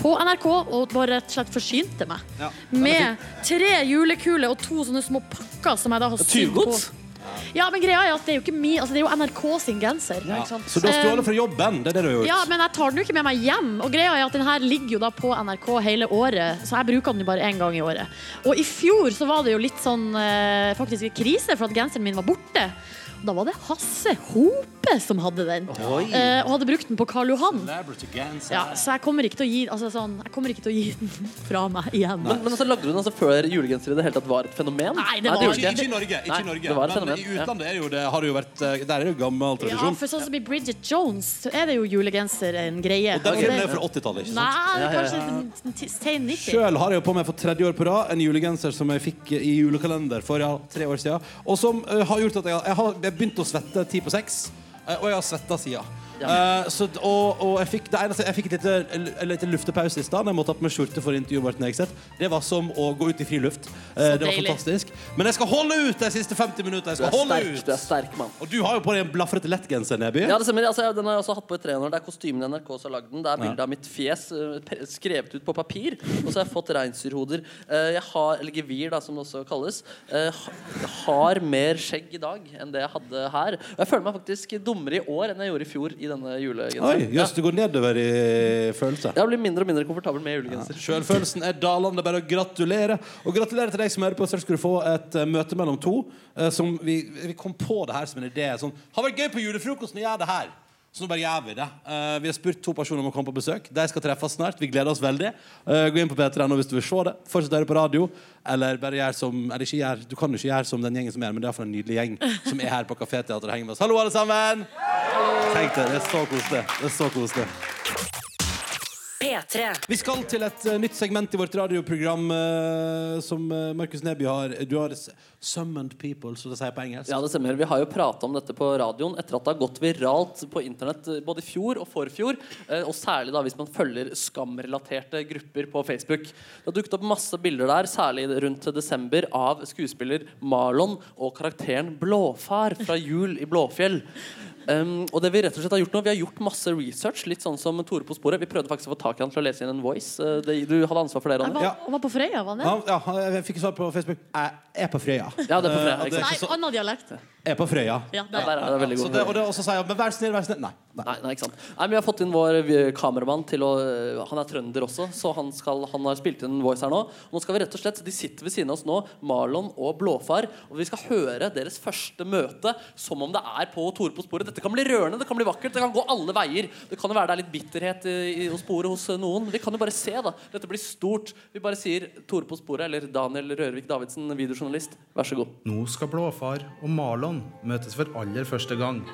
S3: på NRK og bare rett og slett forsynte meg. Med tre julekuler og to sånne små pakker som jeg da har sydd på.
S2: Tyvgods?
S3: Ja, men greia er at det er jo ikke min, altså det er jo NRK sin genser.
S2: Ja.
S3: ikke sant?
S2: Så du har
S3: Eh,
S2: stjålet fra jobben? Det er det du har gjort?
S3: ja, men jeg tar den jo ikke med meg hjem. Og greia er at den her ligger jo da på NRK hele året, så jeg bruker den jo bare én gang i året. Og i fjor så var det jo litt sånn eh, faktisk litt krise for at genseren min var borte. Og Da var det Hasse Hope som hadde den,
S2: Oi.
S3: eh, og hadde brukt den på Karl Johan. Ja,
S2: Ja,
S3: så jeg kommer ikke til å gi, altså sånn, jeg kommer ikke til å gi den fra meg igjen.
S4: Men, men altså, lagde du den altså før julegenser i det hele tatt var et fenomen?
S3: Nei, det var-
S4: gjorde
S2: Ikke i Norge, ikke
S4: Nei,
S2: i Norge.
S4: Det var et
S2: men
S4: fenomen.
S2: i utlandet er det jo det, har det jo vært eh, Der er det jo gammel
S3: Ja,
S2: tradisjon.
S3: for sånn som i Bridget Jones så er det jo julegenser en greie.
S2: Og den
S3: Og
S2: filmen
S3: det-
S2: er fra 80-tallet, ikke sant? Ja, ja,
S3: Nei,
S2: ja.
S3: kanskje t- sen 90.
S2: Sjøl har jeg jo på meg for tredje år på rad en julegenser som jeg fikk i julekalender for ja, tre år siden, og som eh, har gjort at jeg, har- jeg har jeg begynte å svette ti på seks, eh, og jeg har svetta sida. Eh, så, d- og, og jeg fikk, det eneste, jeg fikk et lite, en lite luftepause i stad. da Jeg måtte ha på meg skjorte for intervjuet Martin Hegseth. Det var som å gå ut i friluft. Eh,
S4: Så
S2: det var
S4: deilig.
S2: fantastisk. Men jeg skal holde ut de siste 50 minuttene. Jeg
S4: Du er
S2: skal holde
S4: sterk,
S2: ut.
S4: du er sterk, mann.
S2: Og du har jo på deg en blafrete lettgenser, Neby.
S4: Ja, det stemmer. Altså, den har jeg også hatt på i tre år. Det er kostymen i NRK som har lagd den. Det er bilde av mitt fjes eh, pe- skrevet ut på papir. Og så har jeg fått reinsdyrhoder. Eh, Jeg har, eller gevir, da, som det også kalles. eh, ha- Har mer skjegg i dag enn det jeg hadde her. Og jeg føler meg faktisk dummere i år enn jeg gjorde i fjor i denne
S2: Oi,
S4: julegenseren.
S2: jøss, du går nedover i følelse.
S4: Jeg blir mindre og mindre komfortabel med julegenser.
S2: Sjølfølelsen er dalende. Bare å gratulere. Og gratulerer til deg som hører på. Snart skal du få et eh, møte mellom to. eh, som vi, vi kom på det her som en idé. Sånn, har vært gøy på julefrokosten å gjøre det her. Så nå bare gjør vi det. Eh, vi har spurt to personer om å komme på besøk. De skal treffes snart. Vi gleder oss veldig. Eh, gå inn på p3.no hvis du vil se det. Fortsett å høre på radio. Eller bare gjør som eller ikke gjør, Du kan jo ikke gjøre som den gjengen som er her, men det er iallfall en nydelig gjeng som er her på Kafeteatret og henger med oss. Hallo, alle sammen! Tenk det. Det er så koselig. Det er så koselig.
S17: P3.
S2: Vi skal til et eh, nytt segment i vårt radioprogram eh, som eh, Markus Neby har. Du har s- 'summoned people', som de sier på engelsk.
S4: Ja, det stemmer. Vi har jo prata om dette på radioen etter at det har gått viralt på internett eh, både i fjor og forfjor, eh, og særlig da hvis man følger skamrelaterte grupper på Facebook. Det har dukket opp masse bilder der, særlig rundt desember, av skuespiller Marlon og karakteren Blåfar fra Jul i Blåfjell. Um, og det Vi rett og slett har gjort nå, vi har gjort masse research, litt sånn som Tore på sporet. Vi prøvde faktisk å få tak i han til å lese inn en voice. Eh, det, du hadde ansvar for det,
S3: Han
S4: Ronny.
S3: var, han var på Frøya, var han det?
S2: Han- ja, han- jeg fikk svar på Facebook. Jeg er på Frøya.
S4: Ja, det er på Frøya,
S2: Eh, og det er
S3: Nei,
S2: ikke så-
S3: annen dialekt.
S2: er på Frøya.
S3: Ja,
S4: Ja, der er det veldig
S2: Så
S4: god
S2: det, og det også sier jeg, men vær snill, vær snill. Nei.
S4: Nei, nei, ikke sant Nei, men Vi har fått inn vår eh, kameramann til å eh, Han er trønder også, så han, skal, han har spilt inn en voice her nå. Nå skal vi rett og slett, De sitter ved siden av oss nå, Marlon og Blåfar. Og vi skal høre deres første møte som om det er på Tore på sporet. Dette kan bli rørende, det kan bli vakkert, det kan gå alle veier. Det kan jo være det er litt bitterhet i, i, hos sporet hos eh, noen. Vi kan jo bare se, da. Dette blir stort. Vi bare sier Tore på sporet eller Daniel Rørvik Davidsen, videojournalist, vær så god.
S21: Nå skal Blåfar og Marlon møtes for aller første gang.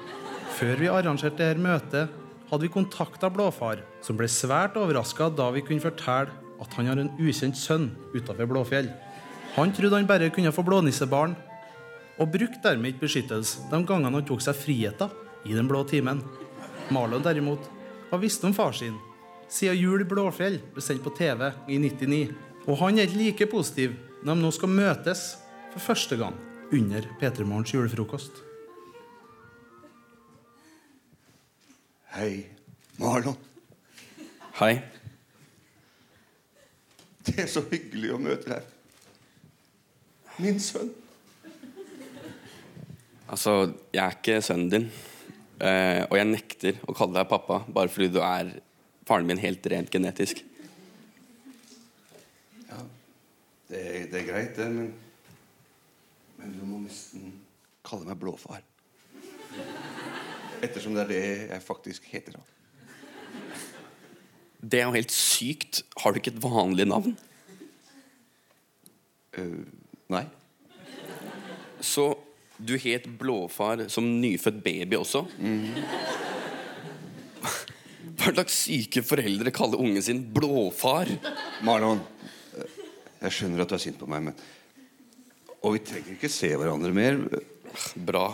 S21: Før vi arrangerte dette møtet, hadde vi kontakta Blåfar, som ble svært overraska da vi kunne fortelle at han har en ukjent sønn utafor Blåfjell. Han trodde han bare kunne få blånissebarn, og brukte dermed ikke beskyttelse de gangene han tok seg friheter i den blå timen. Marlon derimot har visst om far sin siden Jul i Blåfjell ble sendt på TV i 99. Og han er ikke like positiv når de nå skal møtes for første gang under P3 Morgens julefrokost.
S22: Hei, Marlon. Hei. Det er så hyggelig å møte deg. Min sønn.
S11: Altså, jeg er ikke sønnen din. Eh, og jeg nekter å kalle deg pappa bare fordi du er faren min helt rent genetisk.
S22: Det er, det er greit, det, men Men du må nesten kalle meg blåfar. Ettersom det er det jeg faktisk heter. da.
S11: Det er jo helt sykt. Har du ikke et vanlig navn?
S2: Eh,
S22: nei.
S11: Så du het Blåfar som nyfødt baby også?
S2: Mm.
S11: Hva slags syke foreldre kaller ungen sin Blåfar?
S22: Marlon, eh, jeg skjønner at du er sint på meg, men Og vi trenger ikke se hverandre mer.
S11: Bra.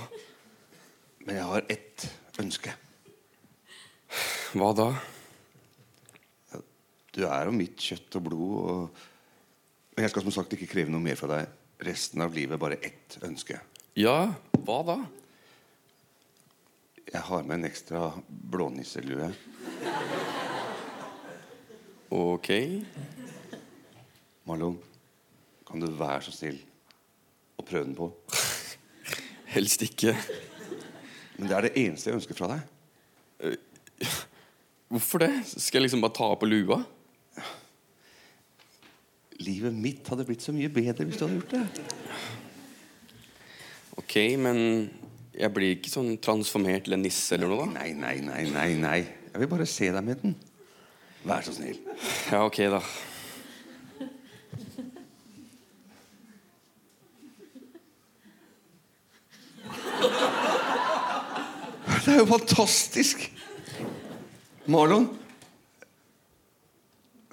S22: Men jeg har ett ønske.
S11: Hva da?
S22: Du er jo mitt kjøtt og blod, og Men jeg skal som sagt ikke kreve noe mer fra deg resten av livet. Bare ett ønske.
S11: Ja, hva da?
S22: Jeg har med en ekstra blånisselue.
S11: Ok.
S22: Marlon, kan du være så snill å prøve den på?
S11: Helst ikke.
S22: Men det er det eneste jeg ønsker fra deg.
S11: Eh, Hvorfor det? Skal jeg liksom bare ta på lua?
S22: Livet mitt hadde blitt så mye bedre hvis du hadde gjort det.
S11: Ok, men jeg blir ikke sånn transformert til en nisse eller noe da?
S22: Nei, nei, nei, nei, nei. Jeg vil bare se deg med den. Vær så snill.
S11: Ja, ok da.
S22: Det er jo fantastisk! Marlon,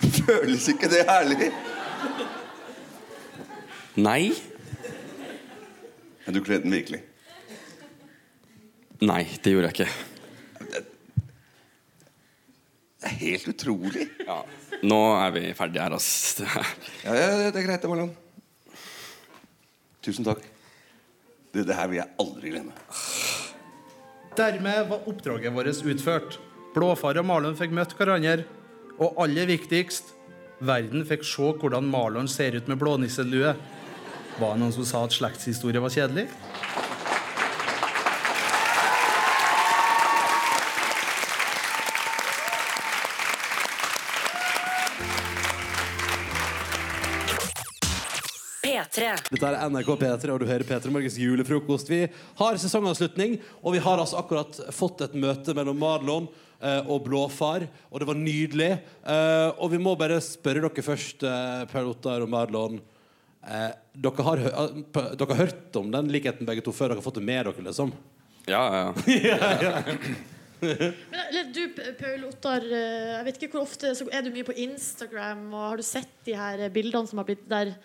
S22: føles ikke det herlig?
S11: Nei.
S22: Men du kledde den virkelig.
S11: Nei, det gjorde jeg ikke.
S22: Det er helt utrolig.
S11: Ja, Nå er vi ferdige her, ass. Det er-
S22: Ja, ja, ja, det er greit, det, Marlon. Tusen takk. Det, det her vil jeg aldri glemme.
S21: Dermed var oppdraget vårt utført. Blåfar og Marlon fikk møtt hverandre. Og aller viktigst, verden fikk se hvordan Marlon ser ut med blånisselue. Var det noen som sa at slektshistorie var kjedelig?
S17: P3.
S5: P3.
S23: Dette er NRK P3, og du hører P3 Morgens julefrokost. Vi har sesongavslutning, og vi har altså akkurat fått et møte mellom Marlon eh, og Blåfar, og det var nydelig. Eh, og vi må bare spørre dere først, eh, Per Ottar og Marlon. Eh, dere, har, hø- eh, p- dere har hørt om den likheten begge to før? Dere har fått det med dere, liksom?
S11: Ja, ja.
S3: Men eller, du, P- Paul Ottar, eh, jeg vet ikke hvor ofte så er du mye på Instagram. Og har du sett de her eh, bildene som har blitt der,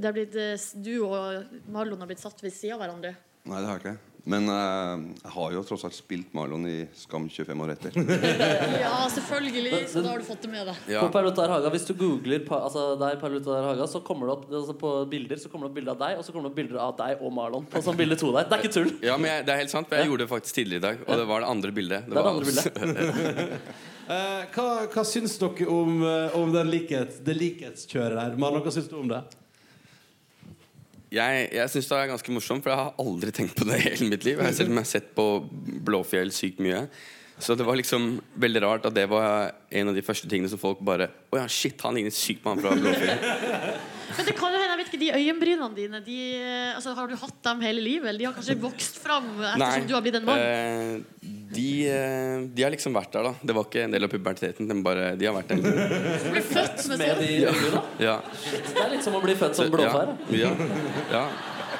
S3: der blitt, eh, s- du og Marlon har blitt satt ved siden av hverandre?
S6: Nei, det har jeg ikke. Men eh, jeg har jo tross alt spilt Marlon i Skam 25 år etter.
S3: Ja, selvfølgelig. Så da har du fått det med deg.
S6: Ja.
S4: På Perlotar Haga, Hvis du googler pa- altså, deg, Perlotar Haga, så kommer det opp altså, på bilder Så kommer det opp bilder av deg, og så kommer det opp bilder av deg og Marlon. På sånn bilde to der. Det er ikke tull.
S11: ja men jeg, det er helt sant. for Jeg gjorde det faktisk tidligere i dag, og det var det andre bildet.
S4: Det er det
S11: var-
S4: andre
S2: Eh, hva, hva syns dere om, eh, om den likhet, det likhetskjøret der? Marlon, hva syns du om det?
S11: Jeg, jeg syns det er ganske morsomt, for jeg har aldri tenkt på det i hele mitt liv. Jeg, selv om jeg har sett på Blåfjell sykt mye. Så det var liksom veldig rart at det var en av de første tingene som folk bare Å ja, shit, han ligner sykt på han fra Blåfjell.
S3: Men det kan jo hende, jeg vet ikke, de øyenbrynene dine de, eh, altså, Har du hatt dem hele livet? eller De har kanskje vokst fram ettersom du har blitt en mann?
S11: eh, de, eh, de har liksom vært der, da. Det var ikke en del av puberteten. De, bare, de har vært der.
S3: Du blir født med
S4: Med
S3: sånn.
S4: de
S11: Ja.
S4: øynene.
S11: ja.
S4: Det er litt som å bli født som
S11: Så-
S4: blåfær. da.
S11: Ja, ja, ja.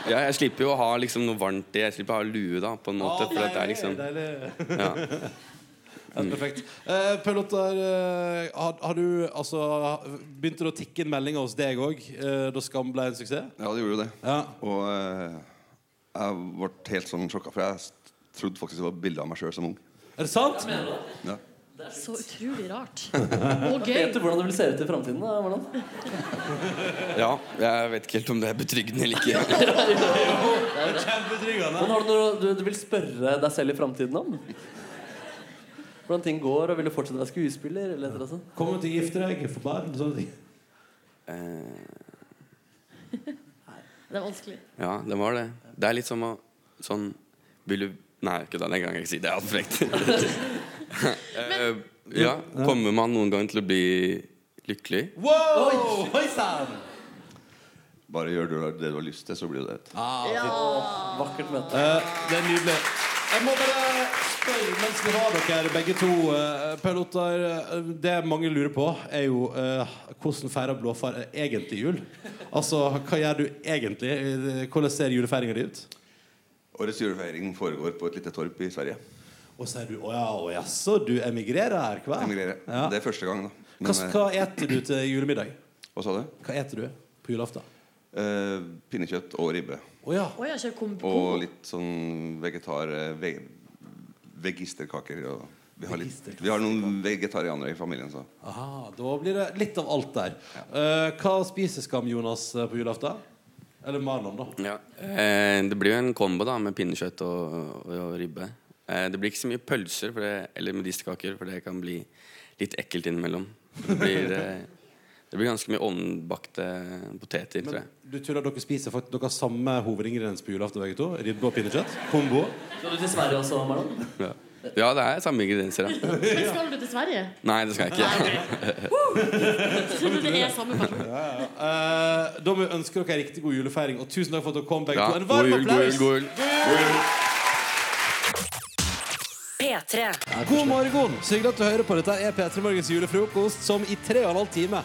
S11: ja, jeg slipper jo å ha liksom noe varmt i. Jeg slipper å ha lue, da, på en måte. For at det er liksom ja.
S2: Ja, perfekt. Eh, Paul Ottar, eh, har, har du altså Begynte det å tikke inn meldinger hos deg òg eh, da Skam ble en suksess?
S6: Ja, det gjorde jo det. Og eh, jeg ble helt sånn sjokka, for jeg s- trodde faktisk det var bilde av meg sjøl som ung.
S2: Er det sant?
S6: Ja.
S3: Så utrolig rart.
S4: Og gøy. Vet du hvordan det vil se ut i framtiden? da, Marlon?
S11: ja, jeg vet ikke helt om det er betryggende eller ikke.
S4: Men har du noe du, du vil spørre deg selv i framtiden om? Hvordan ting går, og vil du fortsette å være skuespiller? Eller et eller annet sånt?
S2: Kommer du til å gifte deg? Få barn? Sånne ting.
S3: Det er vanskelig.
S11: Eh, Ja, det var det. Det er litt som å sånn Vil du Nei, ikke da, den gangen jeg ikke si det. Det er altfor frekt. Eh, ja, kommer man noen gang til å bli lykkelig?
S2: Wow! Oi sann!
S6: Bare gjør du det du har lyst til, så blir det det.
S2: Ah,
S4: Vakkert møte.
S2: Eh, det er nydelig. Jeg må bare spørre mens vi har dere begge to. eh, Paul Ottar, eh, det mange lurer på, er jo eh, hvordan feirer blåfar eh, egentlig jul? Altså, hva gjør du egentlig? Eh, Hvordan ser julefeiringa di ut?
S6: Årets julefeiring foregår på et lite torp i Sverige.
S2: Og så er du Å ja, å jaså, du emigrerer her, hva?
S6: Emigrerer.
S2: Ja.
S6: Det er første gang, da. Men,
S2: Hva, hva eter du til julemiddag?
S6: eh, hva sa du?
S2: Hva eter du på julaften?
S6: Eh, pinnekjøtt og ribbe.
S2: Å ja.
S3: Oi, jeg kjører kombo.
S6: Og litt sånn vegetar... eh, Ve vegisterkaker. Og vi, har litt, vi har noen vegetarianere i familien, så.
S2: Aha, da blir det litt av alt der. Eh, hva spiser Skam Jonas eh, på julaften? Eller Marlon, da.
S11: Ja. Eh, det blir jo en kombo da med pinnekjøtt og, og, og ribbe. Eh, det blir ikke så mye pølser for det, eller medisterkaker, for det kan bli litt ekkelt innimellom. Det blir, eh, det blir ganske mye ovnbakte poteter, tror jeg.
S2: Du tuller, dere spiser fakt- dere har samme hovedingrediens på julaften, begge to? Ribbe og pinnekjøtt? Kombo?
S4: Skal du til Sverige også, Marlon?
S11: Ja, ja det er samme ingredienser, ja.
S3: Men skal du til Sverige?
S11: Nei, det skal jeg ikke.
S3: Trodde det er samme person.
S2: Ja, ja. Eh, da må vi ønske dere en riktig god julefeiring, og tusen takk for at dere kom, begge
S11: Ja,
S2: to. En
S11: god
S2: varm
S11: jul, god jul,
S2: applaus!
S11: god jul.
S5: P3.
S2: God morgen! Så hyggelig at du hører på. Dette er P3 Morgens julefrokost, som i tre og en halv time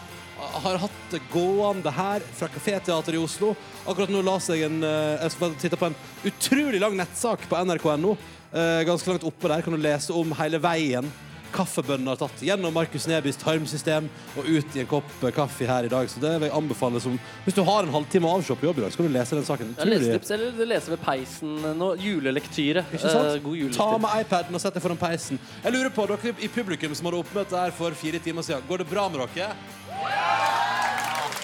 S2: har hatt det gående her fra Kaféteatret i Oslo. Akkurat nå la seg en eh, Jeg skal bare titte på en utrolig lang nettsak på nrk.no. Eh, Ganske langt oppe der kan du lese om hele veien kaffebøndene har tatt gjennom Markus Nebys tarmsystem og ut i en kopp eh, kaffe her i dag. Så det vil jeg anbefale som Hvis du har en halvtime avshop på jobb i dag, så kan du lese den saken.
S4: Ja, lesetips, eller du leser ved peisen nå. Julelektyre.
S2: Ikke sant?
S4: Eh, god
S2: Ta
S4: julelektyre.
S2: med iPaden og sett deg foran peisen. Jeg lurer på, Dere i publikum som hadde oppmøte her for fire timer siden, går det bra med dere?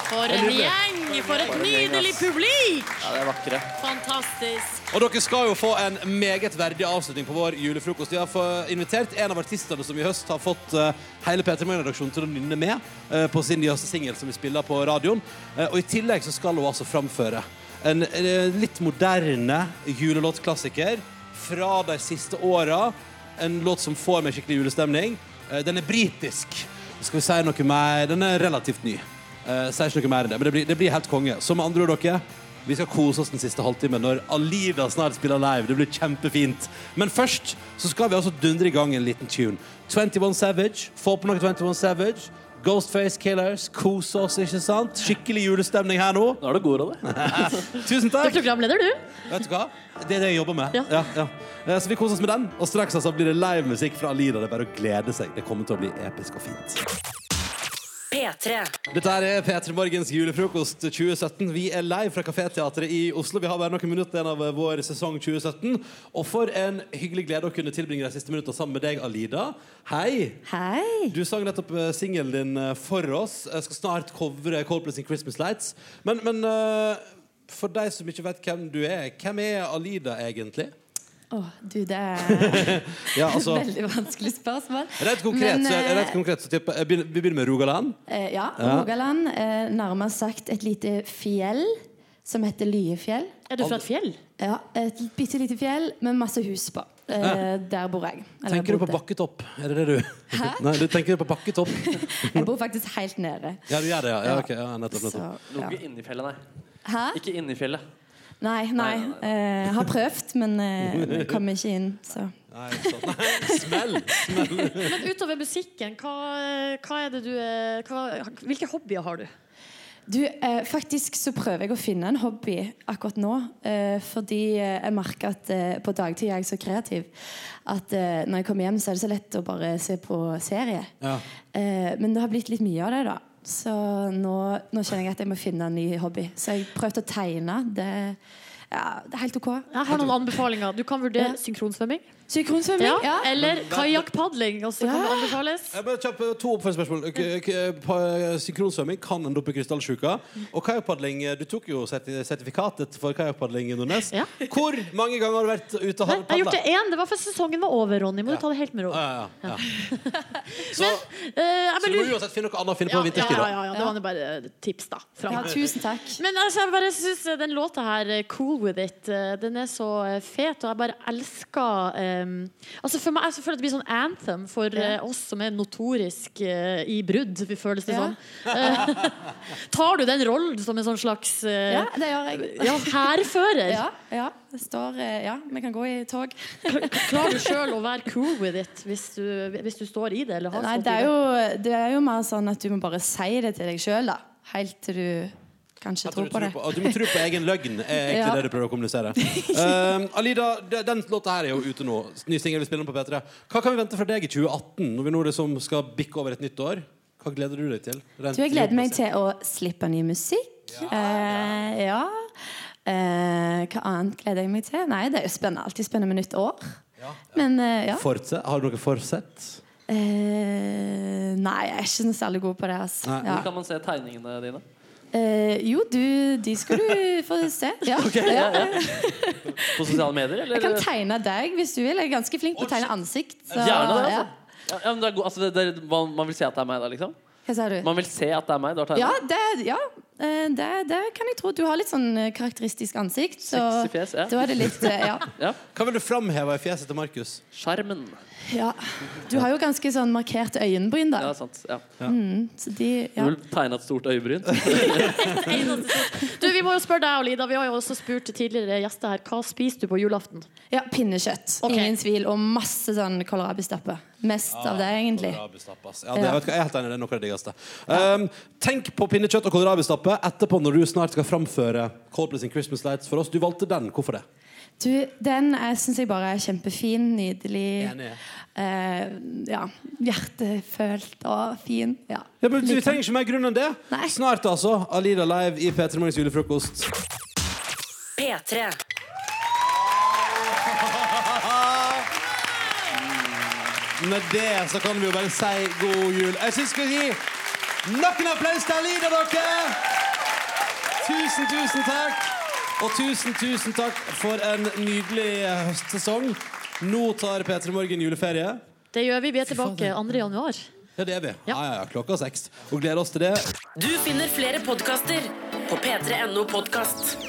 S3: For en gjeng! For et nydelig publikk!
S4: Ja, det er vakre.
S3: Fantastisk.
S2: Og dere skal jo få en meget verdig avslutning på vår julefrokost. Vi har få- invitert en av artistene som i høst har fått eh, hele P3 Morgen-redaksjonen til å nynne med eh, på sin nyeste singel som vi spiller på radioen. Eh, og i tillegg så skal hun altså framføre en eh, litt moderne julelåtklassiker fra de siste åra. En låt som får meg skikkelig julestemning. Eh, den er britisk. Skal vi si noe mer? Den er relativt ny. Eh, sier ikke noe mer enn det, men det blir, det blir helt konge. Så med andre ord, dere, vi skal kose oss den siste halvtimen når Alida snart spiller live. Det blir kjempefint. Men først så skal vi altså dundre i gang en liten tune. 21 Savage. Få på noe 21 Savage. Ghostface Killers. Kose oss, ikke sant? Skikkelig julestemning her nå.
S4: Nå er du god av
S2: det. Tusen
S3: Du
S2: takk.
S3: er programleder, du.
S2: Vet du hva? Det er det jeg jobber med. Ja. Ja, Eh, Så vi koser oss med den. Og straks altså blir det livemusikk fra Alida. Det er bare å glede seg. Det kommer til å bli episk og fint.
S5: P3.
S2: Dette her er P3 Morgens julefrokost 2017. Vi er live fra Kaféteatret i Oslo. Vi har bare noen minutter igjen av eh, vår sesong 2017. Og for en hyggelig glede å kunne tilbringe de siste minuttene sammen med deg, Alida. Hei!
S7: Hei!
S2: Du sang nettopp eh, singelen din eh, for oss. Jeg skal snart covre Coldplay sin Christmas Lights. Men, men eh, for deg som ikke vet hvem du er, hvem er Alida egentlig?
S7: Å, du, det er
S2: Ja, altså,
S7: veldig vanskelig spørsmål.
S2: rett konkret,
S7: Men,
S2: så,
S7: eh,
S2: rett konkret så tipper, jeg begynner, Vi begynner med Rogaland.
S7: Eh, ja,
S2: Ja.
S7: Rogaland. Eh, nærmere sagt et lite fjell som heter Lyefjell.
S3: Er du fra et fjell?
S7: Ja, et bitte lite fjell med masse hus på. Eh,
S2: Ja.
S7: Der bor jeg. Eller,
S2: Tenker du på
S7: bodde.
S2: bakketopp? Er det det du Nei, du tenker på bakketopp.
S7: jeg bor faktisk helt nede.
S2: Ja, du gjør det, ja. ja, ok, ja nettopp, nettopp.
S4: Lå ikke inni fjellet, nei.
S7: Hæ?
S4: Ikke inni fjellet.
S7: Nei, nei. Eh, har prøvd, men eh, kom ikke inn. Så.
S2: Nei, sånn. Nei, smell! smell.
S3: Men utover musikken, hva, hva er det du er- hva, Hvilke hobbyer har du?
S7: Du, eh, faktisk så prøver jeg å finne en hobby akkurat nå. Eh, fordi eh, jeg merker at eh, på dagtid er jeg så kreativ at eh, når jeg kommer hjem, så er det så lett å bare se på serie.
S2: Ja.
S7: Eh, men det har blitt litt mye av det, da. Så nå, nå kjenner jeg at jeg må finne en ny hobby. Så jeg prøvde å tegne. Det, ja, det er helt OK.
S3: Jeg har noen anbefalinger. Du kan vurdere synkronsvømming.
S7: Synkronsvømming, ja.
S3: Eller
S2: Men-
S3: kajakkpadling. også kan det anbefales.
S2: Jeg bare kjapp, eh, To oppfølgingsspørsmål. K- k- på eh, Synkronsvømming kan en doppe krystallsjuka. Og kajakkpadling eh, Du tok jo serti- sertifikatet for kajakkpadling i Nordnes. Hvor mange ganger har du vært ute og
S3: Nei, jeg har gjort
S2: padla?
S3: det én. Det var før sesongen var over, Ronny. Må du ta det helt med ro.
S2: Ja, ja, ja.
S3: Eh, jeg
S2: Så
S3: bare
S2: du må
S3: lurer-
S2: uansett finne noe annet å finne på
S3: ja,
S2: vinterstid.
S3: ja, ja, ja, det var nå bare eh, tips, da. fra
S7: Ja,
S3: meg.
S7: tusen takk.
S3: Men altså, jeg bare synes eh, den låta her, eh, 'Cool With It', eh, den er så eh, fet, og jeg bare elsker eh, Altså For meg jeg føler jeg at det blir sånn anthem for eh, oss som er notorisk eh, i brudd, vi føles det
S7: Ja.
S3: sånn. Eh, tar du den rollen som en sånn slags eh,
S7: Ja, det gjør jeg.
S3: Ja, hærfører?
S7: Ja, ja, det står eh, Ja, vi kan gå i tog.
S3: Klarer du sjøl å være cool with it hvis du, hvis du står i det? Eller har
S7: Nei,
S3: stått
S7: det er,
S3: i
S7: jo, det er jo mer sånn at du må bare si det til deg sjøl, da. Helt til du kanskje
S2: Du,
S7: tror på
S2: tror
S7: det.
S2: på, du må tro på egen løgn, er egentlig
S7: Ja.
S2: det du prøver å kommunisere. Um, Alida, de- den låta her er jo ute nå. Ny singel vi spiller den på P3. Hva kan vi vente fra deg i 2018, når vi nå liksom skal bikke over et nytt år? Hva gleder du deg til? Rent
S7: Du, jeg gleder meg
S2: jobbmessig.
S7: til å slippe ny musikk. Ja. Eh, ja. Eh, hva annet gleder jeg meg til? Nei, det er jo spennende. Alltid spennende med nytt år. Men eh, ja.
S2: Fortsett. Har du noe forsett?
S7: Eh, nei, jeg er ikke noe særlig god på det. Altså.
S4: Hvor
S7: Ja.
S4: kan man se tegningene dine?
S7: Eh, jo, du, de skal du få se. Ja.
S4: ja, ja. På sosiale medier, eller?
S7: Jeg kan tegne deg hvis du vil. Jeg er ganske flink på å tegne ansikt. så-
S4: Gjerne det, altså.
S7: ja.
S4: Ja, ja, men det er god, altså det, det, er- man, man vil se at det er meg, da, liksom?
S7: Hva sa du?
S4: Man vil se at det er meg? Du har tegnet?
S7: Ja, det, ja eh, det, det kan jeg tro. Du har litt sånn eh, karakteristisk ansikt. Så
S2: Sexy fjes, ja.
S7: da er det litt eh, ja.
S2: Hva vil du framheve i fjeset til Markus?
S4: Skjermen.
S7: ja. Du har jo ganske sånn markerte øyenbryn, da.
S4: Ja, sant. Ja.
S7: Mm, så de
S4: Du
S7: ja.
S4: vil tegne et stort øyebryn?
S3: det? Du, Vi må jo spørre deg, Olida. Vi har jo også spurt tidligere gjester her. Hva spiser du på julaften?
S7: ja, pinnekjøtt. Ingen tvil. Og masse sånn kålrabistappe. Mest av det, egentlig.
S2: Kålrabistappe, ass. Ja, det,
S7: Ja.
S2: Vet du hva, jeg er helt enig, det er noe av det diggeste. Um, tenk på pinnekjøtt og kålrabistappe etterpå når du snart skal framføre Coldplay sin Christmas Lights for oss. Du valgte den. Hvorfor det?
S7: Du, den syns jeg bare er kjempefin. Nydelig.
S2: Enig.
S7: Eh, ja. Hjertefølt og fin. Ja.
S2: Ja, men Vi trenger ikke mer grunn enn det. Snart, altså. Alida live i P3 Morgens julefrokost.
S5: P3.
S2: Med det så kan vi jo bare si god jul. Jeg syns vi skal gi nok en applaus til Alida, dere! Tusen, tusen takk. Og tusen, tusen takk for en nydelig eh, høstsesong. Nå tar P3 Morgen juleferie.
S3: Det gjør vi. Vi er tilbake 2. januar.
S2: Ja, det er vi. Ja, ja, ja, klokka seks. Og gleder oss til det.
S5: Du finner flere podkaster på p3.no podkast.